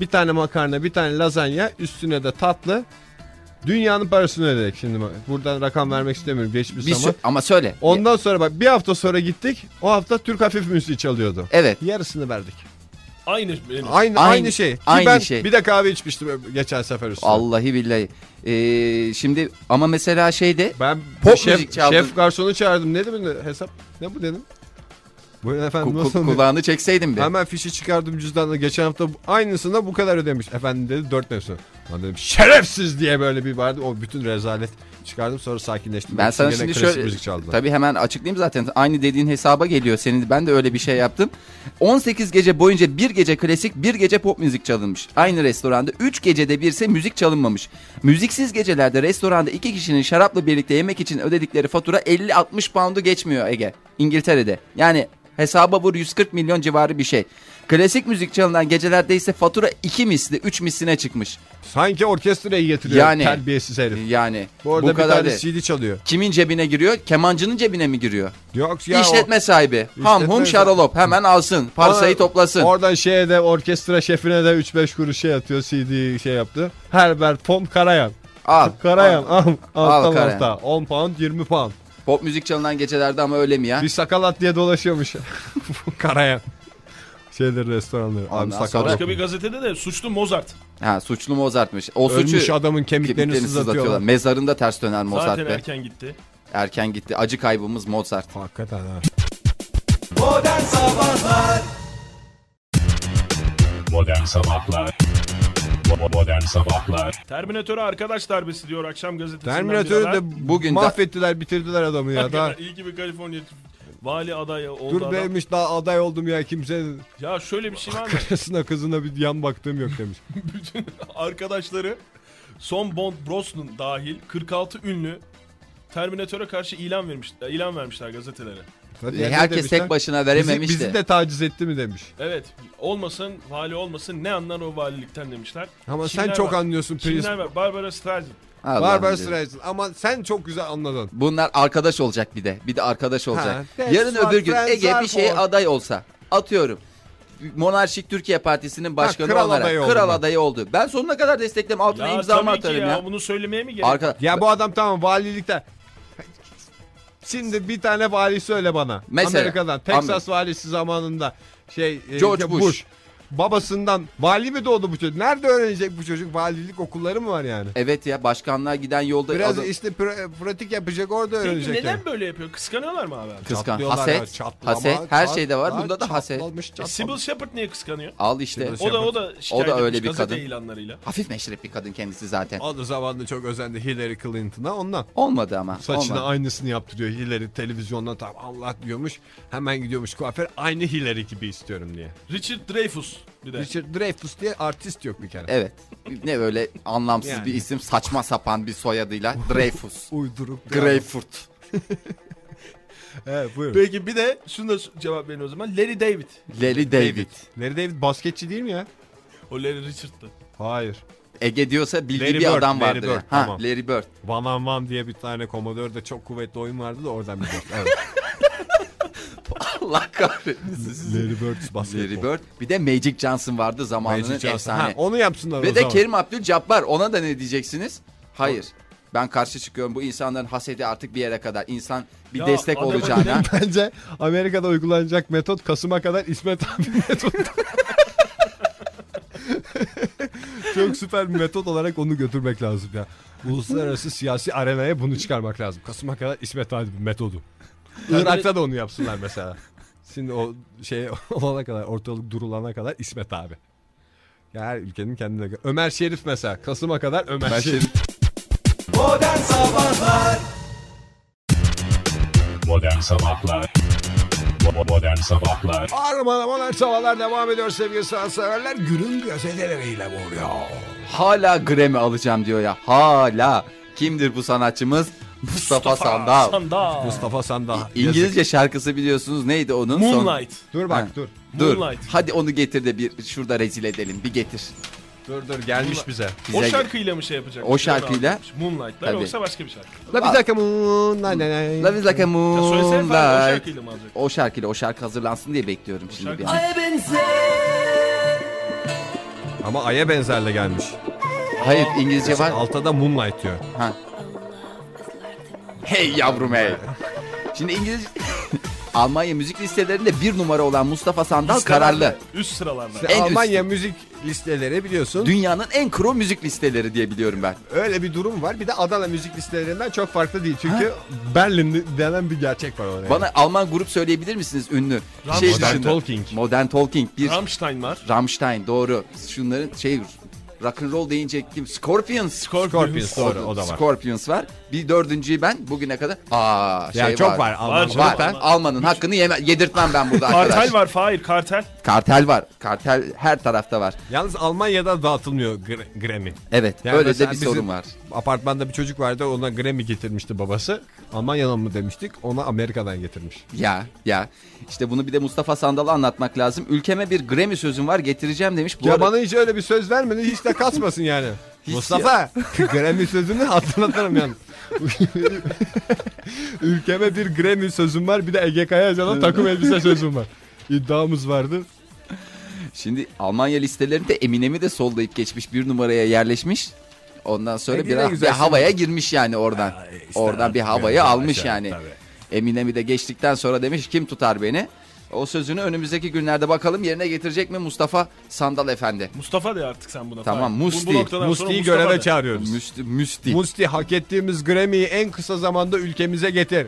Speaker 2: bir tane makarna, bir tane lazanya. Üstüne de tatlı. Dünyanın parasını ödedik şimdi. bak. Buradan rakam vermek istemiyorum. Geçmiş
Speaker 3: Bir
Speaker 2: zaman.
Speaker 3: sü- ama söyle.
Speaker 2: Ondan sonra bak bir hafta sonra gittik. O hafta Türk hafif müziği çalıyordu.
Speaker 3: Evet.
Speaker 2: Yarısını verdik.
Speaker 4: Aynı e, benim.
Speaker 2: Aynı aynı,
Speaker 3: Aynı-
Speaker 2: şey. Ki
Speaker 3: aynı
Speaker 2: ben
Speaker 3: şey.
Speaker 2: bir de kahve içmiştim geçen sefer üstüne.
Speaker 3: Allahi billahi. Ee, şimdi ama mesela şeyde
Speaker 2: Ben
Speaker 3: Pop
Speaker 2: şef,
Speaker 3: müzik çaldım.
Speaker 2: şef garsonu çağırdım. Ne dedim hesap? Ne bu dedim? Buyurun efendim
Speaker 3: Ku- ku-
Speaker 2: nasıl?
Speaker 3: kulağını çekseydim bir.
Speaker 2: Hemen fişi çıkardım cüzdanla. Geçen hafta aynısına bu kadar ödemiş. Efendim dedi dört mevsim. Ben dedim şerefsiz diye böyle bir vardı. O bütün rezalet çıkardım sonra sakinleştim.
Speaker 3: Ben sana
Speaker 2: Gene
Speaker 3: şimdi
Speaker 2: klasik
Speaker 3: şöyle
Speaker 2: müzik çaldılar.
Speaker 3: tabii hemen açıklayayım zaten aynı dediğin hesaba geliyor senin ben de öyle bir şey yaptım. 18 gece boyunca bir gece klasik bir gece pop müzik çalınmış. Aynı restoranda 3 gecede birse müzik çalınmamış. Müziksiz gecelerde restoranda 2 kişinin şarapla birlikte yemek için ödedikleri fatura 50-60 pound'u geçmiyor Ege. İngiltere'de yani hesaba vur 140 milyon civarı bir şey. Klasik müzik çalınan gecelerde ise fatura 2 misli 3 misline çıkmış.
Speaker 2: Sanki orkestrayı getiriyor
Speaker 3: Yani-
Speaker 2: terbiyesiz herif.
Speaker 3: Yani
Speaker 2: Bu arada bir
Speaker 3: kadar
Speaker 2: tane
Speaker 3: değil.
Speaker 2: CD çalıyor.
Speaker 3: Kimin cebine giriyor? Kemancının cebine mi giriyor?
Speaker 2: Yok ya o-
Speaker 3: İşletme sahibi. Ham hum
Speaker 2: sahibi.
Speaker 3: şaralop hemen alsın. Parsayı
Speaker 2: Aa,
Speaker 3: toplasın.
Speaker 2: Oradan şeye de orkestra şefine de 3-5 kuruş şey atıyor CD şey yaptı. Herbert Pom Karayan.
Speaker 3: Al.
Speaker 2: Karayan
Speaker 3: Al.
Speaker 2: al. Altta
Speaker 3: Al Karayan.
Speaker 2: altta. 10 pound 20 pound.
Speaker 3: Pop müzik çalınan gecelerde ama öyle mi ya? [LAUGHS]
Speaker 2: Bir sakalat diye dolaşıyormuş. [LAUGHS] Karayan. Şeyleri restoranları. Abi
Speaker 3: Ondan
Speaker 2: sakalat.
Speaker 3: sonra-
Speaker 4: Başka bir gazetede de suçlu Mozart.
Speaker 3: Ha suçlu Mozart'mış. O
Speaker 2: Ölmüş
Speaker 3: suçu
Speaker 2: adamın kemiklerini,
Speaker 3: kemiklerini sızlatıyorlar.
Speaker 2: sızlatıyorlar.
Speaker 3: Mezarında ters döner Mozart
Speaker 4: Zaten
Speaker 3: be. Erken.
Speaker 4: erken gitti.
Speaker 3: gitti. Acı kaybımız Mozart.
Speaker 2: Hakikaten ha.
Speaker 1: Modern Sabahlar Modern Sabahlar
Speaker 4: Terminatör'e arkadaş darbesi diyor akşam gazetesinden bir
Speaker 2: Terminatörü
Speaker 4: haber.
Speaker 2: de
Speaker 3: Bugün
Speaker 2: bugün
Speaker 3: de-
Speaker 2: mahvettiler bitirdiler adamı ya. Daha,
Speaker 4: İyi ki bir Kaliforniya vali adayı oldu
Speaker 2: dur
Speaker 4: adam.
Speaker 2: beymiş daha aday oldum ya kimsenin
Speaker 4: Ya şöyle bir
Speaker 2: [LAUGHS]
Speaker 4: şey var mı?
Speaker 2: karısına kızına bir yan baktığım yok demiş.
Speaker 4: Bütün arkadaşları son Bond Brosnan dahil 46 ünlü Terminatöre karşı ilan vermiş e, ilan vermişler gazetelere.
Speaker 2: Zaten ne
Speaker 3: [LAUGHS] Herkes
Speaker 2: demişler?
Speaker 3: tek
Speaker 2: bizi,
Speaker 3: başına verememişti.
Speaker 2: bizi de taciz etti mi demiş.
Speaker 4: Evet, olmasın, vali olmasın ne anlar o valilikten demişler.
Speaker 2: Ama
Speaker 4: Kimler
Speaker 2: sen çok
Speaker 4: var?
Speaker 2: anlıyorsun Prince.
Speaker 4: Kimler var? Barbara Streisand.
Speaker 3: Allah'ım
Speaker 2: Barbar
Speaker 3: dedim.
Speaker 2: Streisand ama sen çok güzel anladın.
Speaker 3: Bunlar arkadaş olacak bir de. Bir de arkadaş olacak.
Speaker 2: that's
Speaker 3: Yarın
Speaker 2: what
Speaker 3: öbür gün
Speaker 2: friends
Speaker 3: Ege
Speaker 2: are
Speaker 3: bir şeye
Speaker 2: for.
Speaker 3: aday olsa. Atıyorum. Monarşik Türkiye Partisi'nin başkanı
Speaker 2: kral
Speaker 3: olarak
Speaker 2: adayı oldum
Speaker 3: kral
Speaker 2: ben.
Speaker 3: adayı oldu. Ben sonuna kadar desteklerim. Altına
Speaker 4: Ya
Speaker 3: imzamı
Speaker 4: tabii ki
Speaker 3: atarım
Speaker 4: ya,
Speaker 3: ya.
Speaker 4: Bunu söylemeye mi gerek?
Speaker 3: Arka...
Speaker 2: Ya bu adam tamam valilikten. Şimdi bir tane vali söyle bana.
Speaker 3: Mesela.
Speaker 2: Amerika'dan. Texas valisi zamanında şey e,
Speaker 3: George
Speaker 2: ya
Speaker 3: Bush.
Speaker 2: Babasından vali mi doğdu bu çocuk? Nerede öğrenecek bu çocuk? Valilik okulları mı var yani?
Speaker 3: Evet ya başkanlığa giden yolda
Speaker 2: Biraz
Speaker 3: adam-
Speaker 2: işte pra- pratik yapacak orada
Speaker 4: Peki
Speaker 2: öğrenecek.
Speaker 4: neden
Speaker 2: yani.
Speaker 4: böyle yapıyor? Kıskanıyorlar mı abi? adam?
Speaker 3: kıskan,
Speaker 2: Çatlıyorlar ya,
Speaker 3: haset,
Speaker 2: çatlama,
Speaker 3: haset her
Speaker 2: çat-
Speaker 3: şeyde var.
Speaker 2: lan,
Speaker 3: Bunda da haset.
Speaker 2: çatlamış,
Speaker 4: E,
Speaker 2: çatlamış.
Speaker 4: Sybil Shepherd niye kıskanıyor?
Speaker 3: Al işte.
Speaker 2: Şimdi-
Speaker 4: O da o da şikayet
Speaker 3: öyle
Speaker 4: etmiş
Speaker 3: bir
Speaker 4: gazete
Speaker 3: kadın.
Speaker 4: ilanlarıyla.
Speaker 3: Hafif meşrep bir kadın kendisi zaten.
Speaker 2: O da zamanında çok özendi Hillary Clinton'a ondan.
Speaker 3: Olmadı ama.
Speaker 2: Saçına
Speaker 3: olmadı.
Speaker 2: aynısını yaptırıyor. Hillary televizyondan tam Allah diyormuş. Hemen gidiyormuş kuaför. Aynı Hillary gibi istiyorum diye.
Speaker 4: Richard Dreyfus bir de.
Speaker 2: Richard Dreyfus diye artist yok bir kere.
Speaker 3: Evet. Ne böyle anlamsız
Speaker 2: Yani.
Speaker 3: bir isim saçma sapan
Speaker 2: [LAUGHS]
Speaker 3: bir soyadıyla Dreyfus.
Speaker 2: Uyduruk.
Speaker 3: Greyfurt.
Speaker 2: Evet buyurun.
Speaker 4: Peki bir de şunu da cevap verin o zaman. Larry David.
Speaker 3: Larry David.
Speaker 2: Larry David basketçi değil mi ya?
Speaker 4: O Larry Richard'dı.
Speaker 2: Hayır.
Speaker 3: Ege diyorsa bildiği
Speaker 2: Larry
Speaker 3: bir
Speaker 2: Bird,
Speaker 3: adam
Speaker 2: Larry
Speaker 3: vardır.
Speaker 2: Bird,
Speaker 3: ha,
Speaker 2: tamam.
Speaker 3: Larry Bird. [LAUGHS]
Speaker 2: Van on Van diye bir tane komodörde çok kuvvetli oyun vardı da oradan biliyorum. Evet.
Speaker 3: Allah kahretmesin
Speaker 2: [LAUGHS]
Speaker 3: sizi.
Speaker 2: Larry Bird basketbol.
Speaker 3: Larry Bird. Bir de Magic Johnson vardı zamanının
Speaker 2: Magic Johnson.
Speaker 3: efsane.
Speaker 2: Ha, onu yapsınlar o
Speaker 3: Ve de
Speaker 2: zaman.
Speaker 3: Kerim Abdül-Cabbar ona da ne diyeceksiniz? Hayır. Ben karşı çıkıyorum bu insanların hasedi artık bir yere kadar. İnsan bir
Speaker 4: Ya
Speaker 3: destek
Speaker 4: adamın
Speaker 3: olacağına.
Speaker 2: [LAUGHS] Bence Amerika'da uygulanacak metot Kasım'a kadar İsmet abi [LAUGHS] metot. Çok süper bir metot olarak onu götürmek lazım ya. Uluslararası siyasi arenaya bunu çıkarmak lazım. Kasım'a kadar İsmet abi metodu. Irak'ta da onu yapsınlar mesela. Şimdi o şey [LAUGHS] olana kadar ortalık durulana kadar İsmet abi. Ya her ülkenin kendine göre. Ömer Şerif mesela. Kasım'a kadar Ömer,
Speaker 3: Ben
Speaker 2: Şerif.
Speaker 3: şimdi-
Speaker 1: Modern Sabahlar Modern Sabahlar
Speaker 2: Armağan Modern Sabahlar devam ediyor sevgili sanatseverler. Günün gazeteleriyle vuruyor.
Speaker 3: Hala Grammy alacağım diyor ya. Hala. Kimdir bu sanatçımız? Mustafa, Sandal.
Speaker 4: Sandal.
Speaker 2: Mustafa Sandal.
Speaker 3: İngilizce şarkısı biliyorsunuz neydi onun? Son-
Speaker 4: Moonlight.
Speaker 2: Dur
Speaker 3: bak,
Speaker 2: bak
Speaker 3: dur.
Speaker 2: dur.
Speaker 3: Dur.
Speaker 4: Moonlight.
Speaker 3: Hadi onu getir de bir şurada rezil edelim. Bir getir.
Speaker 2: Dur dur gelmiş bize.
Speaker 3: Bize
Speaker 4: O
Speaker 3: gel-
Speaker 4: şarkıyla mı şey yapacak?
Speaker 3: O şarkıyla.
Speaker 4: Moonlight'la
Speaker 3: Tabii.
Speaker 4: yoksa başka bir şarkı.
Speaker 2: La bir dakika. moon, la la la.
Speaker 3: Love is like a
Speaker 4: Ya söylesene falan, o
Speaker 3: moonlight.
Speaker 4: şarkıyla mı alacak?
Speaker 3: O şarkıyla o şarkı hazırlansın diye bekliyorum şimdi bir
Speaker 4: şarkı-
Speaker 3: an.
Speaker 2: Ama Ay'a benzerle gelmiş.
Speaker 3: Hayır İngilizce var.
Speaker 2: Altta da Moonlight diyor.
Speaker 3: Hey yavrum hey. Şimdi İngilizce [LAUGHS] Almanya müzik listelerinde bir numara olan Mustafa Sandal kararlı.
Speaker 4: Üst sıralarda.
Speaker 2: İşte
Speaker 3: En
Speaker 2: Almanya müzik listeleri biliyorsun.
Speaker 3: Dünyanın en kro müzik listeleri diye biliyorum ben.
Speaker 2: Öyle bir durum var. Bir de Adana müzik listelerinden çok farklı değil. Çünkü Berlin denen bir gerçek var orada.
Speaker 3: Bana Alman grup söyleyebilir misiniz ünlü?
Speaker 4: Rammstein.
Speaker 2: Modern
Speaker 3: dışında-
Speaker 2: Talking.
Speaker 3: Modern Talking bir
Speaker 4: Rammstein var.
Speaker 3: Rammstein doğru. Şunların şey rock and roll deyince kim? Scorpions.
Speaker 2: Scorpions doğru o da var.
Speaker 3: Scorpions var. Bir dördüncüyü ben bugüne kadar aa şey
Speaker 2: yani çok var. Alman
Speaker 4: Var,
Speaker 3: Var.
Speaker 2: grup.
Speaker 4: Alman.
Speaker 3: Alman'ın hakkını yeme yedirtmem ben burada arkadaş.
Speaker 4: Kartel var Fahir kartel.
Speaker 3: Kartel var. Kartel her tarafta var.
Speaker 2: Yalnız Almanya'da dağıtılmıyor gr- Grammy.
Speaker 3: Evet.
Speaker 2: Yani
Speaker 3: öyle de
Speaker 2: mesela
Speaker 3: bir
Speaker 2: bizim
Speaker 3: sorun var.
Speaker 2: Apartmanda bir çocuk vardı ona Grammy getirmişti babası. Almanya'dan mı demiştik ona Amerika'dan getirmiş.
Speaker 3: Ya ya. İşte bunu bir de Mustafa Sandal'a anlatmak lazım. Ülkeme bir Grammy sözüm var getireceğim demiş. Bu
Speaker 2: ya
Speaker 3: arada-
Speaker 2: bana hiç öyle bir söz vermedi hiç de kasmasın yani.
Speaker 3: [LAUGHS] Hiç
Speaker 2: Mustafa Grammy sözünü hatırlatırım
Speaker 3: [LAUGHS]
Speaker 2: yani. Ülkeme bir Grammy sözüm var bir de Ege Kayacan'a takım elbise sözüm var. İddiamız vardı.
Speaker 3: Şimdi Almanya listelerinde Eminem'i de sollayıp geçmiş bir numaraya yerleşmiş. Ondan sonra
Speaker 2: E, yine
Speaker 3: biraz bir
Speaker 2: güzel şimdi.
Speaker 3: havaya girmiş yani oradan.
Speaker 2: e,
Speaker 3: oradan bir havaya almış yani. Eminem'i de geçtikten sonra demiş kim tutar beni? O sözünü önümüzdeki günlerde bakalım yerine getirecek mi Mustafa Sandal Efendi?
Speaker 4: Mustafa de artık sen buna.
Speaker 3: Tamam,
Speaker 4: Fahir.
Speaker 3: Musti.
Speaker 4: Bu, bu noktadan sonra
Speaker 2: Musti'yi
Speaker 4: Mustafa
Speaker 2: göreve
Speaker 4: de.
Speaker 2: çağırıyoruz.
Speaker 3: Müsti, müsti.
Speaker 2: Musti hak ettiğimiz Grammy'yi en kısa zamanda ülkemize getir.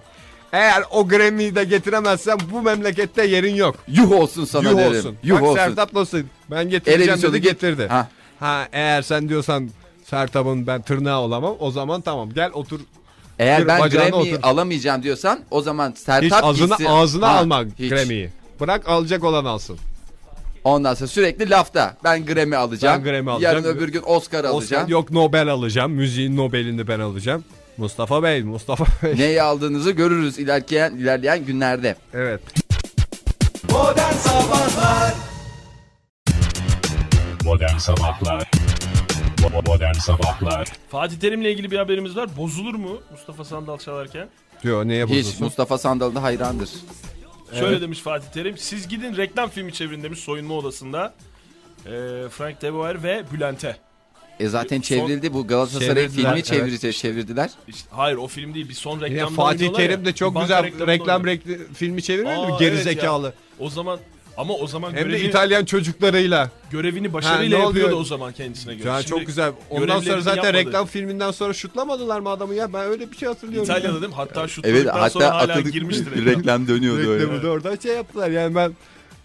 Speaker 2: Eğer o Grammy'yi de getiremezsen bu memlekette yerin yok.
Speaker 3: Yuh olsun sana
Speaker 2: Yuh
Speaker 3: derim.
Speaker 2: olsun.
Speaker 3: Yuh
Speaker 2: Bak
Speaker 3: olsun.
Speaker 2: Sertap nasıl? Ben
Speaker 3: Ele
Speaker 2: getireceğim
Speaker 3: bir sonu
Speaker 2: dedi
Speaker 3: git-
Speaker 2: getirdi.
Speaker 3: Ha.
Speaker 2: Ha. eğer sen diyorsan Sertab'ın ben tırnağı olamam o zaman tamam gel otur.
Speaker 3: Eğer
Speaker 2: Bir
Speaker 3: ben
Speaker 2: bacağına
Speaker 3: Grammy'yi
Speaker 2: otur.
Speaker 3: alamayacağım diyorsan o zaman
Speaker 2: Hiç
Speaker 3: Sertap
Speaker 2: ağzına,
Speaker 3: E, gitsin.
Speaker 2: ağzına
Speaker 3: Ha,
Speaker 2: alma
Speaker 3: hiç.
Speaker 2: Grammy'yi. Bırak alacak olan alsın.
Speaker 3: Ondan sonra sürekli lafta. Ben Grammy alacağım.
Speaker 2: Ben Grammy alacağım.
Speaker 3: Yarın öbür gün Oscar alacağım.
Speaker 2: Oscar, yok Nobel alacağım. Müziğin Nobel'ini ben alacağım. Mustafa Bey, Mustafa
Speaker 4: [LAUGHS]
Speaker 2: Bey.
Speaker 3: Neyi aldığınızı görürüz ilerleyen ilerleyen günlerde.
Speaker 2: Evet.
Speaker 1: Modern Sabahlar Bo- Modern Sabahlar
Speaker 4: Fatih Terim'le ilgili bir haberimiz var. Bozulur mu Mustafa Sandal çalarken?
Speaker 2: Diyor neye
Speaker 3: Hiç
Speaker 2: bozulsun?
Speaker 3: Mustafa Sandal da hayrandır.
Speaker 4: Şöyle demiş Fatih Terim. Siz gidin reklam filmi çevirin demiş soyunma odasında. Ee, Frank Deboer ve Bülent'e.
Speaker 3: E zaten çevrildi bu Galatasaray
Speaker 2: Çevirdiler,
Speaker 3: filmi
Speaker 2: evet.
Speaker 3: çevirdi, çevirdiler.
Speaker 4: İşte, hayır o film değil. Bir son
Speaker 2: Ya
Speaker 4: reklamda
Speaker 2: Fatih
Speaker 4: oynuyorlar
Speaker 2: Terim
Speaker 4: ya.
Speaker 2: de çok
Speaker 4: Banka
Speaker 2: güzel
Speaker 4: reklamında
Speaker 2: reklam
Speaker 4: oynuyor.
Speaker 2: rekl- filmi çevirmedi mi?
Speaker 4: Aa,
Speaker 2: Geri
Speaker 4: evet ya.
Speaker 2: zekalı.
Speaker 4: O zaman ama o zaman
Speaker 2: Hem de
Speaker 4: görevini,
Speaker 2: İtalyan çocuklarıyla.
Speaker 4: görevini
Speaker 2: Ha,
Speaker 4: başarıyla
Speaker 2: ne
Speaker 4: yapıyordu
Speaker 2: oluyor?
Speaker 4: o zaman kendisine göre.
Speaker 2: Yani
Speaker 4: Şimdi
Speaker 2: çok güzel. Ondan
Speaker 4: görevlerini
Speaker 2: sonra zaten
Speaker 4: yapmadı.
Speaker 2: reklam filminden sonra şutlamadılar mı adamı ya? Ben öyle bir şey hatırlıyorum.
Speaker 4: İtalya'da değil mi? Hatta şu sonra hala girmiştir. reklama.
Speaker 3: reklam dönüyordu
Speaker 2: Reklamı da oradan şey yaptılar. Yani ben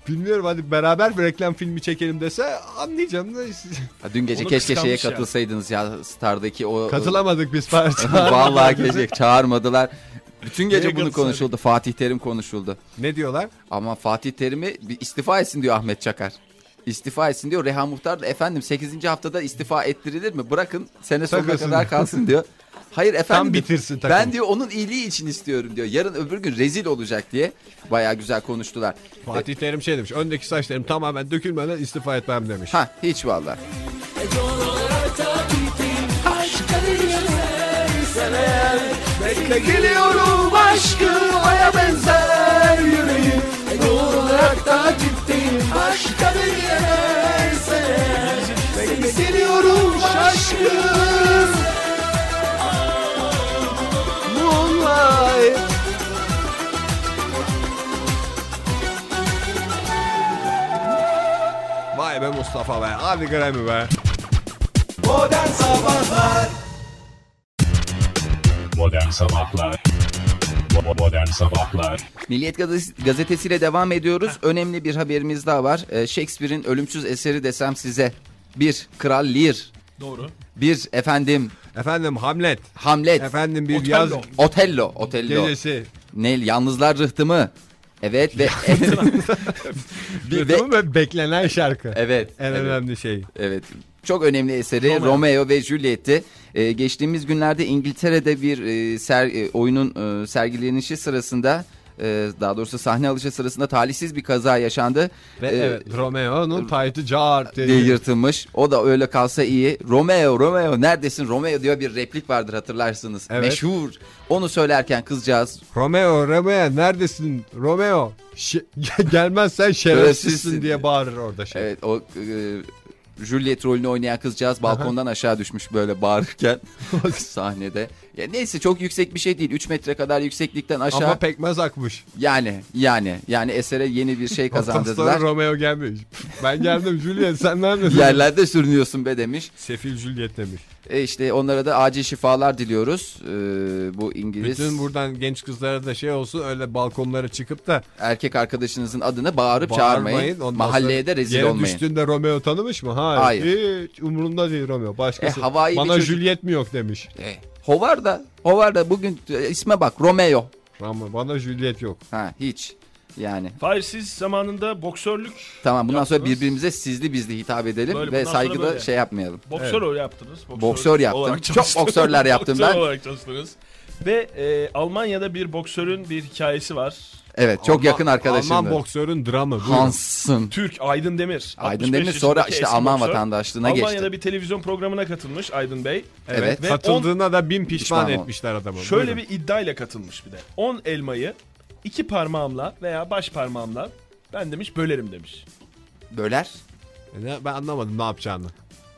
Speaker 2: bilmiyorum hadi beraber bir reklam filmi çekelim dese anlayacağım da işte.
Speaker 3: Ha, Dün gece
Speaker 4: Onu
Speaker 3: keşke şeye
Speaker 4: kıskanmış ya.
Speaker 3: katılsaydınız ya Star'daki o
Speaker 2: [LAUGHS] katılamadık biz [LAUGHS] parça.
Speaker 3: [LAUGHS] Vallahi keşke çağırmadılar. Bütün
Speaker 4: Neye
Speaker 3: gece bunu
Speaker 4: katılsaydık?
Speaker 3: konuşuldu. Fatih Terim konuşuldu.
Speaker 2: ne diyorlar?
Speaker 3: Ama Fatih Terim'i bir istifa etsin diyor Ahmet Çakar. İstifa etsin diyor. Reha Muhtar da efendim 8. haftada istifa ettirilir mi? Bırakın sene sonuna
Speaker 2: Takılsın
Speaker 3: kadar kalsın diyor. Hayır efendim.
Speaker 2: Tam bitirsin takımı.
Speaker 3: Ben diyor onun iyiliği için istiyorum diyor. Yarın öbür gün rezil olacak diye. Baya güzel konuştular.
Speaker 2: Fatih Terim şey demiş. Öndeki saçlarım tamamen dökülmeden istifa etmem demiş.
Speaker 3: Ha hiç valla.
Speaker 2: Geliyorum aşkım aya benzer yüreğim. Doğal olarak da ciddiyim. Başka bir yerse. Seni seviyorum aşkım. Moonlight. Vay be Mustafa be. Hadi Grammy be.
Speaker 1: Modern Sabahlar Bo- Modern Sabahlar
Speaker 3: Milliyet Gazet- gazetesiyle devam ediyoruz. Önemli bir haberimiz daha var. Ee, Shakespeare'in ölümsüz eseri desem size. Bir Kral Lear.
Speaker 4: Doğru.
Speaker 3: Bir efendim
Speaker 2: Efendim Hamlet.
Speaker 3: Hamlet.
Speaker 2: Efendim bir
Speaker 4: Otello.
Speaker 2: yaz
Speaker 3: Otello. Otello.
Speaker 2: gecesi.
Speaker 3: Ne yalnızlar rıhtımı. Evet [LAUGHS] ve Bir- ve-
Speaker 2: Duydun mu? Ve beklenen şarkı.
Speaker 3: evet.
Speaker 2: En
Speaker 3: evet.
Speaker 2: önemli şey.
Speaker 3: Evet. Çok önemli eseri Romeo, ve Juliet'ti. Ee, geçtiğimiz günlerde İngiltere'de bir e, ser- e, oyunun e, sergilenişi sırasında e, daha doğrusu sahne alışı sırasında talihsiz bir kaza yaşandı.
Speaker 2: Ve
Speaker 3: Ee,
Speaker 2: evet Romeo'nun taytı car diye.
Speaker 3: diye yırtılmış. O da öyle kalsa iyi. Romeo, Romeo neredesin? Romeo diyor bir replik vardır hatırlarsınız.
Speaker 2: Evet.
Speaker 3: Meşhur. Onu söylerken kızcağız
Speaker 2: Romeo, Romeo neredesin? Romeo [LAUGHS] şi- gelmezsen şerefsizsin
Speaker 3: Şerefsizsin.
Speaker 2: diye bağırır orada şey.
Speaker 3: Evet
Speaker 2: [LAUGHS]
Speaker 3: o e, Juliet rolünü oynayan kızcağız balkondan aşağı düşmüş böyle bağırırken [LAUGHS] sahnede. Ya neyse çok yüksek bir şey değil. 3 metre kadar yükseklikten aşağı.
Speaker 2: Ama pekmez akmış.
Speaker 3: Yani yani yani esere yeni bir
Speaker 2: [LAUGHS]
Speaker 3: şey
Speaker 2: Kazandırdılar.
Speaker 3: kazandırdılar.
Speaker 2: Romeo gelmiş. Ben geldim Juliet sen neredesin?
Speaker 3: Yerlerde sürünüyorsun be demiş.
Speaker 2: Sefil Juliet demiş.
Speaker 3: E işte onlara da acil şifalar diliyoruz. Ee, bu İngiliz
Speaker 2: Bütün buradan genç kızlara da şey olsun öyle balkonlara çıkıp da
Speaker 3: erkek arkadaşınızın adını bağırıp
Speaker 2: Bağırmayın,
Speaker 3: çağırmayın.
Speaker 2: ondan
Speaker 3: Mahalleye
Speaker 2: sonra
Speaker 3: de rezil
Speaker 2: yere
Speaker 3: olmayın.
Speaker 2: düştüğünde Romeo tanımış mı? Hayır.
Speaker 3: Hayır.
Speaker 2: Hiç umurunda değil Romeo. Başkası.
Speaker 3: E, havai bir
Speaker 2: Bana
Speaker 3: çocuk-
Speaker 2: Juliet mi yok demiş.
Speaker 3: E, Hovar da Hovar da bugün e, isme bak Romeo.
Speaker 2: Ama bana Juliet yok.
Speaker 3: Ha hiç. Yani
Speaker 4: Fahir siz zamanında boksörlük,
Speaker 3: tamam bundan sonra
Speaker 4: Yaptınız.
Speaker 3: birbirimize sizli bizli hitap edelim
Speaker 4: Böyle, bundan
Speaker 3: ve
Speaker 4: sonra
Speaker 3: saygıda
Speaker 4: böyle.
Speaker 3: şey yapmayalım.
Speaker 4: boksör yaptınız. Boksör,
Speaker 3: Boksör yaptım. [LAUGHS]
Speaker 4: olarak
Speaker 3: Çok
Speaker 4: çalıştınız.
Speaker 3: boksörler yaptım
Speaker 4: Boksör
Speaker 3: ben.
Speaker 4: olarak çalıştınız. Ve e, Almanya'da bir boksörün bir hikayesi var.
Speaker 3: Evet çok yakın
Speaker 2: Alman
Speaker 3: arkadaşımdı.
Speaker 2: boksörün dramı. Buyurun.
Speaker 3: Hans'ın.
Speaker 4: Türk Aydın Demir.
Speaker 3: Aydın
Speaker 4: 65
Speaker 3: Demir sonra
Speaker 4: yaşındaki
Speaker 3: işte
Speaker 4: eski
Speaker 3: Alman
Speaker 4: boksör.
Speaker 3: vatandaşlığına
Speaker 4: Almanya'da
Speaker 3: geçti.
Speaker 4: bir televizyon programına katılmış Aydın Bey.
Speaker 3: Evet.
Speaker 4: Ve
Speaker 2: Katıldığına da bin pişman,
Speaker 3: Pişman ol.
Speaker 2: etmişler adamı.
Speaker 4: Şöyle
Speaker 2: Buyurun.
Speaker 4: bir iddiayla katılmış bir de. 10 elmayı iki parmağımla veya baş parmağımla ben demiş bölerim demiş.
Speaker 3: Böler.
Speaker 2: E, Ne- Ben anlamadım ne yapacağını.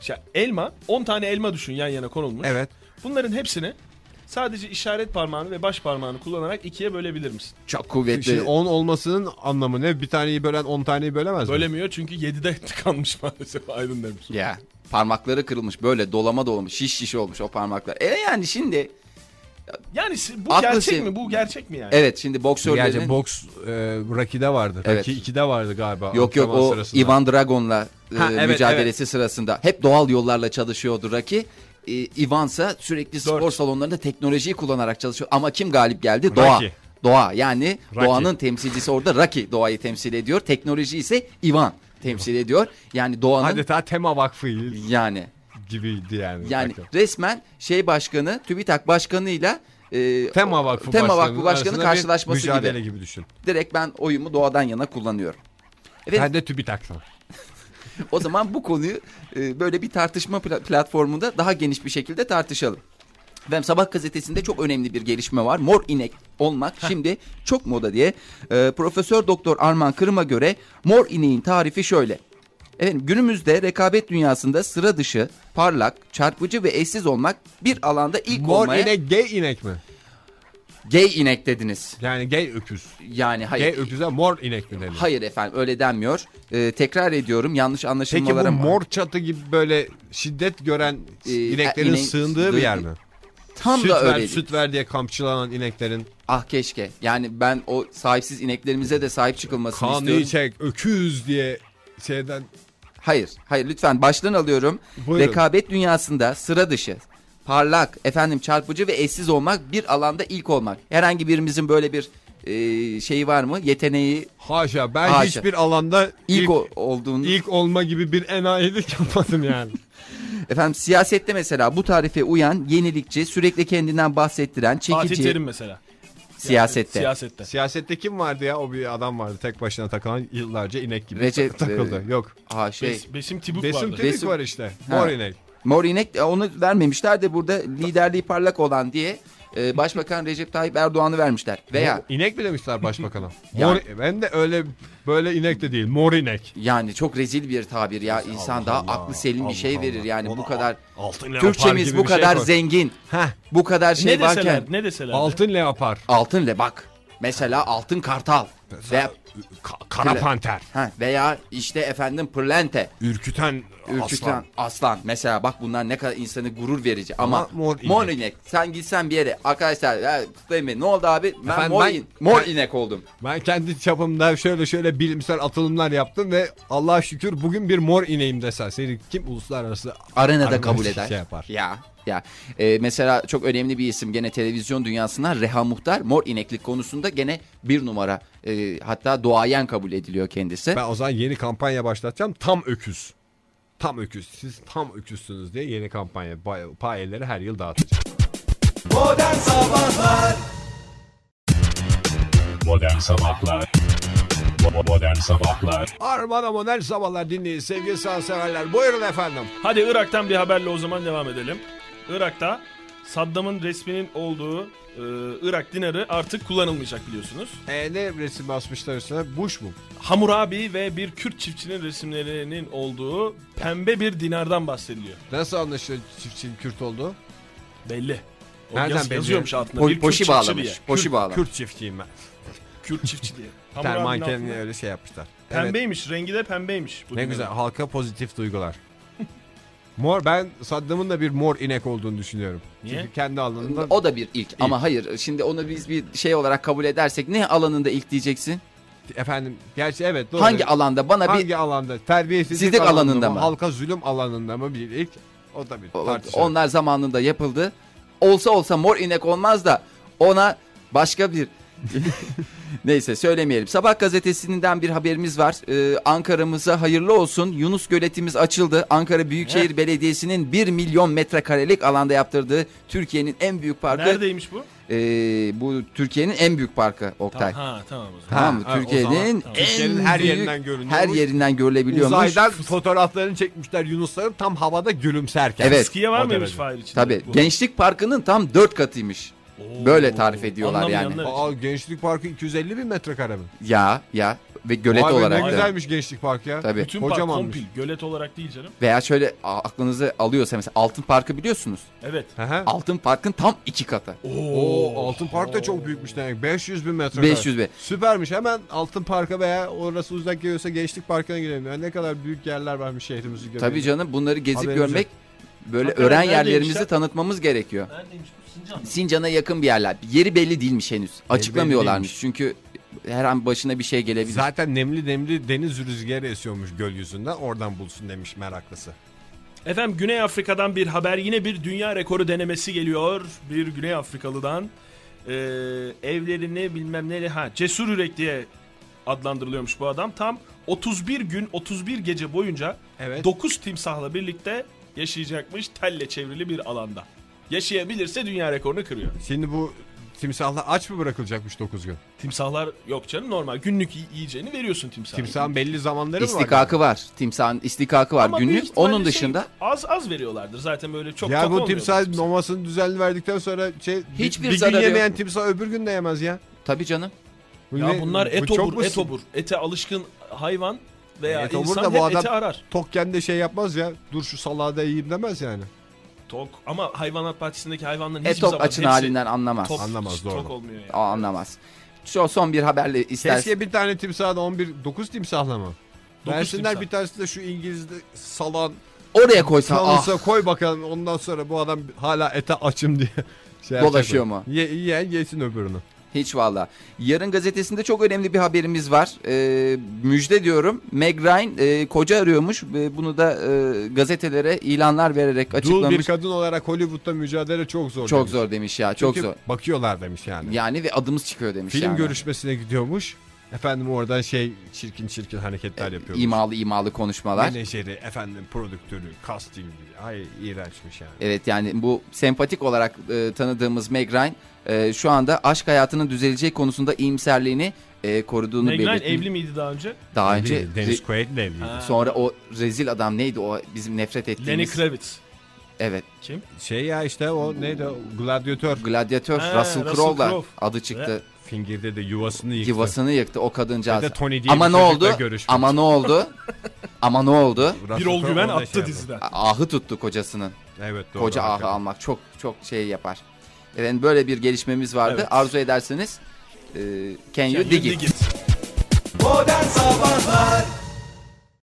Speaker 4: İşte Şey, elma 10 tane elma düşün yan yana konulmuş.
Speaker 2: Evet.
Speaker 4: Bunların hepsini sadece işaret parmağını ve baş parmağını kullanarak ikiye bölebilir misin?
Speaker 3: Çok kuvvetli.
Speaker 2: Şimdi 10 olmasının anlamı ne? Bir taneyi bölen 10 taneyi bölemez mi?
Speaker 4: Bölemiyor çünkü 7'de [LAUGHS] tıkanmış maalesef Aydın Demir.
Speaker 3: Ya parmakları kırılmış böyle dolama dolmuş şiş şiş olmuş o parmaklar. E yani şimdi
Speaker 4: Yani si- bu
Speaker 3: Aklı
Speaker 4: gerçek
Speaker 3: şey-
Speaker 4: mi? Bu gerçek mi yani?
Speaker 3: evet şimdi
Speaker 2: Gerçi
Speaker 3: boksörlerin
Speaker 2: boks e, Raki'de vardı.
Speaker 3: Evet.
Speaker 2: Raki 2'de vardı galiba.
Speaker 3: yok yok
Speaker 2: antrenman
Speaker 3: o
Speaker 2: sırasında.
Speaker 3: Ivan Dragon'la e,
Speaker 2: Ha, evet,
Speaker 3: mücadelesi sırasında hep doğal yollarla çalışıyordu Rocky. E, Ivan'sa sürekli spor
Speaker 4: Dört.
Speaker 3: salonlarında teknolojiyi kullanarak çalışıyor. Ama kim galip geldi? Doğa.
Speaker 2: Rocky.
Speaker 3: Doğa yani
Speaker 2: Rocky.
Speaker 3: doğanın temsilcisi orada Rocky doğayı temsil ediyor. Teknoloji ise Ivan temsil ediyor. Yani doğanın
Speaker 2: Adeta tema vakfı
Speaker 3: yani
Speaker 2: gibiydi yani.
Speaker 3: Yani
Speaker 2: Hakikaten.
Speaker 3: resmen şey başkanı, TÜBİTAK başkanıyla e,
Speaker 2: Tema Vakfı
Speaker 3: Tema
Speaker 2: Başkanı'nın
Speaker 3: Vakfı Başkanı
Speaker 2: arasında bir
Speaker 3: karşılaşması
Speaker 2: mücadele
Speaker 3: gibi.
Speaker 2: gibi, düşün.
Speaker 3: Direkt ben oyumu doğadan yana kullanıyorum. Evet.
Speaker 2: Ben de TÜBİTAK'tan.
Speaker 3: O zaman bu konuyu e, böyle bir tartışma pla- platformunda daha geniş bir şekilde tartışalım. Ve Sabah gazetesinde çok önemli bir gelişme var. Mor inek olmak şimdi çok moda diye. E, Profesör Doktor Arman Kırım'a göre mor ineğin tarifi şöyle. Efendim günümüzde rekabet dünyasında sıra dışı, parlak, çarpıcı ve eşsiz olmak bir alanda ilk
Speaker 2: Mor
Speaker 3: olmaya
Speaker 2: inek gay inek mi?
Speaker 3: gay inek dediniz.
Speaker 2: Yani gay öküz.
Speaker 3: Yani
Speaker 2: Gay
Speaker 3: hayır.
Speaker 2: öküze mor inek mi denir?
Speaker 3: Hayır efendim öyle denmiyor. Ee, tekrar ediyorum yanlış
Speaker 2: Peki
Speaker 3: anlaşılmalara
Speaker 2: bu
Speaker 3: ma-
Speaker 2: mor çatı gibi böyle şiddet gören
Speaker 3: Ee,
Speaker 2: ineklerin
Speaker 3: inek-
Speaker 2: sığındığı bir yer mi?
Speaker 3: tam
Speaker 2: süt
Speaker 3: da
Speaker 2: ver,
Speaker 3: öyle. değil.
Speaker 2: süt ver diye kamçılanan ineklerin
Speaker 3: Ah keşke. Yani ben o sahipsiz ineklerimize de sahip çıkılmasını
Speaker 2: kanı
Speaker 3: istiyorum.
Speaker 2: çek öküz diye şeyden
Speaker 3: Hayır. Hayır lütfen baştan alıyorum.
Speaker 2: Buyurun.
Speaker 3: Rekabet dünyasında sıra dışı, parlak, efendim çarpıcı ve eşsiz olmak bir alanda ilk olmak. Herhangi birimizin böyle bir e, şeyi var mı? Yeteneği
Speaker 2: haşa ben
Speaker 3: Haşa.
Speaker 2: hiçbir alanda
Speaker 3: ilk,
Speaker 2: ilk, ilk,
Speaker 3: o- olduğunu.
Speaker 2: olma gibi bir enayilik [LAUGHS] yapmadım yani.
Speaker 3: Efendim siyasette mesela bu tarife uyan, yenilikçi, sürekli kendinden bahsettiren,
Speaker 4: Fatih
Speaker 3: çekici
Speaker 4: Terim mesela.
Speaker 3: siyasette.
Speaker 4: Siyasette.
Speaker 2: Siyasette kim vardı ya o bir adam vardı tek başına takılan yıllarca inek gibi [LAUGHS]
Speaker 3: Recep,
Speaker 2: takıldı.
Speaker 3: e,
Speaker 2: Yok.
Speaker 3: Ha şey.
Speaker 4: Bes- Besim Tibuk
Speaker 2: Besim
Speaker 4: vardı.
Speaker 2: Tübük
Speaker 3: Resim-
Speaker 2: var işte.
Speaker 3: Ha.
Speaker 2: Mor inek.
Speaker 3: Mor inek e, onu vermemişler de burada liderliği parlak olan diye e, Başbakan Recep Tayyip Erdoğan'ı vermişler. Veya
Speaker 2: İnek mi demişler başbakana? Mor,
Speaker 3: [LAUGHS] Yani-
Speaker 2: Ben de öyle böyle inek de değil. Mor inek.
Speaker 3: yani çok rezil bir tabir ya insan daha
Speaker 2: Allah,
Speaker 3: aklı selim
Speaker 2: Allah,
Speaker 3: bir şey verir
Speaker 2: Allah.
Speaker 3: yani
Speaker 2: Ona
Speaker 3: bu kadar
Speaker 2: Altın leopar
Speaker 3: Türkçemiz
Speaker 2: gibi
Speaker 3: bu
Speaker 2: bir şey
Speaker 3: kadar
Speaker 2: koy.
Speaker 3: zengin.
Speaker 2: Heh,
Speaker 3: Bu kadar şey
Speaker 4: ne deseler,
Speaker 3: varken
Speaker 4: ne deseler. de.
Speaker 2: altın leopar.
Speaker 3: altın le bak. Mesela altın kartal veya
Speaker 2: Ka- kara
Speaker 3: Pırla-
Speaker 2: panter.
Speaker 3: ha, veya işte efendim pırlente,
Speaker 2: Ürküten,
Speaker 3: ürküten aslan.
Speaker 2: aslan.
Speaker 3: Mesela bak bunlar ne kadar insanı gurur verici ama,
Speaker 2: Ama mor inek.
Speaker 3: mor inek. Sen gitsen bir yere arkadaşlar ya, kutlayın beni. ne oldu abi? Ben
Speaker 2: Efendim,
Speaker 3: mor,
Speaker 2: ben-
Speaker 3: in- mor
Speaker 2: ben-
Speaker 3: inek oldum.
Speaker 2: Ben kendi çapımda şöyle şöyle bilimsel atılımlar yaptım ve Allah'a şükür bugün bir mor ineğim desen seni kim uluslararası
Speaker 3: Arenada
Speaker 2: Arenada
Speaker 3: kabul
Speaker 2: şey
Speaker 3: eder.
Speaker 2: yapar.
Speaker 3: Ya ya. Ee, mesela çok önemli bir isim gene televizyon dünyasından Reha Muhtar mor ineklik konusunda gene bir numara. Ee, hatta doğayen kabul ediliyor kendisi.
Speaker 2: Ben o zaman yeni kampanya başlatacağım. Tam öküz. Tam öküz. Siz tam öküzsünüz diye yeni kampanya bay- payeleri her yıl dağıtacağım.
Speaker 1: Modern Sabahlar Bo- Modern Sabahlar
Speaker 2: Arman Amonel sabahlar dinleyin sevgili sanatseverler. Buyurun efendim.
Speaker 4: Hadi Irak'tan bir haberle o zaman devam edelim. Irak'ta Saddam'ın resminin olduğu e, Irak dinarı artık kullanılmayacak biliyorsunuz.
Speaker 2: E, ne resim basmışlar üstüne? Bush mu?
Speaker 4: Hamurabi ve bir Kürt çiftçinin resimlerinin olduğu pembe bir dinardan bahsediliyor.
Speaker 2: Nasıl anlaşılıyor çiftçinin Kürt olduğu?
Speaker 4: Belli. O
Speaker 2: Nereden
Speaker 4: yaz-
Speaker 2: belli?
Speaker 4: yazıyormuş altında.
Speaker 3: Po-
Speaker 4: bir
Speaker 3: poşi
Speaker 4: Kürt
Speaker 3: bağlamış.
Speaker 4: çiftçi
Speaker 3: Poşi bağlamış.
Speaker 2: Kürt çiftçiyim ben.
Speaker 4: diye. Kürt
Speaker 3: [LAUGHS]
Speaker 4: çiftçi diye. Hamur abinin
Speaker 2: Termankenle
Speaker 4: altında.
Speaker 2: öyle şey yapmışlar. Evet.
Speaker 4: Pembeymiş. Rengi de pembeymiş. bu
Speaker 2: Ne
Speaker 4: dünyanın.
Speaker 2: güzel halka pozitif duygular. mor ben Saddam'ın da bir mor inek olduğunu düşünüyorum.
Speaker 4: Niye?
Speaker 2: Çünkü kendi alanında
Speaker 3: O da bir ilk. ama hayır şimdi onu biz bir şey olarak kabul edersek ne alanında ilk diyeceksin?
Speaker 2: efendim gerçi evet doğru.
Speaker 3: Hangi alanda bana
Speaker 2: Hangi
Speaker 3: bir
Speaker 2: alanda? Terbiyesizlik
Speaker 3: Sizlik alanında mı?
Speaker 2: Halka zulüm alanında mı bir ilk? O da bir tartışma.
Speaker 3: onlar zamanında yapıldı. Olsa olsa mor inek olmaz da ona başka bir [LAUGHS] Neyse söylemeyelim. Sabah gazetesinden bir haberimiz var. Ee, Ankara'mıza hayırlı olsun. Yunus göletimiz açıldı. Ankara Büyükşehir Belediyesi'nin 1 milyon metrekarelik alanda yaptırdığı Türkiye'nin en büyük parkı.
Speaker 4: Neredeymiş bu?
Speaker 3: Ee, bu Türkiye'nin en büyük parkı Oktay.
Speaker 4: Tamam, ha tamam o zaman.
Speaker 3: Tamam mı?
Speaker 2: Ha, ha, o
Speaker 3: Türkiye'nin
Speaker 4: tamam.
Speaker 3: en
Speaker 2: Türkiye'nin her
Speaker 3: büyük-
Speaker 2: yerinden görünüyor.
Speaker 3: her yerinden görülebiliyormuş.
Speaker 2: Uzaydan fotoğraflarını çekmişler Yunusların tam havada gülümserken.
Speaker 3: Evet.
Speaker 4: Eskiye var
Speaker 2: O
Speaker 4: mıymış
Speaker 2: derece.
Speaker 4: Fahir içinde?
Speaker 3: Tabii.
Speaker 4: Bu.
Speaker 3: Gençlik Parkı'nın tam dört katıymış.
Speaker 4: Oo.
Speaker 3: böyle tarif ediyorlar
Speaker 4: Anlamayanlar için.
Speaker 2: Aa, Gençlik Parkı 250 bin metrekare mi?
Speaker 3: Ya ya ve gölet
Speaker 2: Vay be,
Speaker 3: olarak
Speaker 2: Ne
Speaker 3: da.
Speaker 2: güzelmiş Gençlik Park ya.
Speaker 3: Tabii.
Speaker 4: Bütün park
Speaker 2: Kocamanmış.
Speaker 4: kompil. Gölet olarak değil canım.
Speaker 3: Veya şöyle a- aklınızı alıyorsa mesela Altın Parkı biliyorsunuz.
Speaker 4: Evet.
Speaker 2: Hı hı.
Speaker 3: Altın Park'ın tam iki katı.
Speaker 2: Oo, Altın Park da çok büyükmüş demek. 500 bin metrekare.
Speaker 3: 500 bin.
Speaker 2: Süpermiş. Hemen Altın Park'a veya orası uzak geliyorsa Gençlik Parkı'na girelim. Yani ne kadar büyük yerler varmış şehrimizi görmek.
Speaker 3: Tabii canım bunları gezip
Speaker 2: Haberimiz
Speaker 3: görmek böyle
Speaker 4: Hakikaten
Speaker 3: öğren
Speaker 4: neredeymiş
Speaker 3: yerlerimizi
Speaker 4: ya?
Speaker 3: tanıtmamız gerekiyor.
Speaker 4: Neredeymiş bu? Sincan.
Speaker 3: Sincan'a yakın bir yerler. Yeri belli değilmiş henüz. Açıklamıyorlarmış.
Speaker 2: değilmiş.
Speaker 3: Çünkü her an başına bir şey gelebilir.
Speaker 2: Zaten nemli nemli deniz rüzgarı esiyormuş göl yüzünden. Oradan bulsun demiş meraklısı.
Speaker 4: Efendim Güney Afrika'dan bir haber yine bir dünya rekoru denemesi geliyor bir Güney Afrikalı'dan Ee, evlerini bilmem neyle ha cesur yürek diye adlandırılıyormuş bu adam tam 31 gün 31 gece boyunca
Speaker 2: Evet.
Speaker 4: 9 timsahla birlikte yaşayacakmış telle çevrili bir alanda yaşayabilirse dünya rekorunu kırıyor
Speaker 2: Şimdi bu timsahlar aç mı bırakılacakmış 9 gün?
Speaker 4: timsahlar yok canım normal günlük yi- yiyeceğini veriyorsun timsaha
Speaker 2: Timsahın belli zamanları mı var?
Speaker 3: İstikakı var. Timsahın istikakı var
Speaker 4: Ama büyük
Speaker 3: günlük.
Speaker 4: ihtimalle
Speaker 3: Onun
Speaker 4: şey,
Speaker 3: dışında
Speaker 4: az az veriyorlardır zaten böyle çok
Speaker 2: ya
Speaker 4: tok
Speaker 2: bu
Speaker 4: olmuyordur
Speaker 2: timsah mamasını düzenli verdikten sonra şey,
Speaker 3: Hiçbir
Speaker 2: bir, bir gün
Speaker 3: zararı yok.
Speaker 2: yemeyen timsah öbür gün de yemez ya.
Speaker 3: tabii canım.
Speaker 2: Bu
Speaker 4: Ya
Speaker 2: ne-
Speaker 4: bunlar
Speaker 2: bu
Speaker 4: et
Speaker 2: çok
Speaker 4: obur,
Speaker 2: mu
Speaker 4: et obur. Ete alışkın hayvan veya
Speaker 2: Et obur
Speaker 4: insan
Speaker 2: da bu
Speaker 4: hep
Speaker 2: adam-
Speaker 4: eti arar.
Speaker 2: Tokken de şey yapmaz ya. Dur şu salada yiyeyim demez yani.
Speaker 4: Tok ama hayvanat bahçesindeki hayvanların hiçbir
Speaker 3: Etop
Speaker 4: zaman
Speaker 3: açın
Speaker 4: hepsi
Speaker 3: halinden anlamaz.
Speaker 4: tok,
Speaker 2: Anlamaz, doğru.
Speaker 4: Tok olmuyor yani.
Speaker 3: O anlamaz. Şu son bir haberle istersen.
Speaker 2: Keşke bir tane timsah da 11 9 timsahla mı?
Speaker 4: Dokuz
Speaker 2: Versinler
Speaker 4: timsah.
Speaker 2: bir tanesi de şu İngiliz'de salan
Speaker 3: Oraya koysan ah
Speaker 2: kalırsa koy bakalım ondan sonra bu adam hala ete açım diye [LAUGHS] şey yapacak
Speaker 3: Dolaşıyor
Speaker 2: o.
Speaker 3: mu?
Speaker 2: Ye, yiyen yesin öbürünü.
Speaker 3: hiç valla. Yarın gazetesinde çok önemli bir haberimiz var. Ee, müjde diyorum. Meg Ryan e, koca arıyormuş. E, bunu da e, gazetelere ilanlar vererek
Speaker 2: Dul bir
Speaker 3: açıklamış.
Speaker 2: kadın olarak Hollywood'da mücadele çok zor.
Speaker 3: Çok
Speaker 2: demiş.
Speaker 3: zor demiş ya çok
Speaker 2: Çünkü
Speaker 3: zor.
Speaker 2: Bakıyorlar demiş yani.
Speaker 3: Yani ve adımız çıkıyor demiş
Speaker 2: Film
Speaker 3: yani.
Speaker 2: görüşmesine gidiyormuş. Efendim oradan şey çirkin çirkin
Speaker 3: E,
Speaker 2: hareketler yapıyormuş.
Speaker 3: İmalı imalı konuşmalar.
Speaker 2: Menajeri, efendim prodüktörü, casting. Ay iğrençmiş yani.
Speaker 3: Evet yani bu sempatik olarak e, tanıdığımız Meg Ryan e, şu anda aşk hayatının düzeleceği konusunda iyimserliğini e, koruduğunu
Speaker 4: Meg Ryan
Speaker 3: belirtti.
Speaker 4: evli miydi daha önce?
Speaker 3: Daha
Speaker 2: Evliydi,
Speaker 3: önce
Speaker 2: Dennis Quaid'le evliydi.
Speaker 4: Ha.
Speaker 3: Sonra o rezil adam neydi o bizim nefret
Speaker 4: Lenny
Speaker 3: ettiğimiz.
Speaker 4: Kravitz.
Speaker 3: evet.
Speaker 4: Kim?
Speaker 2: Şey ya işte o neydi o gladyatör.
Speaker 3: Gladyatör
Speaker 4: Ha,
Speaker 3: Russell
Speaker 4: Russell
Speaker 3: Crowe'la
Speaker 4: Crowe.
Speaker 3: adı çıktı.
Speaker 2: Fingir'de de yuvasını yıktı.
Speaker 3: Yuvasını yıktı o kadıncağız.
Speaker 2: Bir de Tony diye
Speaker 3: Ama
Speaker 2: bir
Speaker 3: ne
Speaker 2: çocukla
Speaker 3: oldu?
Speaker 2: görüşmüş.
Speaker 3: Ama ne oldu? Ama ne oldu?
Speaker 2: Russell
Speaker 4: Bir ol
Speaker 2: Crowe
Speaker 4: güven
Speaker 2: orada şey
Speaker 4: attı
Speaker 2: yaptı.
Speaker 4: diziden.
Speaker 3: Ahı tuttu kocasının.
Speaker 2: Evet doğru.
Speaker 3: Koca ahı
Speaker 2: hakikaten.
Speaker 3: almak çok çok şey yapar. Efendim böyle bir gelişmemiz vardı.
Speaker 4: Evet.
Speaker 3: Arzu ederseniz e, Can You Dig It.
Speaker 4: Digit.
Speaker 5: Modern Sabahlar